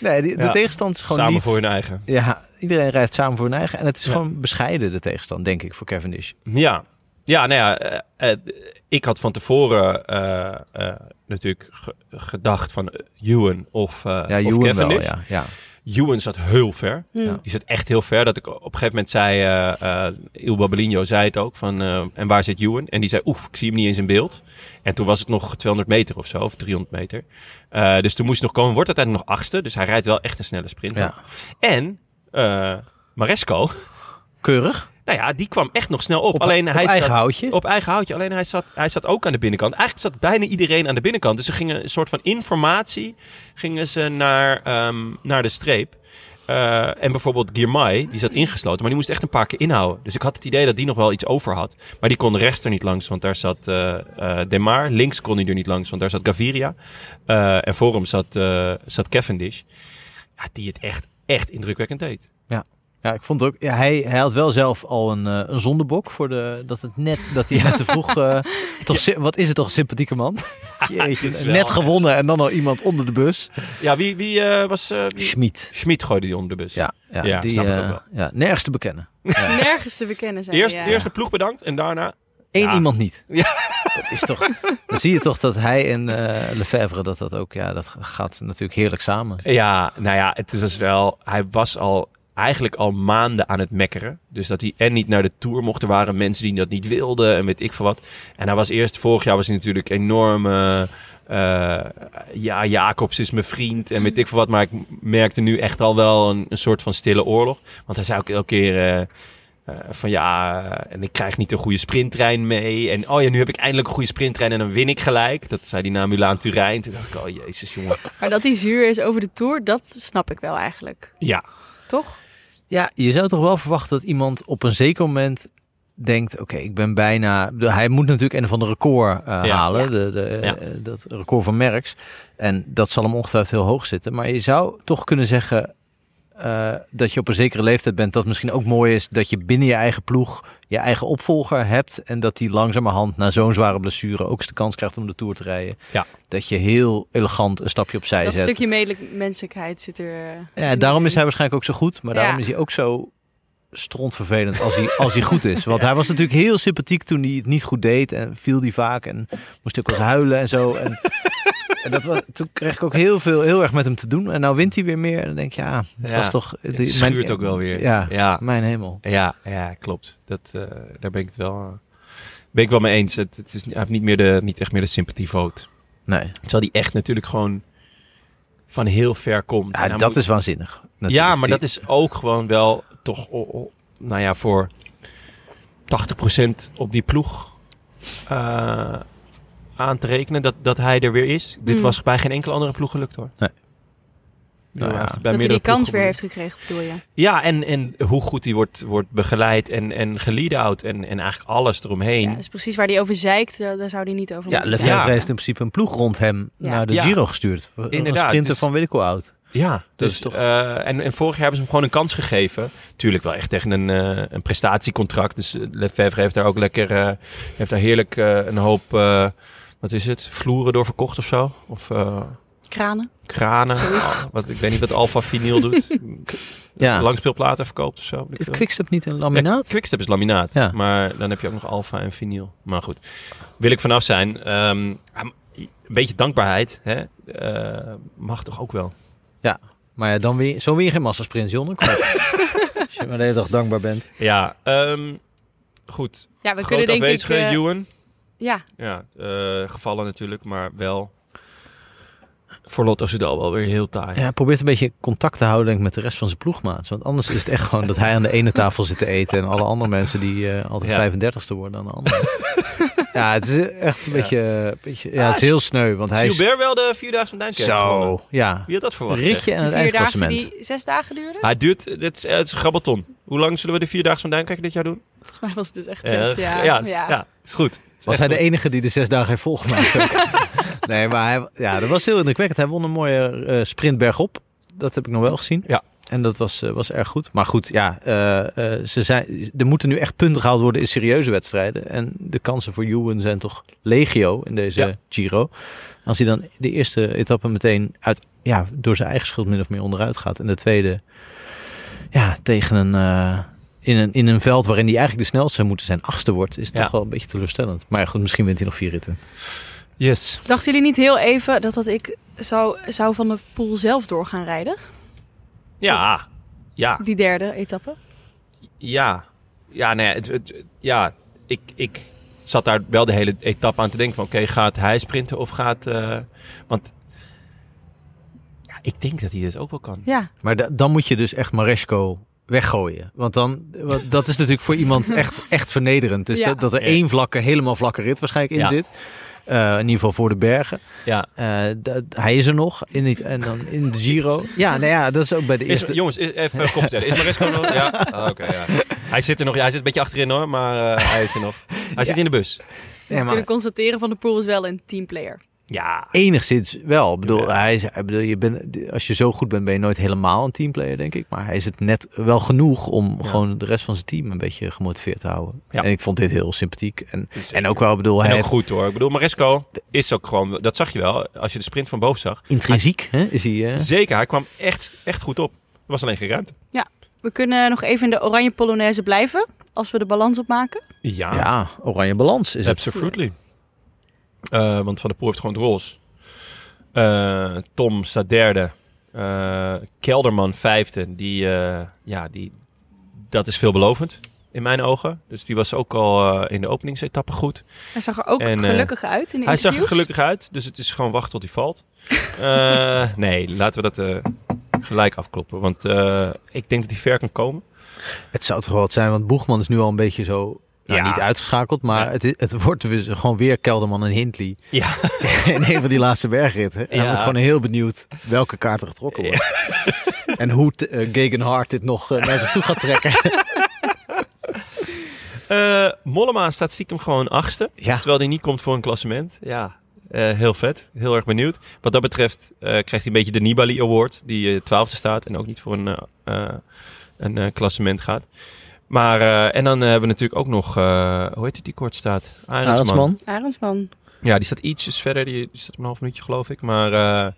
Speaker 2: Nee, die- de
Speaker 1: Ja.
Speaker 2: tegenstand is gewoon
Speaker 1: Samen
Speaker 2: niet...
Speaker 1: voor hun eigen.
Speaker 2: Ja, iedereen rijdt samen voor hun eigen. En het is
Speaker 1: Ja.
Speaker 2: gewoon bescheiden de tegenstand, denk ik, voor Cavendish.
Speaker 1: Ja, ja nou ja, eh, eh, ik had van tevoren eh, eh, natuurlijk ge- gedacht van eh, Ewan of, eh
Speaker 2: Ja,
Speaker 1: of
Speaker 2: Ewan
Speaker 1: Cavendish.
Speaker 2: wel, ja. ja.
Speaker 1: Ewan zat heel ver.
Speaker 3: Ja.
Speaker 1: Die zat echt heel ver. Dat ik op een gegeven moment zei, eh eh Il Babelino zei het ook, van eh, en waar zit Ewan? En die zei, oef, ik zie hem niet eens in beeld. En toen was het nog 200 meter of zo, of 300 meter. Eh, dus toen moest hij nog komen, wordt uiteindelijk nog achtste. Dus hij rijdt wel echt een snelle sprint.
Speaker 2: Ja.
Speaker 1: En eh, Maresco, <laughs>
Speaker 2: Keurig,
Speaker 1: nou ja, die kwam echt nog snel op.
Speaker 2: Op-
Speaker 1: Alleen
Speaker 2: op
Speaker 1: hij
Speaker 2: eigen
Speaker 1: zat,
Speaker 2: houtje.
Speaker 1: Op eigen houtje. Alleen hij zat, hij zat ook aan de binnenkant. Eigenlijk zat bijna iedereen aan de binnenkant. Dus ze gingen een soort van informatie gingen ze naar, ehm, naar de streep. Eh, en bijvoorbeeld Girmay, die zat ingesloten, maar die moest echt een paar keer inhouden. Dus ik had het idee dat die nog wel iets over had. Maar die kon rechts er niet langs, want daar zat eh eh, Demar. Links kon hij er niet langs, want daar zat Gaviria. Eh, en voor hem zat, eh, zat Cavendish. Ja, die het echt, echt indrukwekkend deed.
Speaker 2: Ja, ik vond het ook. Ja, hij, hij had wel zelf al een, eh, een zondebok voor de, dat het net dat hij net te
Speaker 1: <laughs>
Speaker 2: vroeg. eh, toch, sy- Wat is het toch een sympathieke man? <laughs> Jeetje,
Speaker 1: Dit is wel-
Speaker 2: net gewonnen en dan al iemand onder de bus.
Speaker 1: Ja, wie, wie eh, was... eh, wie-
Speaker 2: Schmid.
Speaker 1: Schmid gooide die onder de bus.
Speaker 2: Ja, ja,
Speaker 1: Ja,
Speaker 2: die
Speaker 1: snap ik
Speaker 2: eh,
Speaker 1: ook wel.
Speaker 2: ja, nergens te bekennen.
Speaker 3: Nergens te bekennen zijn.
Speaker 1: Eerst,
Speaker 3: ja.
Speaker 1: eerst de ploeg bedankt en daarna...
Speaker 2: Eén
Speaker 1: Ja.
Speaker 2: iemand niet. <laughs> Dat is toch... Dan zie je toch dat hij en eh Lefebvre, dat dat ook... Ja, dat gaat natuurlijk heerlijk samen.
Speaker 1: Ja, nou ja, het was wel. Hij was al eigenlijk al maanden aan het mekkeren. Dus dat hij en niet naar de tour mocht. Er waren mensen die dat niet wilden en weet ik veel wat. En hij was eerst vorig jaar was hij natuurlijk enorm. eh, eh, ja, Jacobs is mijn vriend en weet ik veel wat. Maar ik merkte nu echt al wel een, een soort van stille oorlog. Want hij zei ook elke keer. eh, eh, van ja, eh, en ik krijg niet een goede sprinttrein mee. En oh ja, nu heb ik eindelijk een goede sprinttrein en dan win ik gelijk. Dat zei hij na Milaan-Turijn. Toen dacht ik, oh jezus jongen.
Speaker 3: Maar dat hij zuur is over de Tour, dat snap ik wel eigenlijk.
Speaker 1: Ja,
Speaker 3: Toch?
Speaker 2: Ja, je zou toch wel verwachten dat iemand op een zeker moment denkt... Oké, ik ben bijna... de- Hij moet natuurlijk een of ander record eh,
Speaker 1: Ja.
Speaker 2: halen.
Speaker 3: Ja.
Speaker 2: De, de, eh,
Speaker 1: Ja.
Speaker 2: Dat record van Merckx. En dat zal hem ongetwijfeld heel hoog zitten. Maar je zou toch kunnen zeggen... eh, dat je op een zekere leeftijd bent, dat misschien ook mooi is dat je binnen je eigen ploeg je eigen opvolger hebt en dat die langzamerhand na zo'n zware blessure ook eens de kans krijgt om de tour te rijden.
Speaker 1: Ja.
Speaker 2: Dat je heel elegant een stapje opzij
Speaker 3: dat
Speaker 2: zet.
Speaker 3: stukje medelijk menselijkheid zit er. eh,
Speaker 2: Ja,
Speaker 3: in.
Speaker 2: daarom is hij waarschijnlijk ook zo goed. Maar
Speaker 3: Ja.
Speaker 2: daarom is hij ook zo strontvervelend als hij, als hij goed is. Want hij was natuurlijk heel sympathiek toen hij het niet goed deed. En viel die vaak en moest ook wel eens huilen en zo. En, en dat was, toen kreeg ik ook heel veel, heel erg met hem te doen. En nou wint hij weer meer. En dan denk je, ja, het
Speaker 1: Ja,
Speaker 2: was toch...
Speaker 1: het
Speaker 2: die-
Speaker 1: schuurt ook wel weer.
Speaker 2: Ja,
Speaker 1: ja.
Speaker 2: mijn hemel.
Speaker 1: Ja, ja klopt. Dat, eh, daar ben ik het wel, eh, ben ik wel mee eens. Het, het is, hij heeft niet, meer de, niet echt meer de sympathievoot.
Speaker 2: Nee,
Speaker 1: Terwijl die echt natuurlijk gewoon van heel ver komt.
Speaker 2: ja,
Speaker 1: En hij
Speaker 2: dat
Speaker 1: moet-
Speaker 2: is waanzinnig.
Speaker 1: ja, maar dat is ook gewoon wel toch, o- o- nou ja, voor 80% op die ploeg eh, aan te rekenen dat, dat hij er weer is. Dit
Speaker 3: Mm.
Speaker 1: was bij geen enkele andere ploeg gelukt hoor.
Speaker 2: Nee.
Speaker 1: Nou,
Speaker 2: ja.
Speaker 1: hij heeft bij
Speaker 3: Dat hij
Speaker 1: meerdere
Speaker 3: die kans
Speaker 1: ploegen
Speaker 3: weer heeft gekregen, bedoel je?
Speaker 1: Ja, en, en hoe goed hij wordt, wordt begeleid en, en gelead-out en, en eigenlijk alles eromheen.
Speaker 3: Ja, dus precies waar hij over zeikt, Eh, daar, daar zou hij niet over
Speaker 2: Ja,
Speaker 3: moeten
Speaker 2: Lefebvre
Speaker 3: zeiken.
Speaker 1: Ja.
Speaker 2: heeft in principe een ploeg rond hem
Speaker 3: Ja.
Speaker 2: naar de
Speaker 1: Ja.
Speaker 2: Giro gestuurd. Inderdaad. Een
Speaker 1: Inderdaad,
Speaker 2: sprinter
Speaker 1: dus-
Speaker 2: van weet ik hoe oud.
Speaker 1: Ja, dus,
Speaker 2: is toch-
Speaker 1: eh, en, en vorig jaar hebben ze hem gewoon een kans gegeven. Tuurlijk wel echt tegen een, eh, een prestatiecontract. Dus eh, Lefebvre heeft daar ook lekker, eh, heeft daar heerlijk eh, een hoop, eh, wat is het, vloeren door verkocht of zo? Of eh,
Speaker 3: Kranen.
Speaker 1: kranen.
Speaker 3: Zoiets.
Speaker 1: Oh, wat, ik weet niet wat Alfa Vinyl doet.
Speaker 2: <laughs> Ja.
Speaker 1: Langspeelplaten verkoopt of zo.
Speaker 2: Is Quickstep niet een laminaat?
Speaker 1: Ja, Quickstep is laminaat.
Speaker 2: Ja.
Speaker 1: Maar dan heb je ook nog alfa en vinyl. Maar goed, wil ik vanaf zijn. Ehm, ja, m- een beetje dankbaarheid hè? eh, mag toch ook wel.
Speaker 2: Maar ja, dan weer, zo win je geen massasprint, John. Kom op. <laughs> Als je maar de hele dag dankbaar bent.
Speaker 1: Ja, ehm, goed.
Speaker 3: Ja, we
Speaker 1: Groot
Speaker 3: kunnen denk ik...
Speaker 1: afwezige
Speaker 3: eh,
Speaker 1: Ewan.
Speaker 3: ja,
Speaker 1: Ja, eh, gevallen natuurlijk, maar wel voor Lotto Soudal wel weer heel taai.
Speaker 2: Ja, hij probeert een beetje contact te houden denk ik, met de rest van zijn ploegmaats. Want anders is het echt gewoon dat hij aan de ene tafel zit te eten... en alle andere mensen die eh, altijd
Speaker 1: Ja.
Speaker 2: 35ste worden aan de andere. ja, het is echt een beetje... Een beetje ja, het is heel sneu, want hij
Speaker 1: Is
Speaker 2: is
Speaker 1: Gilbert wel de Vierdaagse van Duinkerk gewonnen?
Speaker 2: zo... Ja,
Speaker 1: Wie had dat verwacht? zeg?
Speaker 2: ritje aan
Speaker 3: de
Speaker 2: het
Speaker 3: vierdaagse
Speaker 2: eindklassement.
Speaker 3: die zes dagen duurde.
Speaker 1: Hij duurt, dit is, eh, het is een grabbelton. Hoe lang zullen we de Vierdaagse van Duinkerk dit jaar doen?
Speaker 3: Volgens mij was het dus echt
Speaker 1: Eh,
Speaker 3: zes. Ja,
Speaker 1: ja, ja, is goed. Is
Speaker 2: Was
Speaker 1: echt
Speaker 2: hij de
Speaker 1: goed.
Speaker 2: enige die de zes dagen heeft
Speaker 1: <laughs>
Speaker 2: volgemaakt? ook? nee, maar hij, ja, dat was heel indrukwekkend. Hij won een mooie eh sprint bergop. Dat heb ik nog wel gezien.
Speaker 1: Ja.
Speaker 2: En dat was, eh, was erg goed. Maar goed, ja, eh, eh, ze zijn, er moeten nu echt punten gehaald worden in serieuze wedstrijden. En de kansen voor Ewan zijn toch legio in deze
Speaker 1: Ja.
Speaker 2: Giro. Als hij dan de eerste etappe meteen uit, ja, door zijn eigen schuld min of meer onderuit gaat. En de tweede ja, tegen een, eh, in een, in een veld waarin hij eigenlijk de snelste zou moeten zijn, achtste wordt, is het
Speaker 1: Ja.
Speaker 2: toch wel een beetje teleurstellend. Maar ja, goed, misschien wint hij nog vier ritten.
Speaker 1: Yes.
Speaker 3: Dachten jullie niet heel even dat, dat ik zou, zou van de pool zelf door gaan rijden?
Speaker 1: Ja, ja,
Speaker 3: Die derde etappe?
Speaker 1: ja. Ja, nee, het, het- ja ik, ik zat daar wel de hele etappe aan te denken van... oké, gaat hij sprinten of gaat... eh, want ja, ik denk dat hij dit ook wel kan.
Speaker 3: Ja.
Speaker 2: Maar da- dan moet je dus echt Maresco weggooien. Want dan, want dat is natuurlijk voor
Speaker 1: <laughs>
Speaker 2: iemand echt, echt vernederend. Dus
Speaker 3: Ja.
Speaker 2: dat, dat er
Speaker 1: Ja.
Speaker 2: één vlakke, helemaal vlakke rit waarschijnlijk in
Speaker 1: Ja.
Speaker 2: zit. Eh, in ieder geval voor de bergen.
Speaker 1: Ja.
Speaker 2: Eh, dat- hij is er nog. In het, en dan in de
Speaker 1: <laughs>
Speaker 2: Giro. Ja, nou ja, dat is ook bij de
Speaker 1: Is,
Speaker 2: eerste.
Speaker 1: jongens, is, even kopstellen. Is Maresco er nog? Ja, Ah, oké, ja. <laughs> Hij zit er nog. Ja, hij zit een beetje achterin hoor, maar eh, hij is er nog. Hij zit in de bus.
Speaker 3: Dus
Speaker 2: Ja,
Speaker 3: we
Speaker 2: maar-
Speaker 3: kunnen constateren van de pool is wel een teamplayer.
Speaker 1: Ja,
Speaker 2: Enigszins wel. Ik bedoel,
Speaker 1: Ja.
Speaker 2: hij is, ik bedoel je bent als je zo goed bent, ben je nooit helemaal een teamplayer, denk ik. Maar hij is het net wel genoeg om gewoon de rest van zijn team een beetje gemotiveerd te houden.
Speaker 1: Ja.
Speaker 2: En ik vond dit heel sympathiek. En,
Speaker 1: Zeker.
Speaker 2: en ook wel, ik bedoel, hij
Speaker 1: en ook
Speaker 2: heeft-
Speaker 1: goed hoor. Ik bedoel, Maresco is ook gewoon... Dat zag je wel, als je de sprint van boven zag.
Speaker 2: intrinsiek hè, is hij. hè?
Speaker 1: Zeker, hij eh, kwam echt, echt goed op. Er was alleen geen ruimte.
Speaker 3: We kunnen nog even in de oranje polonaise blijven, als we de balans opmaken.
Speaker 2: ja, oranje balans is het.
Speaker 1: Absolutely. Eh, want Van der Poel heeft gewoon het roze. Eh, Tom staat derde. Eh, Kelderman vijfde. Die, eh, ja, die, dat is veelbelovend in mijn ogen. Dus die was ook al eh, in de openingsetappe goed.
Speaker 3: Hij zag er ook
Speaker 1: En, eh,
Speaker 3: gelukkig uit in de
Speaker 1: Hij zag er
Speaker 3: interviews.
Speaker 1: gelukkig uit. Dus het is gewoon wachten tot hij valt. Eh, nee, laten we dat eh, gelijk afkloppen. Want eh, ik denk dat hij ver kan komen.
Speaker 2: Het zou toch wel wat zijn, want Boegman is nu al een beetje zo... nou,
Speaker 1: Ja.
Speaker 2: niet uitgeschakeld, maar
Speaker 1: Ja.
Speaker 2: het, i- het wordt dus gewoon weer Kelderman en Hindley <laughs>
Speaker 1: Ja.
Speaker 2: in een van die laatste bergritten.
Speaker 1: Ja.
Speaker 2: En dan ben ik gewoon heel benieuwd welke kaart er getrokken wordt. En hoe t- eh, Gegenhard dit nog eh, naar zich toe gaat trekken.
Speaker 1: Eh, Mollema staat stiekem gewoon achtste.
Speaker 2: Ja,
Speaker 1: Terwijl hij niet komt voor een klassement. Ja, eh, heel vet. Heel erg benieuwd. Wat dat betreft eh, krijgt hij een beetje de Nibali Award. Die eh, twaalfde staat en ook niet voor een, eh, eh, een eh, klassement gaat. Maar, eh, en dan eh, hebben we natuurlijk ook nog, eh, hoe heet het die kort staat?
Speaker 2: Arendsman.
Speaker 3: Arendsman.
Speaker 1: Ja, die staat ietsjes verder. Die, die staat een half minuutje geloof ik. Maar eh,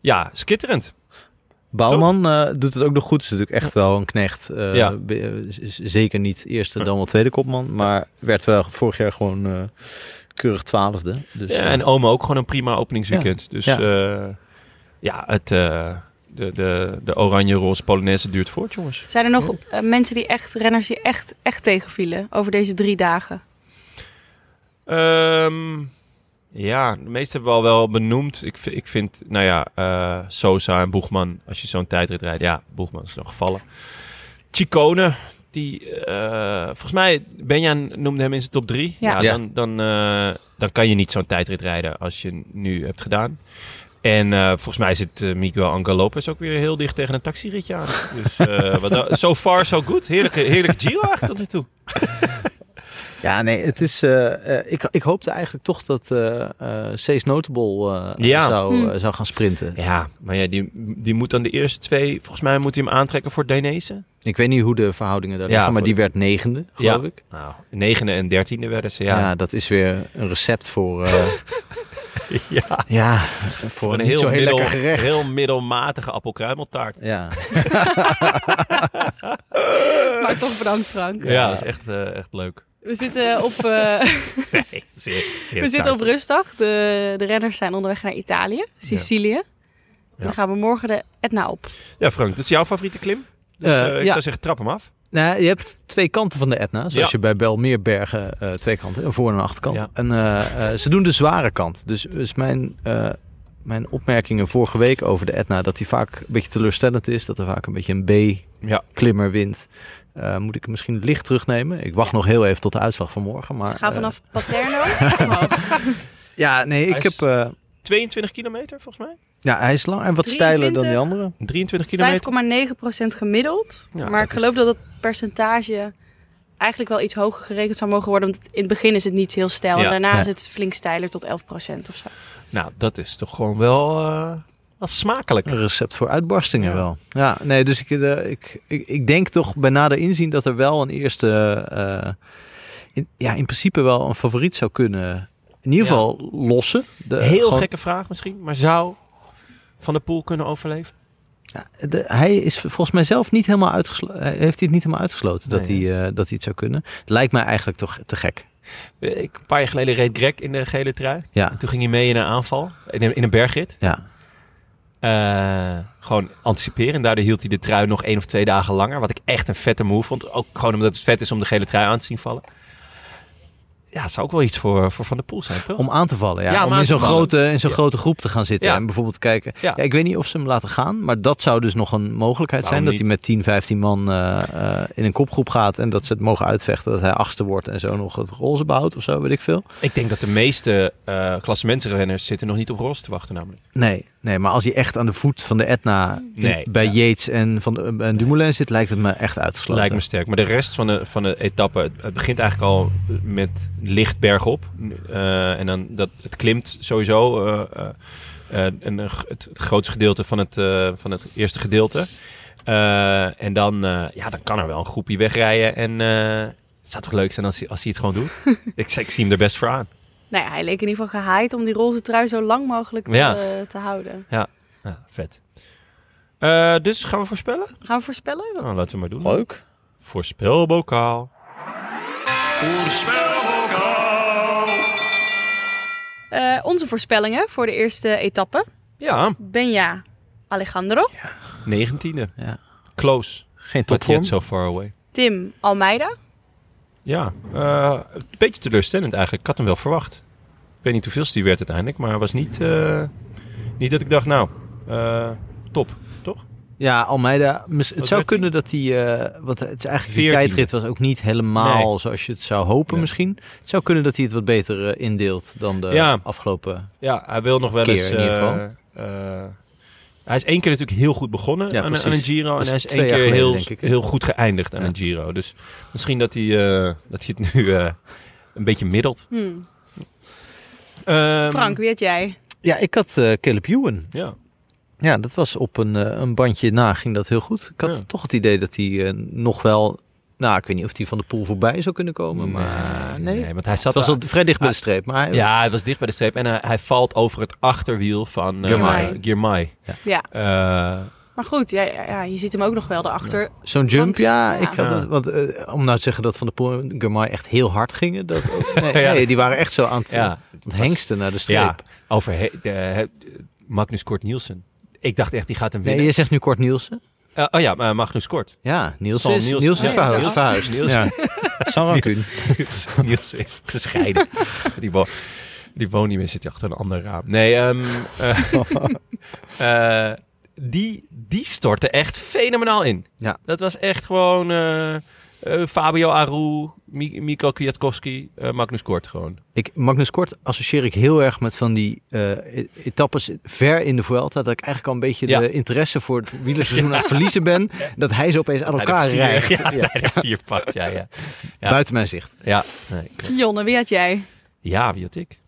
Speaker 1: ja, schitterend.
Speaker 2: Bouwman eh, doet het ook nog goed. Is natuurlijk echt wel een knecht. Eh,
Speaker 1: Ja.
Speaker 2: be- eh, z- z- zeker niet eerste, dan wel tweede kopman. Maar werd wel vorig jaar gewoon eh, keurig twaalfde. Dus,
Speaker 1: Ja,
Speaker 2: eh,
Speaker 1: en Oma ook gewoon een prima openingsweekend. Dus
Speaker 2: Ja.
Speaker 1: ja, ja het, eh, de, de, de oranje-roze Polonaise duurt voort, jongens.
Speaker 3: Zijn er nog eh, mensen die echt, renners die echt, echt tegenvielen over deze drie dagen?
Speaker 1: Ehm, ja, de meeste hebben we al wel benoemd. Ik, v- ik vind, nou ja, eh, Sosa en Boegman, als je zo'n tijdrit rijdt, ja, Boegman is nog gevallen. Chicone, die, eh, volgens mij, Benjan noemde hem in zijn top drie.
Speaker 3: Ja.
Speaker 1: Ja,
Speaker 2: Ja.
Speaker 1: Dan, dan, eh, dan kan je niet zo'n tijdrit rijden als je nu hebt gedaan. En eh, volgens mij zit eh, Miguel Angel Lopez ook weer heel dicht tegen een taxiritje aan. Dus eh, wat, da- so far so good. Heerlijke, heerlijke Giro eigenlijk tot nu toe.
Speaker 2: Ja, nee, het is. eh, eh, ik, ik hoopte eigenlijk toch dat eh eh Cees Notable eh,
Speaker 1: Ja.
Speaker 2: zou,
Speaker 3: Hm.
Speaker 2: eh, zou gaan sprinten.
Speaker 1: Ja, maar ja, die, die moet dan de eerste twee... Volgens mij moet hij hem aantrekken voor Danezen.
Speaker 2: Ik weet niet hoe de verhoudingen daar
Speaker 1: Ja,
Speaker 2: liggen, maar
Speaker 1: voor-
Speaker 2: die werd negende, geloof ik.
Speaker 1: Nou, negende en dertiende werden ze,
Speaker 2: Ja.
Speaker 1: ja. <laughs>
Speaker 2: dat is weer een recept voor, eh,
Speaker 1: Ja,
Speaker 2: ja, voor een
Speaker 1: een
Speaker 2: niet
Speaker 1: heel,
Speaker 2: zo heel
Speaker 1: middel-
Speaker 2: lekker gerecht.
Speaker 1: heel middelmatige appelkruimeltaart.
Speaker 2: Ja,
Speaker 3: Maar toch bedankt Frank.
Speaker 1: Eh. Ja, dat is echt, eh, echt leuk. <laughs>
Speaker 3: We zitten op, eh,
Speaker 1: Nee, zeer- zeer
Speaker 3: <laughs> we zitten op
Speaker 1: taart.
Speaker 3: rustdag. De, de renners zijn onderweg naar Italië, Sicilië. En dan gaan we morgen de Etna op.
Speaker 1: Ja, Frank, dat is jouw favoriete klim? Dus,
Speaker 2: Eh,
Speaker 1: eh, ik
Speaker 2: ja.
Speaker 1: zou zeggen, trap hem af.
Speaker 2: Nou, je hebt twee kanten van de Etna. Zoals
Speaker 1: Ja.
Speaker 2: je bij Belmeerbergen eh twee kanten, een voor- en een achterkant.
Speaker 1: Ja.
Speaker 2: En eh, eh, ze doen de zware kant. Dus, dus mijn, eh, mijn opmerkingen vorige week over de Etna, dat die vaak een beetje teleurstellend is, dat er vaak een beetje een
Speaker 1: Ja.
Speaker 2: B-klimmer wint. Eh, moet ik misschien licht terugnemen? Ik wacht nog heel even tot de uitslag van morgen. Maar,
Speaker 3: Ze gaan
Speaker 2: eh,
Speaker 1: <laughs>
Speaker 3: vanaf Paterno. omhoog.
Speaker 2: ja, nee, ik
Speaker 1: Hij
Speaker 2: heb.
Speaker 1: is-
Speaker 2: eh,
Speaker 1: 22 kilometer, volgens mij.
Speaker 2: ja, hij is lang en wat steiler dan die
Speaker 3: 23.
Speaker 2: andere.
Speaker 1: 23 kilometer.
Speaker 3: 5,9% gemiddeld.
Speaker 1: Ja,
Speaker 3: maar ik
Speaker 1: dat is-
Speaker 3: geloof dat het percentage eigenlijk wel iets hoger gerekend zou mogen worden. Want het- in het begin is het niet heel stijl.
Speaker 1: Ja.
Speaker 3: En daarna
Speaker 2: Ja.
Speaker 3: is het flink steiler tot 11% of zo.
Speaker 1: Nou, dat is toch gewoon wel, eh, wel smakelijk.
Speaker 2: Een recept voor uitbarstingen
Speaker 1: Ja.
Speaker 2: wel. Ja, nee, dus ik, eh, ik, ik, ik denk toch bij nader inzien dat er wel een eerste, eh, in, ja, in principe wel een favoriet zou kunnen. In ieder
Speaker 1: Ja.
Speaker 2: geval lossen. De,
Speaker 1: Heel
Speaker 2: gewoon-
Speaker 1: gekke vraag misschien, maar zou Van der Poel kunnen overleven?
Speaker 2: Ja, de- hij is volgens mij zelf niet helemaal uitgesloten. Heeft hij het niet helemaal uitgesloten dat,
Speaker 1: Nee,
Speaker 2: hij, eh, dat hij het zou kunnen? Het lijkt mij eigenlijk toch te gek.
Speaker 1: Eh, Ik, een paar jaar geleden reed Greg in de gele trui.
Speaker 2: Ja,
Speaker 1: En toen ging hij mee in een aanval, in een, in een bergrit.
Speaker 2: ja.
Speaker 1: Eh, gewoon anticiperen. En daardoor hield hij de trui nog één of twee dagen langer. Wat ik echt een vette move vond. Ook gewoon omdat het vet is om de gele trui aan te zien vallen. Ja, het zou ook wel iets voor, voor Van der Poel zijn, toch?
Speaker 2: Om aan te vallen. Ja.
Speaker 1: Ja, om
Speaker 2: om
Speaker 1: aan
Speaker 2: in
Speaker 1: te
Speaker 2: zo'n
Speaker 1: vallen.
Speaker 2: grote, in zo'n
Speaker 1: Ja.
Speaker 2: grote groep te gaan zitten.
Speaker 1: Ja.
Speaker 2: En bijvoorbeeld kijken.
Speaker 1: Ja.
Speaker 2: Ja. ik weet niet of ze hem laten gaan. Maar dat zou dus nog een mogelijkheid
Speaker 1: Waarom
Speaker 2: zijn.
Speaker 1: niet?
Speaker 2: Dat hij met 10, 15 man eh, eh, in een kopgroep gaat. En dat ze het mogen uitvechten. Dat hij achtste wordt en zo nog het roze behoudt of zo. Weet ik veel.
Speaker 1: Ik denk dat de meeste eh klassementsrenners zitten nog niet op roze te wachten namelijk.
Speaker 2: Nee, nee, maar als hij echt aan de voet van de Etna in-
Speaker 1: Nee,
Speaker 2: bij
Speaker 1: ja.
Speaker 2: Yates en, van de, eh, en Dumoulin zit, lijkt het me echt uitgesloten.
Speaker 1: Lijkt me sterk. Maar de rest van de, van de etappe, het, het begint eigenlijk al met licht bergop. Eh, en dan dat, het klimt sowieso. eh, eh, eh, en, eh, het, het grootste gedeelte van het, eh, van het eerste gedeelte. Eh, en dan, eh, ja, dan kan er wel een groepje wegrijden. En eh, het zou toch leuk zijn als hij, als hij het gewoon
Speaker 2: <laughs>
Speaker 1: doet? ik, ik zie hem er best voor aan.
Speaker 3: Nou ja, hij leek in ieder geval gehaaid om die roze trui zo lang mogelijk te,
Speaker 1: Ja.
Speaker 3: eh, te houden.
Speaker 1: Ja, vet. Eh, dus gaan we voorspellen?
Speaker 3: Gaan we voorspellen?
Speaker 1: Nou, laten we maar doen.
Speaker 2: Leuk.
Speaker 1: Voorspelbokaal.
Speaker 3: Eh, onze voorspellingen voor de eerste etappe.
Speaker 1: Ja,
Speaker 3: Benja Alejandro,
Speaker 1: 19e.
Speaker 2: Ja.
Speaker 1: Close.
Speaker 2: Geen
Speaker 1: But yet
Speaker 2: topvorm.
Speaker 1: so far away.
Speaker 3: Tim Almeida.
Speaker 1: Ja, eh, een beetje teleurstellend eigenlijk. Ik had hem wel verwacht. Ik weet niet hoeveel die werd uiteindelijk, maar was niet, eh, niet dat ik dacht, nou, eh, top, toch?
Speaker 2: Ja, Almeida. mis- Het
Speaker 1: Wat
Speaker 2: zou
Speaker 1: werd
Speaker 2: kunnen dat hij... eh, want het is eigenlijk die
Speaker 1: 14e.
Speaker 2: tijdrit was ook niet helemaal
Speaker 1: Nee.
Speaker 2: zoals je het zou hopen
Speaker 1: Nee.
Speaker 2: misschien. Het zou kunnen dat hij het wat beter eh, indeelt dan de
Speaker 1: Ja.
Speaker 2: afgelopen...
Speaker 1: Ja, hij wil nog wel
Speaker 2: Keer
Speaker 1: eens.
Speaker 2: in ieder
Speaker 1: eh,
Speaker 2: geval.
Speaker 1: eh, hij is één keer natuurlijk heel goed begonnen aan,
Speaker 2: Ja,
Speaker 1: een- aan een
Speaker 2: precies.
Speaker 1: Giro.
Speaker 2: Dat
Speaker 1: En
Speaker 2: is
Speaker 1: hij is
Speaker 2: twee
Speaker 1: één
Speaker 2: jaar
Speaker 1: keer
Speaker 2: geleden,
Speaker 1: heel,
Speaker 2: denk ik.
Speaker 1: heel goed geëindigd aan
Speaker 2: Ja.
Speaker 1: een Giro. Dus misschien dat hij, eh, dat hij het nu eh, een beetje middelt.
Speaker 3: Hm.
Speaker 1: Ehm,
Speaker 3: Frank, wie had jij?
Speaker 2: Ja, ik had eh Caleb Ewan.
Speaker 1: Ja,
Speaker 2: Ja, dat was op een, eh, een bandje na ging dat heel goed. Ik had
Speaker 1: Ja.
Speaker 2: toch het idee dat hij eh, nog wel... Nou, ik weet niet of hij van de pool voorbij zou kunnen komen, maar eh, nee.
Speaker 1: want hij
Speaker 2: Het
Speaker 1: zat
Speaker 2: was Ah,
Speaker 1: wel-
Speaker 2: al vrij dicht bij de streep, maar hij-
Speaker 1: Ja, hij was dicht bij de streep. En hij, hij valt over het achterwiel van eh,
Speaker 3: Girmay.
Speaker 1: Girmay.
Speaker 3: Ja.
Speaker 1: Eh,
Speaker 3: Maar goed, ja, ja, ja, je ziet hem ook nog wel daarachter.
Speaker 2: Zo'n jump,
Speaker 3: Langs-
Speaker 2: ja.
Speaker 3: ja.
Speaker 2: Ik had
Speaker 1: Ja.
Speaker 2: het, want, eh, om nou te zeggen dat Van de Poel en Germain echt heel hard gingen. Dat, <laughs> nee,
Speaker 1: Ja.
Speaker 2: nee, die waren echt zo aan het,
Speaker 1: ja,
Speaker 2: aan
Speaker 1: het
Speaker 2: het
Speaker 1: was-
Speaker 2: hengsten naar de streep.
Speaker 1: Ja, over he- de, he- Magnus Kort Nielsen. Ik dacht echt, die gaat hem
Speaker 2: Nee,
Speaker 1: winnen.
Speaker 2: je zegt nu kort Nielsen.
Speaker 1: Eh, oh ja, maar Magnus
Speaker 2: <laughs>
Speaker 1: Kort.
Speaker 2: Ja, Nielsen
Speaker 1: Sam
Speaker 2: is,
Speaker 1: Nielsen.
Speaker 2: Nielsen is
Speaker 3: Oh ja,
Speaker 2: verhuisd.
Speaker 3: Sam
Speaker 2: verhuisd.
Speaker 1: Nielsen.
Speaker 2: <laughs> Ja. Sam Rancune.
Speaker 1: Nielsen is
Speaker 2: <laughs>
Speaker 1: gescheiden. die, wo die woont niet meer, zit hij achter een ander raam. Nee, ehm, eh, <laughs> eh, die, die stortte echt fenomenaal in.
Speaker 2: Ja.
Speaker 1: Dat was echt gewoon eh, eh, Fabio Aru, Mi- Mikko Kwiatkowski, eh, Magnus Kort gewoon.
Speaker 2: Ik, Magnus Kort associeer ik heel erg met van die eh, e- etappes ver in de Vuelta. Dat ik eigenlijk al een beetje
Speaker 1: Ja.
Speaker 2: de interesse voor het wielerseizoen aan het verliezen <laughs> ben. Dat hij zo opeens aan
Speaker 1: Bij de
Speaker 2: elkaar
Speaker 1: vier-
Speaker 2: rijdt.
Speaker 1: <laughs> Ja,
Speaker 2: Ja.
Speaker 1: bij de vier pakt, ja, ja. Ja.
Speaker 2: Buiten mijn zicht.
Speaker 1: Ja, nee, klopt.
Speaker 3: Jonne, wie had jij?
Speaker 1: ja wie had ik?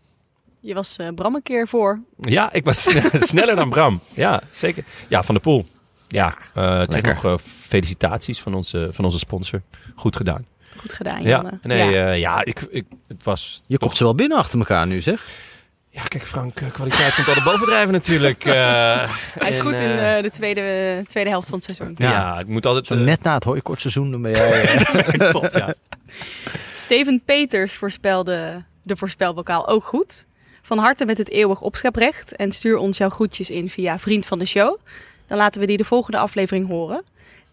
Speaker 3: Je was eh, Bram een keer voor.
Speaker 1: Ja, ik was
Speaker 2: <laughs>
Speaker 1: sneller dan Bram. Ja, zeker. Ja, Van de Poel. Ja, eh kreeg
Speaker 2: Lekker.
Speaker 1: nog eh, felicitaties van onze, van onze sponsor. Goed gedaan.
Speaker 3: Goed gedaan,
Speaker 1: Ja,
Speaker 3: Jonne.
Speaker 1: nee,
Speaker 3: Ah, ja.
Speaker 1: ja, ja ik, ik, het was...
Speaker 2: Je
Speaker 1: toch-
Speaker 2: komt ze wel binnen achter elkaar nu, zeg.
Speaker 1: Ja, kijk Frank, eh, kwaliteit komt altijd bovendrijven natuurlijk.
Speaker 2: <laughs>
Speaker 1: Eh,
Speaker 3: Hij is
Speaker 1: en,
Speaker 3: goed in
Speaker 1: eh,
Speaker 3: eh, de tweede, tweede helft van het seizoen.
Speaker 1: ja.
Speaker 2: Ja.
Speaker 1: ik moet altijd...
Speaker 2: Zo
Speaker 1: eh,
Speaker 2: net na het hooikortseizoen dan ben jij... <laughs> eh,
Speaker 1: top, <laughs> ja.
Speaker 3: Steven Peters voorspelde de voorspelbokaal ook goed. Van harte met het eeuwig opscheprecht. En stuur ons jouw groetjes in via Vriend van de Show. Dan laten we die de volgende aflevering horen.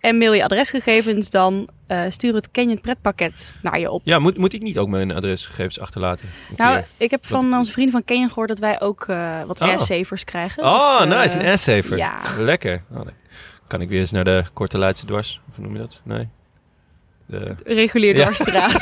Speaker 3: En mail je adresgegevens dan. eh, stuur het Canyon Pretpakket naar je op.
Speaker 1: ja moet, moet ik niet ook mijn adresgegevens achterlaten? Een
Speaker 3: Nou,
Speaker 1: keer.
Speaker 3: ik heb van
Speaker 1: Wat-
Speaker 3: onze vrienden van Canyon gehoord dat wij ook eh, wat
Speaker 1: Oh.
Speaker 3: ass-savers krijgen.
Speaker 1: oh,
Speaker 3: Dus, eh,
Speaker 1: nice, een assaver.
Speaker 3: ja.
Speaker 1: Lekker. Oh, nee. Kan ik weer eens naar de Korte Leidse Dwars? Of hoe noem je dat? Nee. De,
Speaker 3: Regulier
Speaker 1: Ja. <laughs>
Speaker 3: dwarsstraat.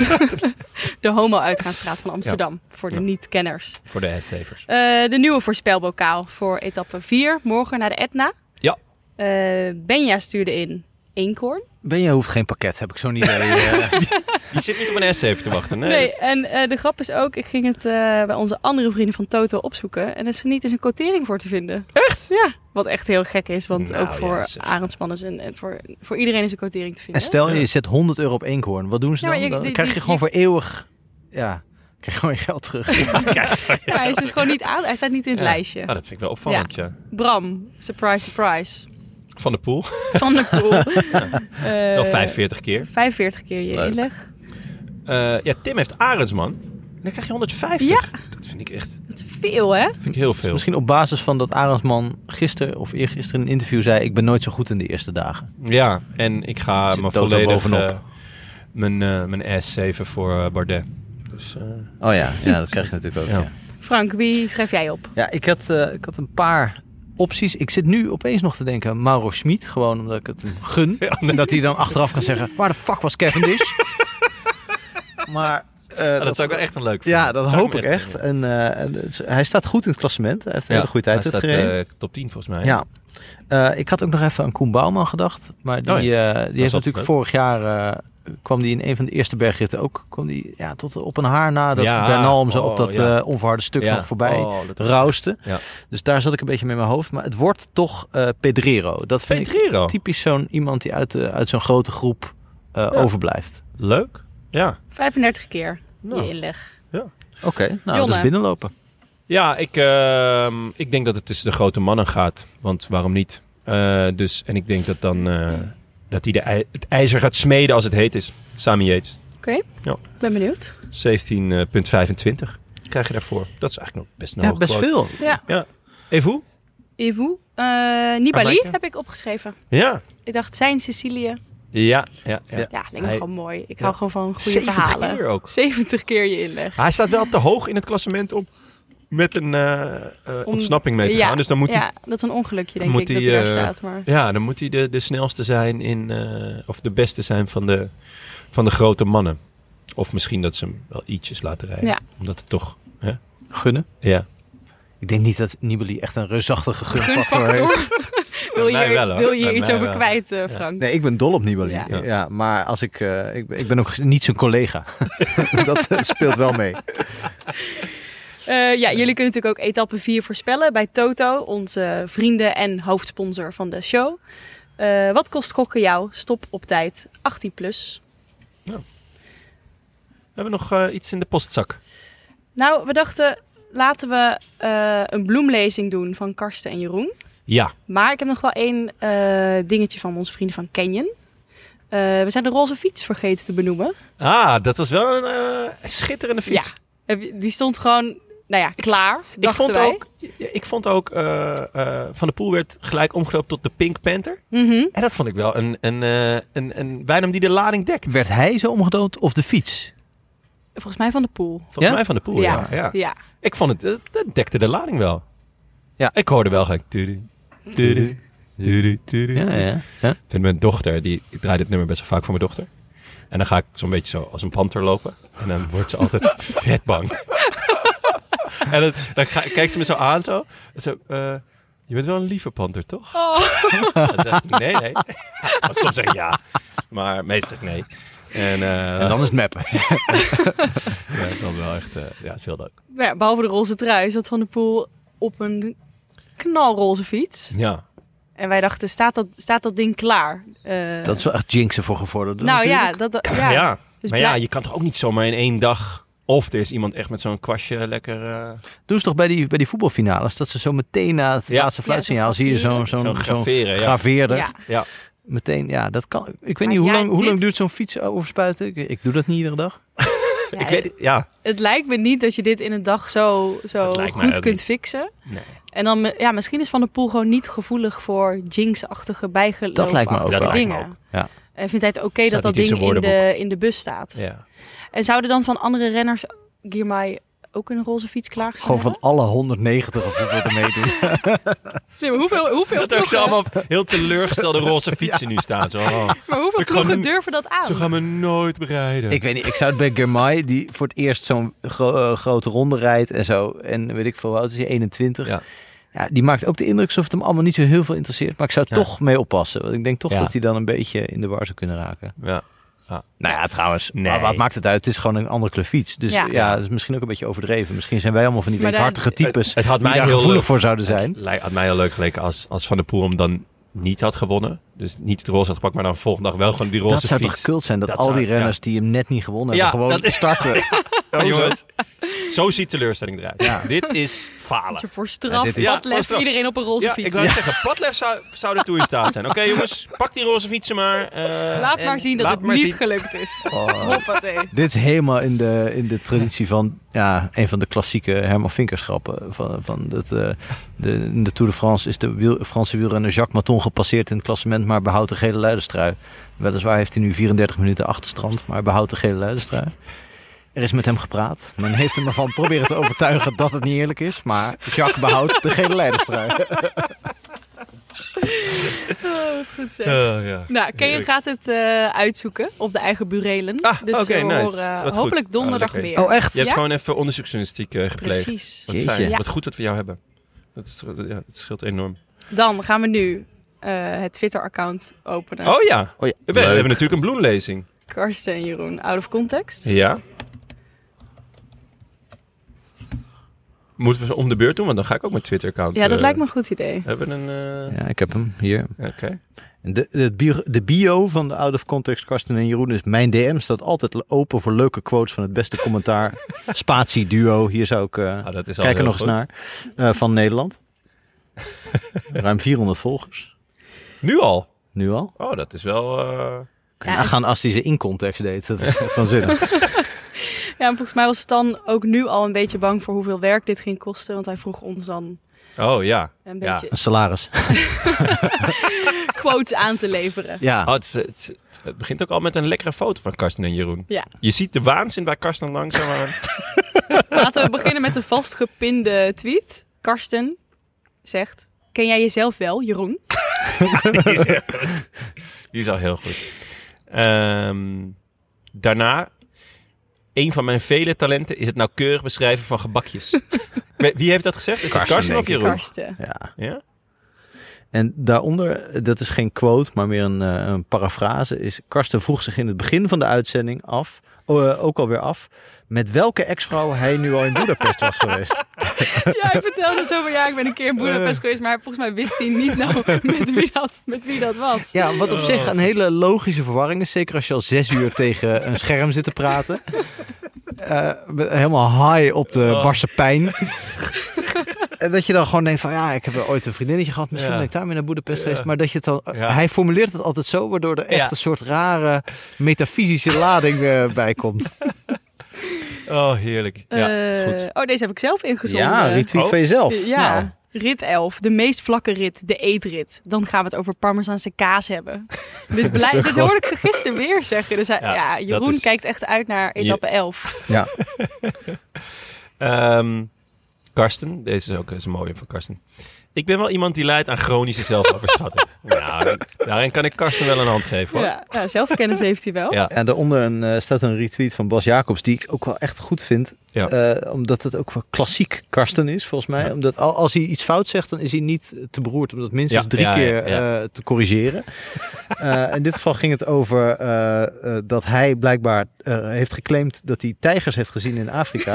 Speaker 3: de homo-uitgaansstraat van Amsterdam. Voor de
Speaker 1: Ja.
Speaker 3: niet-kenners.
Speaker 1: voor de
Speaker 3: <laughs>
Speaker 1: assavers.
Speaker 3: Eh, de nieuwe voorspelbokaal voor etappe 4. Morgen naar de Etna.
Speaker 1: Ja.
Speaker 3: Eh, Benja stuurde in eenkoorn.
Speaker 2: Benja hoeft geen pakket, heb ik zo'n idee. <laughs> eh.
Speaker 1: Je zit niet op een S7 te wachten. Nee.
Speaker 3: Nee,
Speaker 1: dat-
Speaker 3: en eh, de grap is ook, ik ging het eh, bij onze andere vrienden van Toto opzoeken. En er is niet eens een quotering voor te vinden. Echt? Ja, wat echt heel gek is. Want
Speaker 1: Nou,
Speaker 3: ook voor
Speaker 1: ja,
Speaker 3: Arendsman
Speaker 1: zeg.
Speaker 3: is een, en voor, voor iedereen is een quotering te
Speaker 2: En
Speaker 3: vinden.
Speaker 2: stel je zet 100 euro op eenhoorn. Wat doen ze
Speaker 3: Ja, maar
Speaker 2: dan?
Speaker 3: je-
Speaker 2: Dan
Speaker 3: die-
Speaker 2: krijg je
Speaker 3: die-
Speaker 2: gewoon
Speaker 3: die-
Speaker 2: voor eeuwig... Ja, krijg je gewoon je geld terug.
Speaker 3: Ja, hij is dus gewoon niet aan, hij staat niet in het
Speaker 1: Ja.
Speaker 3: lijstje.
Speaker 1: Ah, dat vind ik wel opvallend, ja.
Speaker 3: Bram, surprise, surprise.
Speaker 1: Van de Poel.
Speaker 3: Van de Poel.
Speaker 1: <laughs>
Speaker 3: Eh,
Speaker 1: wel 45 keer.
Speaker 3: 45 keer je
Speaker 1: Leuk.
Speaker 3: inleg.
Speaker 1: Eh, ja, Tim heeft Arendsman. Dan krijg je 150.
Speaker 3: Ja.
Speaker 1: Dat vind ik echt
Speaker 3: Dat is veel, hè?
Speaker 1: vind ik heel veel.
Speaker 2: Misschien op basis van dat Arendsman gisteren of eergisteren in een interview zei... ik ben nooit zo goed in de eerste dagen.
Speaker 1: Ja, en ik ga
Speaker 2: Zit
Speaker 1: me
Speaker 2: Toto
Speaker 1: volledig
Speaker 2: bovenop.
Speaker 1: eh, mijn, eh, mijn S7 voor eh, Bardet. Dus, eh,
Speaker 2: Oh ja, ja dat krijg je natuurlijk ook.
Speaker 1: Ja.
Speaker 2: Ja, ja.
Speaker 3: Frank, wie schrijf jij op?
Speaker 2: ik, had, eh, ik had een paar opties. Ik zit nu opeens nog te denken aan Mauro Schmid. Gewoon omdat ik het hem <laughs> gun.
Speaker 1: Ja,
Speaker 2: En dat hij dan achteraf kan zeggen... waar de fuck was <laughs> Cavendish? maar... eh,
Speaker 1: dat, zou ik wel echt een leuk
Speaker 2: Ja, dat hoop ik echt. En, eh, en het is- hij staat goed in het klassement. Hij heeft een hele goede tijd
Speaker 1: staat,
Speaker 2: gereden.
Speaker 1: eh, top 10 volgens mij.
Speaker 2: ja. Eh, ik had ook nog even aan Koen Bouwman gedacht. Maar die,
Speaker 1: Oh
Speaker 2: eh, die heeft
Speaker 1: altijd
Speaker 2: natuurlijk
Speaker 1: leuk.
Speaker 2: vorig jaar... eh, kwam die in een van de eerste bergritten ook... kwam die ja, tot op een haar na dat
Speaker 1: Ja,
Speaker 2: Bernal hem zo
Speaker 1: oh,
Speaker 2: op dat
Speaker 1: ja.
Speaker 2: eh, onverharde stuk
Speaker 1: Ja.
Speaker 2: nog voorbij
Speaker 1: Oh, dat was-
Speaker 2: rauste.
Speaker 1: Ja.
Speaker 2: Dus daar zat ik een beetje mee in mijn hoofd. Maar het wordt toch eh, Pedrero. Dat vind
Speaker 1: Pedrero.
Speaker 2: ik typisch zo'n iemand die uit, de- uit zo'n grote groep eh, overblijft.
Speaker 1: Leuk. Ja.
Speaker 3: 35 keer
Speaker 1: Nou.
Speaker 3: je inleg.
Speaker 2: Oké, nou
Speaker 3: Jonne.
Speaker 2: dus binnenlopen.
Speaker 1: Ja, ik, ehm, ik denk dat het tussen de grote mannen gaat. Want waarom niet? Eh, dus, en ik denk dat dan eh, dat hij de ij- het ijzer gaat smeden als het heet is. Sami Yates. eh,
Speaker 3: Oké,
Speaker 1: Ja.
Speaker 3: ik ben benieuwd.
Speaker 1: 17.25. krijg je daarvoor. Dat is eigenlijk nog best een
Speaker 2: Ja,
Speaker 1: hoge
Speaker 2: best
Speaker 1: quote.
Speaker 2: veel.
Speaker 3: Ja,
Speaker 1: Even hoe?
Speaker 3: Evo. Eh Nibali
Speaker 1: Jamaica.
Speaker 3: heb ik opgeschreven.
Speaker 1: Ja.
Speaker 3: Ik dacht, zijn Sicilië.
Speaker 1: Ja, ja, ja.
Speaker 2: Ja.
Speaker 3: Ja, lijkt me
Speaker 1: Hij-
Speaker 3: gewoon mooi. Ik
Speaker 1: Ja.
Speaker 3: hou gewoon van goede
Speaker 1: 70
Speaker 3: verhalen.
Speaker 1: keer ook.
Speaker 3: 70 keer je inleg.
Speaker 1: Maar hij staat wel te hoog in het klassement om met een eh, eh, ontsnapping mee te gaan. Dus dan moet hij...
Speaker 3: ja, dat is een ongelukje, denk
Speaker 1: moet
Speaker 3: ik, dat
Speaker 1: hij,
Speaker 3: hij daar
Speaker 1: eh,
Speaker 3: staat. Maar...
Speaker 1: Ja, dan moet hij de, de snelste zijn in... eh, of de beste zijn van de, van de grote mannen. Of misschien dat ze hem wel ietsjes laten rijden.
Speaker 3: Ja.
Speaker 1: Omdat het toch...
Speaker 2: Gunnen.
Speaker 1: Ja.
Speaker 2: Ik denk niet dat Nibali echt een reusachtige gunfactor heeft.
Speaker 1: <laughs>
Speaker 3: Gunfactor. wil
Speaker 1: Bij
Speaker 3: je
Speaker 1: mij
Speaker 3: hier,
Speaker 1: wel, hoor.
Speaker 3: wil je hier
Speaker 1: Bij
Speaker 3: iets
Speaker 1: mij
Speaker 3: over
Speaker 1: wel.
Speaker 3: kwijt, eh, Frank?
Speaker 2: Nee, ik ben dol op Nibali. Ja.
Speaker 3: Ja.
Speaker 2: maar als ik, eh, ik, ben- ik ben ook niet zijn collega. <laughs> dat eh, speelt wel mee.
Speaker 3: Eh, ja, jullie kunnen natuurlijk ook etappe 4 voorspellen bij Toto, onze vrienden en hoofdsponsor van de show. Eh, wat kost gokken jou? Stop op tijd 18 plus.
Speaker 1: We hebben nog eh, iets in de postzak.
Speaker 3: Nou, we dachten laten we eh, een bloemlezing doen van Karsten en Jeroen.
Speaker 1: Ja.
Speaker 3: Maar ik heb nog wel één eh, dingetje van onze vrienden van Canyon. Eh, we zijn de roze fiets vergeten te benoemen.
Speaker 1: Ah, dat was wel een eh, schitterende fiets.
Speaker 3: Ja. Heb je- Die stond gewoon, nou ja, klaar.
Speaker 1: Ik
Speaker 3: dachten
Speaker 1: vond,
Speaker 3: wij.
Speaker 1: ook, ja, ik vond ook, eh, eh, Van de Poel werd gelijk omgedoopt tot de Pink Panther.
Speaker 3: Mhm.
Speaker 1: En dat vond ik wel een, een, eh, een, een bijnaam die de lading dekt.
Speaker 2: Werd hij zo omgedood of de fiets?
Speaker 3: Volgens mij van de pool.
Speaker 1: Volgens
Speaker 2: Ja?
Speaker 1: mij Van de Poel, ja. ja.
Speaker 3: ja.
Speaker 1: Ik vond het, eh, dat dekte de lading wel.
Speaker 2: Ja.
Speaker 1: Ik hoorde wel gelijk... tudu, tudu, tudu, tudu.
Speaker 2: ja.
Speaker 1: Ik vind mijn dochter, die, ik draai dit nummer best wel vaak voor mijn dochter. En dan ga ik zo'n beetje zo als een panter lopen. En dan wordt ze
Speaker 2: <laughs>
Speaker 1: altijd vet bang. <laughs> en dan, dan ga- kijkt ze me zo aan zo. En zo eh, je bent wel een lieve panter, toch? <laughs> Dan zeg ik, nee, <laughs> nee. Soms zeg ik ja, maar meestal nee. En, eh,
Speaker 2: En dan is het meppen.
Speaker 1: ja, het is dan wel echt, eh, ja, het is heel leuk.
Speaker 3: Nou ja, behalve de roze trui zat Van de Poel op een knalroze fiets.
Speaker 1: Ja,
Speaker 3: En wij dachten, staat dat, staat dat ding klaar? Eh,
Speaker 2: Dat is wel echt jinxen voor gevorderden.
Speaker 3: nou
Speaker 2: natuurlijk.
Speaker 3: ja, dat, dat-
Speaker 1: ja.
Speaker 3: ja.
Speaker 1: maar ja,
Speaker 3: Dus blij-
Speaker 1: je kan toch ook niet zomaar in één dag... Of er is iemand echt met zo'n kwastje lekker... eh,
Speaker 2: Doen ze toch bij die, bij die voetbalfinales dat ze zo meteen na het
Speaker 1: Ja.
Speaker 2: laatste fluitsignaal
Speaker 3: Ja, zo'n
Speaker 2: zie je zo'n
Speaker 3: graveren.
Speaker 2: zo'n
Speaker 1: Zo'n
Speaker 2: zo'n
Speaker 1: graveren, ja.
Speaker 2: graveerder.
Speaker 3: Ja.
Speaker 1: ja.
Speaker 2: Meteen, ja, dat kan. Ik weet
Speaker 3: Maar
Speaker 2: niet hoe
Speaker 3: ja,
Speaker 2: lang, hoe lang
Speaker 3: dit-
Speaker 2: duurt zo'n fiets overspuiten. Ik, ik doe dat niet iedere dag.
Speaker 3: Ja,
Speaker 1: ik weet het- ja.
Speaker 3: Het lijkt me niet dat je dit in een dag zo, zo
Speaker 1: Dat lijkt mij
Speaker 3: goed
Speaker 1: ook
Speaker 3: kunt
Speaker 1: niet.
Speaker 3: fixen.
Speaker 1: Nee.
Speaker 3: En dan, me- ja, misschien is Van de Poel gewoon niet gevoelig voor jinx-achtige bijgeloofachtige
Speaker 2: Dat lijkt me ook
Speaker 1: wel. Dat lijkt me
Speaker 3: dingen.
Speaker 2: ook, ja.
Speaker 3: En vindt hij het oké dat
Speaker 1: Staat
Speaker 3: dat
Speaker 1: niet in
Speaker 3: ding
Speaker 1: zijn
Speaker 3: in de,
Speaker 1: woordenboek.
Speaker 3: in de bus staat?
Speaker 1: Ja.
Speaker 3: En zouden dan van andere renners Girmay ook een roze fiets klaargestaan
Speaker 2: Gewoon van
Speaker 3: hebben?
Speaker 2: alle 190 of hoeveel er meedoen.
Speaker 3: Nee, maar hoeveel,
Speaker 1: <laughs>
Speaker 3: hoeveel
Speaker 1: Dat ook ze
Speaker 3: ploegen-
Speaker 1: allemaal op heel teleurgestelde
Speaker 2: <laughs>
Speaker 1: roze fietsen nu staan. Zo, oh,
Speaker 3: Maar hoeveel
Speaker 1: Ik ga
Speaker 3: ploegen
Speaker 1: nu-
Speaker 3: durven dat aan?
Speaker 1: ze gaan me nooit bereiden.
Speaker 2: Ik weet niet, ik zou het bij Germay, die voor het eerst zo'n gro- eh, grote ronde rijdt en zo. En weet ik veel, hoe oud is hij? 21. Ja.
Speaker 1: Ja.
Speaker 2: die maakt ook de indruk alsof het hem allemaal niet zo heel veel interesseert. Maar ik zou
Speaker 1: Ja.
Speaker 2: toch mee oppassen. Want ik denk toch
Speaker 1: Ja.
Speaker 2: dat hij dan een beetje in de war zou kunnen raken.
Speaker 1: ja.
Speaker 2: Nou ja, trouwens.
Speaker 1: Nee.
Speaker 2: Maar wat maakt het uit? Het is gewoon een andere kleur fiets. Dus ja,
Speaker 3: Ja.
Speaker 2: dat is misschien ook een beetje overdreven. Misschien zijn wij allemaal van die
Speaker 3: Maar daar-
Speaker 2: weekhartige types
Speaker 1: Het- het had
Speaker 2: die
Speaker 1: mij
Speaker 2: Dus daar
Speaker 1: heel
Speaker 2: gevoelig
Speaker 1: leuk-
Speaker 2: voor zouden zijn.
Speaker 1: Het had mij heel leuk geleken als, als Van der Poel hem dan niet had gewonnen. Dus niet het roze had gepakt, maar dan volgende dag wel gewoon die roze
Speaker 2: Dat zou toch
Speaker 1: fiets.
Speaker 2: kult zijn dat,
Speaker 1: Dat
Speaker 2: al
Speaker 1: zou-
Speaker 2: die renners die hem net niet gewonnen
Speaker 1: Ja,
Speaker 2: hebben gewoon
Speaker 1: dat is- <laughs>
Speaker 2: starten. Oh,
Speaker 1: Maar Oh, jongens, zo ziet teleurstelling eruit.
Speaker 2: Ja.
Speaker 1: Dit is falen.
Speaker 3: Dat je voor straf,
Speaker 2: Ja, dit is-
Speaker 3: wat
Speaker 1: Ja,
Speaker 3: legt
Speaker 1: voor straf.
Speaker 3: iedereen op een roze
Speaker 1: Ja, ik
Speaker 3: <laughs> fiets.
Speaker 1: wou zeggen, Padlef zou, zou daartoe in staat zijn. Oké jongens, pak die roze fietsen maar. eh,
Speaker 3: Laat
Speaker 1: en
Speaker 3: maar zien dat
Speaker 1: laat
Speaker 3: het
Speaker 1: maar
Speaker 3: niet
Speaker 1: zien. <laughs>
Speaker 3: gelukt is.
Speaker 2: Oh.
Speaker 3: Hoppatee.
Speaker 2: Dit is helemaal in de, in de traditie van ja, een van de klassieke Herman Vinkerschappen. Van, van dat, eh, de, in de Tour de France is de wiel, Franse wielrenner Jacques Maton gepasseerd in het klassement, maar behoudt de gele luiderstrui. Weliswaar heeft hij nu 34 minuten achterstand, maar behoudt de gele luiderstrui. Er is met hem gepraat. Men heeft hem ervan proberen te overtuigen dat het niet eerlijk is. Maar Jacques behoudt de gele leiderstrui.
Speaker 3: Oh, wat goed zeg.
Speaker 1: Eh, ja.
Speaker 3: nou, Ken
Speaker 1: heerlijk.
Speaker 3: gaat het eh, uitzoeken op de eigen burelen.
Speaker 1: Ah,
Speaker 3: dus
Speaker 1: oké,
Speaker 3: we
Speaker 1: nice.
Speaker 3: horen
Speaker 1: Wat goed.
Speaker 3: hopelijk
Speaker 1: Oh,
Speaker 3: donderdag
Speaker 1: lekker.
Speaker 3: meer.
Speaker 2: Oh, echt?
Speaker 1: Je hebt
Speaker 3: Ja?
Speaker 1: gewoon even onderzoeksjournalistiek eh, gepleegd.
Speaker 3: Precies.
Speaker 1: Wat
Speaker 2: Jeetje.
Speaker 1: fijn.
Speaker 3: Ja.
Speaker 1: Wat goed dat we jou hebben. Dat, is, eh, ja, dat scheelt enorm.
Speaker 3: Dan gaan we nu eh, het Twitter-account openen.
Speaker 1: Oh ja,
Speaker 2: Oh ja,
Speaker 1: we, we hebben natuurlijk een bloemlezing.
Speaker 3: Karsten en Jeroen, out of context.
Speaker 1: Ja. Moeten we ze om de beurt doen? Want dan ga ik ook mijn Twitter-account...
Speaker 3: Ja, dat
Speaker 1: eh,
Speaker 3: lijkt me een goed idee.
Speaker 1: Hebben een... eh,
Speaker 2: Ja, ik heb hem hier.
Speaker 1: Oké.
Speaker 2: De, de, bio, de bio van de Out of Context Karsten en Jeroen is... Mijn DM staat altijd open voor leuke quotes van het beste
Speaker 1: <laughs>
Speaker 2: commentaar. Spatie duo, hier zou ik... eh,
Speaker 1: Ah, dat is al
Speaker 2: kijk er
Speaker 1: heel
Speaker 2: nog eens
Speaker 1: goed.
Speaker 2: naar. eh, van
Speaker 1: <laughs>
Speaker 2: Nederland. Ruim 400 volgers.
Speaker 1: Nu al?
Speaker 2: Nu al.
Speaker 1: Oh, dat is wel... eh,
Speaker 2: Kan
Speaker 3: Ja,
Speaker 2: je
Speaker 3: is-
Speaker 1: <laughs>
Speaker 2: nagaan als hij ze in context deed. Dat is echt waanzinnig.
Speaker 3: Ja, en volgens mij was Stan ook nu al een beetje bang voor hoeveel werk dit ging kosten. Want hij vroeg ons dan
Speaker 1: Oh ja.
Speaker 3: een
Speaker 1: Ja.
Speaker 3: beetje <laughs>
Speaker 2: Een salaris.
Speaker 3: quotes aan te leveren.
Speaker 2: Ja.
Speaker 1: Oh, het, het- het begint ook al met een lekkere foto van Karsten en Jeroen.
Speaker 3: Ja.
Speaker 1: Je ziet de waanzin bij Karsten langzaam. aan-
Speaker 3: Laten we beginnen met de vastgepinde tweet. Karsten zegt, ken jij jezelf wel, Jeroen?
Speaker 1: Die is echt goed. Die is al heel goed. Ehm, daarna, een van mijn vele talenten is het nauwkeurig beschrijven van gebakjes. Wie heeft dat gezegd? Is het
Speaker 2: Karsten,
Speaker 1: Karsten of
Speaker 2: denk ik.
Speaker 1: Jeroen?
Speaker 3: Karsten.
Speaker 2: ja.
Speaker 1: Ja?
Speaker 2: En daaronder, eh, dat is geen quote, maar meer een, eh, een parafrase, is Karsten vroeg zich in het begin van de uitzending af, oh, eh, ook alweer af, met welke ex-vrouw hij nu al in Budapest
Speaker 1: <laughs>
Speaker 2: was geweest.
Speaker 3: Ja, hij vertelde zo van, ja, ik ben een keer
Speaker 1: Eh.
Speaker 3: in Boedapest geweest. Maar volgens mij wist hij niet
Speaker 1: <laughs>
Speaker 3: nou met wie dat, met wie dat was.
Speaker 2: Ja, wat op zich
Speaker 1: Oh.
Speaker 2: een hele logische verwarring is, zeker als je al zes uur tegen een scherm zit te praten. Eh, met- helemaal high op de
Speaker 1: Oh.
Speaker 2: barse pijn. En dat je dan gewoon denkt van, ja, ik heb wel ooit een vriendinnetje gehad, misschien
Speaker 1: Ja.
Speaker 2: ben ik daarmee naar Boedapest
Speaker 1: Ja.
Speaker 2: geweest. Maar dat je het dan,
Speaker 1: Ja.
Speaker 2: hij formuleert het altijd zo, waardoor er echt
Speaker 1: Ja.
Speaker 2: een soort rare metafysische lading eh, bij komt.
Speaker 1: Oh, heerlijk. Ja, is
Speaker 3: Eh,
Speaker 1: goed.
Speaker 3: Oh, deze heb ik zelf ingezonden.
Speaker 1: Oh.
Speaker 2: jezelf.
Speaker 3: eh, Ja,
Speaker 2: Nou,
Speaker 3: rit 11, de meest vlakke rit, de eetrit. Dan gaan we het over Parmezaanse
Speaker 1: <laughs>
Speaker 3: kaas hebben. dit blij-
Speaker 2: zo
Speaker 3: dit
Speaker 2: goed.
Speaker 3: hoorde ik ze gisteren weer zeggen. Dus hij-
Speaker 1: Ja,
Speaker 3: ja,
Speaker 1: dat
Speaker 3: Jeroen
Speaker 1: is-
Speaker 3: kijkt echt uit naar etappe 11.
Speaker 2: ja.
Speaker 1: Ehm, Karsten, deze is ook eens een mooie van Karsten. Ik ben wel iemand die leidt aan chronische zelfoverschatting. nou, daarin kan ik Karsten wel een hand geven hoor.
Speaker 3: Ja, ja, zelfkennis heeft hij wel.
Speaker 1: Ja.
Speaker 2: En daaronder een, eh, staat een retweet van Bas Jacobs, die ik ook wel echt goed vind.
Speaker 1: Ja.
Speaker 2: Eh, omdat het ook wel klassiek Karsten is, volgens mij. Omdat al, als hij iets fout zegt, dan is hij niet te beroerd om dat minstens
Speaker 1: Ja,
Speaker 2: drie
Speaker 1: ja, ja,
Speaker 2: keer
Speaker 1: ja.
Speaker 2: eh, te
Speaker 1: <laughs>
Speaker 2: corrigeren. Eh, in dit geval ging het over eh, eh, dat hij blijkbaar eh, heeft geclaimd dat hij tijgers heeft gezien in
Speaker 1: <laughs>
Speaker 2: Afrika.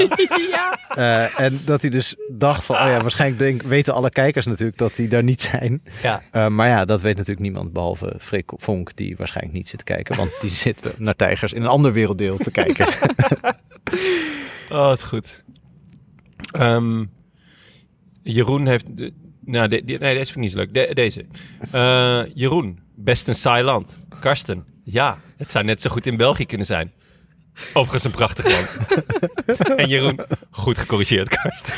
Speaker 3: Ja.
Speaker 2: Eh, en dat hij dus dacht van, oh ja, waarschijnlijk denk, weten alle kijkers natuurlijk dat die daar niet zijn.
Speaker 1: Ja.
Speaker 2: Eh, maar ja, dat weet natuurlijk niemand behalve Freek Vonk, die waarschijnlijk niet zit te kijken. Want die <laughs> zit naar tijgers in een ander werelddeel te kijken.
Speaker 1: Oh, wat goed. Ehm, Jeroen heeft... de- nou, de- die- nee, deze vind ik niet zo leuk. De- deze. Eh, Jeroen, best een saai land. Karsten, ja, het zou net zo goed in België kunnen zijn. Overigens een prachtig <laughs> land. en Jeroen, goed gecorrigeerd, Karsten.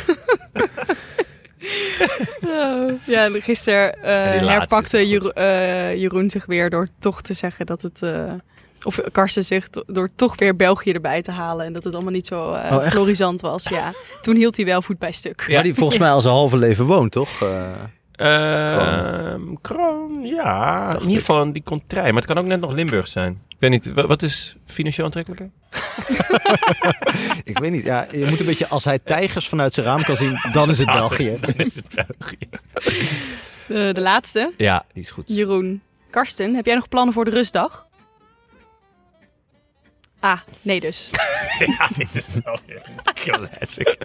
Speaker 3: ja gisteren eh,
Speaker 1: Ja, die laatste
Speaker 3: herpakte
Speaker 1: is goed.
Speaker 3: Jero- eh, Jeroen zich weer door toch te zeggen dat het... eh, of Karsten zich to- door toch weer België erbij te halen. En dat het allemaal niet zo eh,
Speaker 2: Oh, echt?
Speaker 3: florisant was. Ja. Toen hield hij wel voet bij stuk.
Speaker 2: Waar die volgens mij al zijn halve leven woont, toch? Eh,
Speaker 1: Ehm, Kroon, ja. in ieder geval die contrij. Maar het kan ook net nog Limburg zijn. Ik weet niet, wa- wat is financieel aantrekkelijker?
Speaker 2: ik weet niet. Ja, je moet een beetje, als hij tijgers vanuit zijn raam kan zien, dan is het België.
Speaker 1: is het België.
Speaker 3: Eh, de laatste.
Speaker 1: Ja, die is goed.
Speaker 3: Jeroen. Karsten, heb jij nog plannen voor de rustdag? Ah, nee dus.
Speaker 1: Ja, Ah, dit is wel weer <laughs> een classic.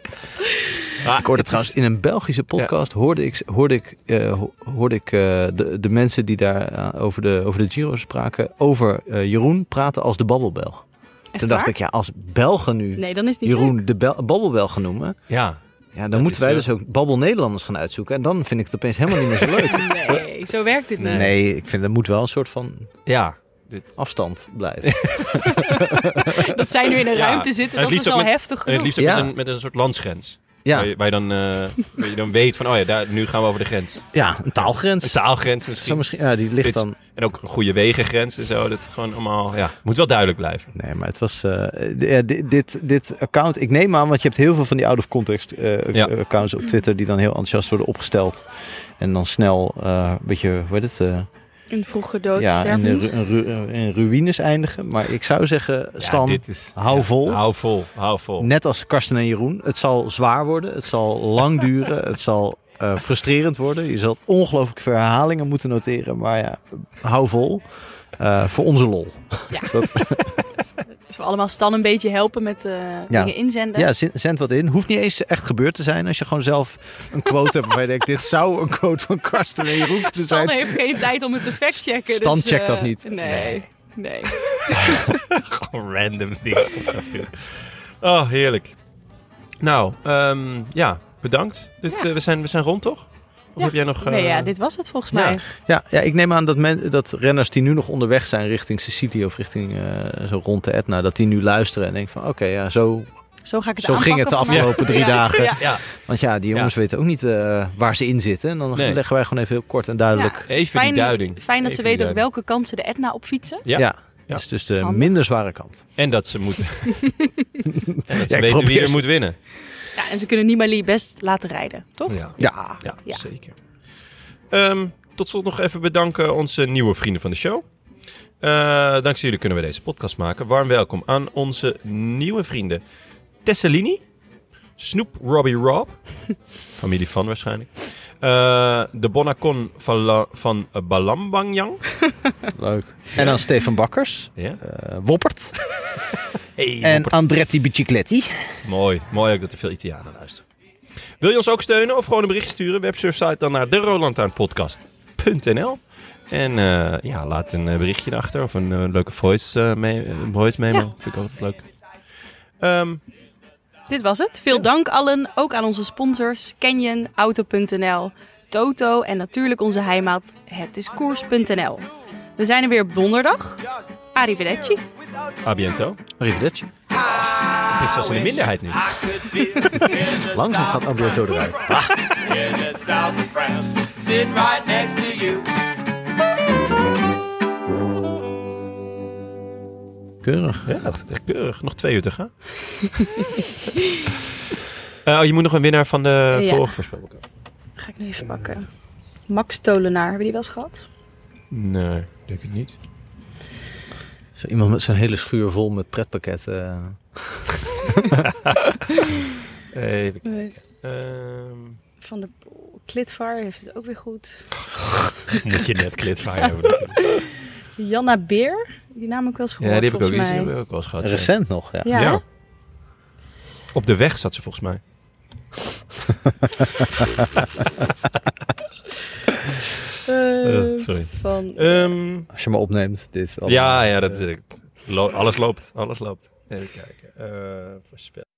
Speaker 1: Ah,
Speaker 2: Ik hoorde trouwens in een Belgische podcast hoorde ik, hoorde ik, eh, ho- hoorde ik eh, de, de mensen die daar eh, over, de, over de Giro spraken, over eh, Jeroen praten als de babbelbelg.
Speaker 3: Echt
Speaker 2: Toen dacht
Speaker 3: waar?
Speaker 2: ik, ja, als Belgen nu
Speaker 3: Nee, dan is het niet
Speaker 2: Jeroen
Speaker 3: leuk.
Speaker 2: de Bel- babbelbelg gaan noemen,
Speaker 1: Ja,
Speaker 2: ja, dan
Speaker 1: Dat
Speaker 2: moeten
Speaker 1: is,
Speaker 2: wij
Speaker 1: eh,
Speaker 2: dus ook babbel Nederlanders gaan uitzoeken. En dan vind ik het opeens helemaal niet meer zo leuk.
Speaker 3: Nee, zo werkt dit niet.
Speaker 2: Nee, ik vind er moet wel een soort van
Speaker 1: ja. Dit.
Speaker 2: afstand blijven.
Speaker 3: Dat zij nu in een
Speaker 1: Ja,
Speaker 3: ruimte zitten,
Speaker 1: en het
Speaker 3: dat is
Speaker 1: liefst
Speaker 3: al
Speaker 1: ook met-
Speaker 3: heftig
Speaker 1: En het
Speaker 3: genoeg.
Speaker 1: liefst ook
Speaker 2: Ja.
Speaker 1: met, een, met een soort landsgrens. Waar,
Speaker 2: Ja,
Speaker 1: je, waar je dan, eh, waar je dan weet van, oh ja, daar, nu gaan we over de grens.
Speaker 2: ja een taalgrens.
Speaker 1: Een taalgrens
Speaker 2: Zo
Speaker 1: misschien.
Speaker 2: misschien, ja, die ligt
Speaker 1: Dit-
Speaker 2: dan
Speaker 1: En ook een goede wegengrens en zo. Dat is gewoon allemaal, ja, moet wel duidelijk blijven.
Speaker 2: Nee, maar het was. eh, d- ja, di- dit, dit account, ik neem aan, want je hebt heel veel van die out of context eh,
Speaker 1: Ja.
Speaker 2: accounts op Twitter die dan heel enthousiast worden opgesteld. En dan snel eh, een beetje, hoe heet het? eh,
Speaker 3: Een vroege dood
Speaker 2: ja, in,
Speaker 3: sterven.
Speaker 2: de ru- in ru- in ruïnes eindigen. Maar ik zou zeggen, Stan,
Speaker 1: ja, dit is,
Speaker 2: hou vol.
Speaker 1: Hou vol, hou vol.
Speaker 2: net als Karsten en Jeroen, het zal zwaar worden, het zal lang <laughs> duren, het zal eh, frustrerend worden. Je zult ongelooflijk veel herhalingen moeten noteren, maar ja, hou vol. eh, voor onze lol.
Speaker 3: Dus we allemaal Stan een beetje helpen met eh,
Speaker 2: Ja.
Speaker 3: dingen inzenden.
Speaker 2: Ja, zin- zend wat in. Hoeft niet eens echt gebeurd te zijn als je gewoon zelf een quote hebt waarvan je denkt, dit zou een quote van Karsten en Jeroen kunnen
Speaker 3: Stan
Speaker 2: zijn.
Speaker 3: heeft geen tijd om het
Speaker 2: <laughs>
Speaker 3: te factchecken.
Speaker 2: Stan
Speaker 3: dus,
Speaker 2: checkt
Speaker 3: eh,
Speaker 2: dat niet.
Speaker 3: Nee, nee.
Speaker 1: Gewoon random dingen opgestuurd. Oh, heerlijk. Nou, ehm, ja, bedankt. Dit,
Speaker 3: Ja.
Speaker 1: eh, we, zijn, we zijn rond, toch? Of
Speaker 3: Ja.
Speaker 1: heb jij nog... eh,
Speaker 3: Nee, ja, dit was het volgens
Speaker 1: ja.
Speaker 3: mij.
Speaker 2: Ja, ja, ik neem aan dat, men, dat renners die nu nog onderweg zijn richting Sicilië of richting eh, zo rond de Etna, dat die nu luisteren en denken van oké, ja, zo,
Speaker 3: Zo ga ik het
Speaker 2: zo ging het de
Speaker 3: aanpakken vandaag.
Speaker 2: afgelopen drie
Speaker 3: Ja.
Speaker 2: dagen.
Speaker 3: Ja.
Speaker 1: Ja,
Speaker 2: Want ja, die jongens weten ook niet eh, waar ze in zitten. En dan
Speaker 1: Nee.
Speaker 2: leggen wij gewoon even heel kort en duidelijk.
Speaker 3: Ja,
Speaker 1: Even die
Speaker 3: fijn-
Speaker 1: duiding.
Speaker 3: Fijn dat
Speaker 1: Even
Speaker 3: ze
Speaker 1: die
Speaker 3: weten ook
Speaker 1: duiding.
Speaker 3: welke kant ze de Etna op fietsen.
Speaker 1: Ja.
Speaker 2: Ja,
Speaker 1: Ja.
Speaker 2: dat is dus de
Speaker 3: Handig.
Speaker 2: minder zware
Speaker 1: <laughs>
Speaker 2: kant.
Speaker 1: en dat ze
Speaker 2: <laughs>
Speaker 1: moeten... en dat ze
Speaker 2: ik
Speaker 1: weten wie
Speaker 2: probeer
Speaker 1: er
Speaker 2: ze-
Speaker 1: moet winnen.
Speaker 3: Ja, en ze kunnen Nibali best laten rijden, toch?
Speaker 1: Ja.
Speaker 2: Ja,
Speaker 1: Ja,
Speaker 3: Ja.
Speaker 1: zeker. Ehm, tot slot nog even bedanken onze nieuwe vrienden van de show. Eh, dankzij jullie kunnen we deze podcast maken. Warm welkom aan onze nieuwe vrienden. Tessellini, Snoep Robbie Rob, familie van waarschijnlijk. Eh, de Bonacon van, La- van Balambangyang.
Speaker 2: leuk. En dan Stefan Bakkers,
Speaker 1: Ja.
Speaker 2: eh, Woppert
Speaker 1: Hey,
Speaker 2: en
Speaker 1: Robert.
Speaker 2: Andretti Bicicletti.
Speaker 1: Mooi, mooi ook dat er veel Italianen luisteren. Wil je ons ook steunen of gewoon een bericht sturen? Websurfsite dan naar de En eh, ja, laat een eh, berichtje erachter of een eh, leuke voice, eh, me- eh, voice memo.
Speaker 3: Ja.
Speaker 1: Vind ik altijd leuk. Ehm,
Speaker 3: Dit was het. Veel dank allen, ook aan onze sponsors Canyon, Auto.nl, Toto en natuurlijk onze heimaat Het is Koers.nl. We zijn er weer op donderdag. Arrivederci.
Speaker 1: a biento.
Speaker 2: Arrivederci.
Speaker 1: Ik zelfs in de minderheid nu.
Speaker 2: Langzaam gaat Alberto eruit.
Speaker 4: in the south of France, sitting right next to you.
Speaker 2: Keurig.
Speaker 1: Ja, dat gaat echt keurig. Nog twee uur te
Speaker 3: <laughs>
Speaker 1: gaan. Eh, oh, je moet nog een winnaar van de
Speaker 3: Ja.
Speaker 1: vorige voorspelboek.
Speaker 3: Ga ik nu even pakken. Max Tolenaar, hebben die wel eens gehad?
Speaker 1: Nee, denk ik niet.
Speaker 2: Zo iemand met zijn hele schuur vol met pretpakketten. eh,
Speaker 1: Even kijken. Ehm, <laughs>
Speaker 3: Van de Klitvar heeft het ook weer goed.
Speaker 1: moet je net klitvaar hebben. natuurlijk.
Speaker 3: Janna Beer, die naam heb ik wel eens gehoord
Speaker 1: Ja, die heb ik ook,
Speaker 3: volgens
Speaker 1: die
Speaker 3: mij.
Speaker 1: heb ik ook wel eens gehad. ja.
Speaker 2: Recent nog, ja.
Speaker 3: Ja.
Speaker 1: Ja. Op de weg zat ze volgens mij.
Speaker 3: Eh, ehm,
Speaker 1: sorry. Ehm,
Speaker 3: van
Speaker 2: Als je maar opneemt, dit. allemaal.
Speaker 1: ja, ja, dat is, lo- alles loopt. Alles loopt. Even kijken. Eh voorspel.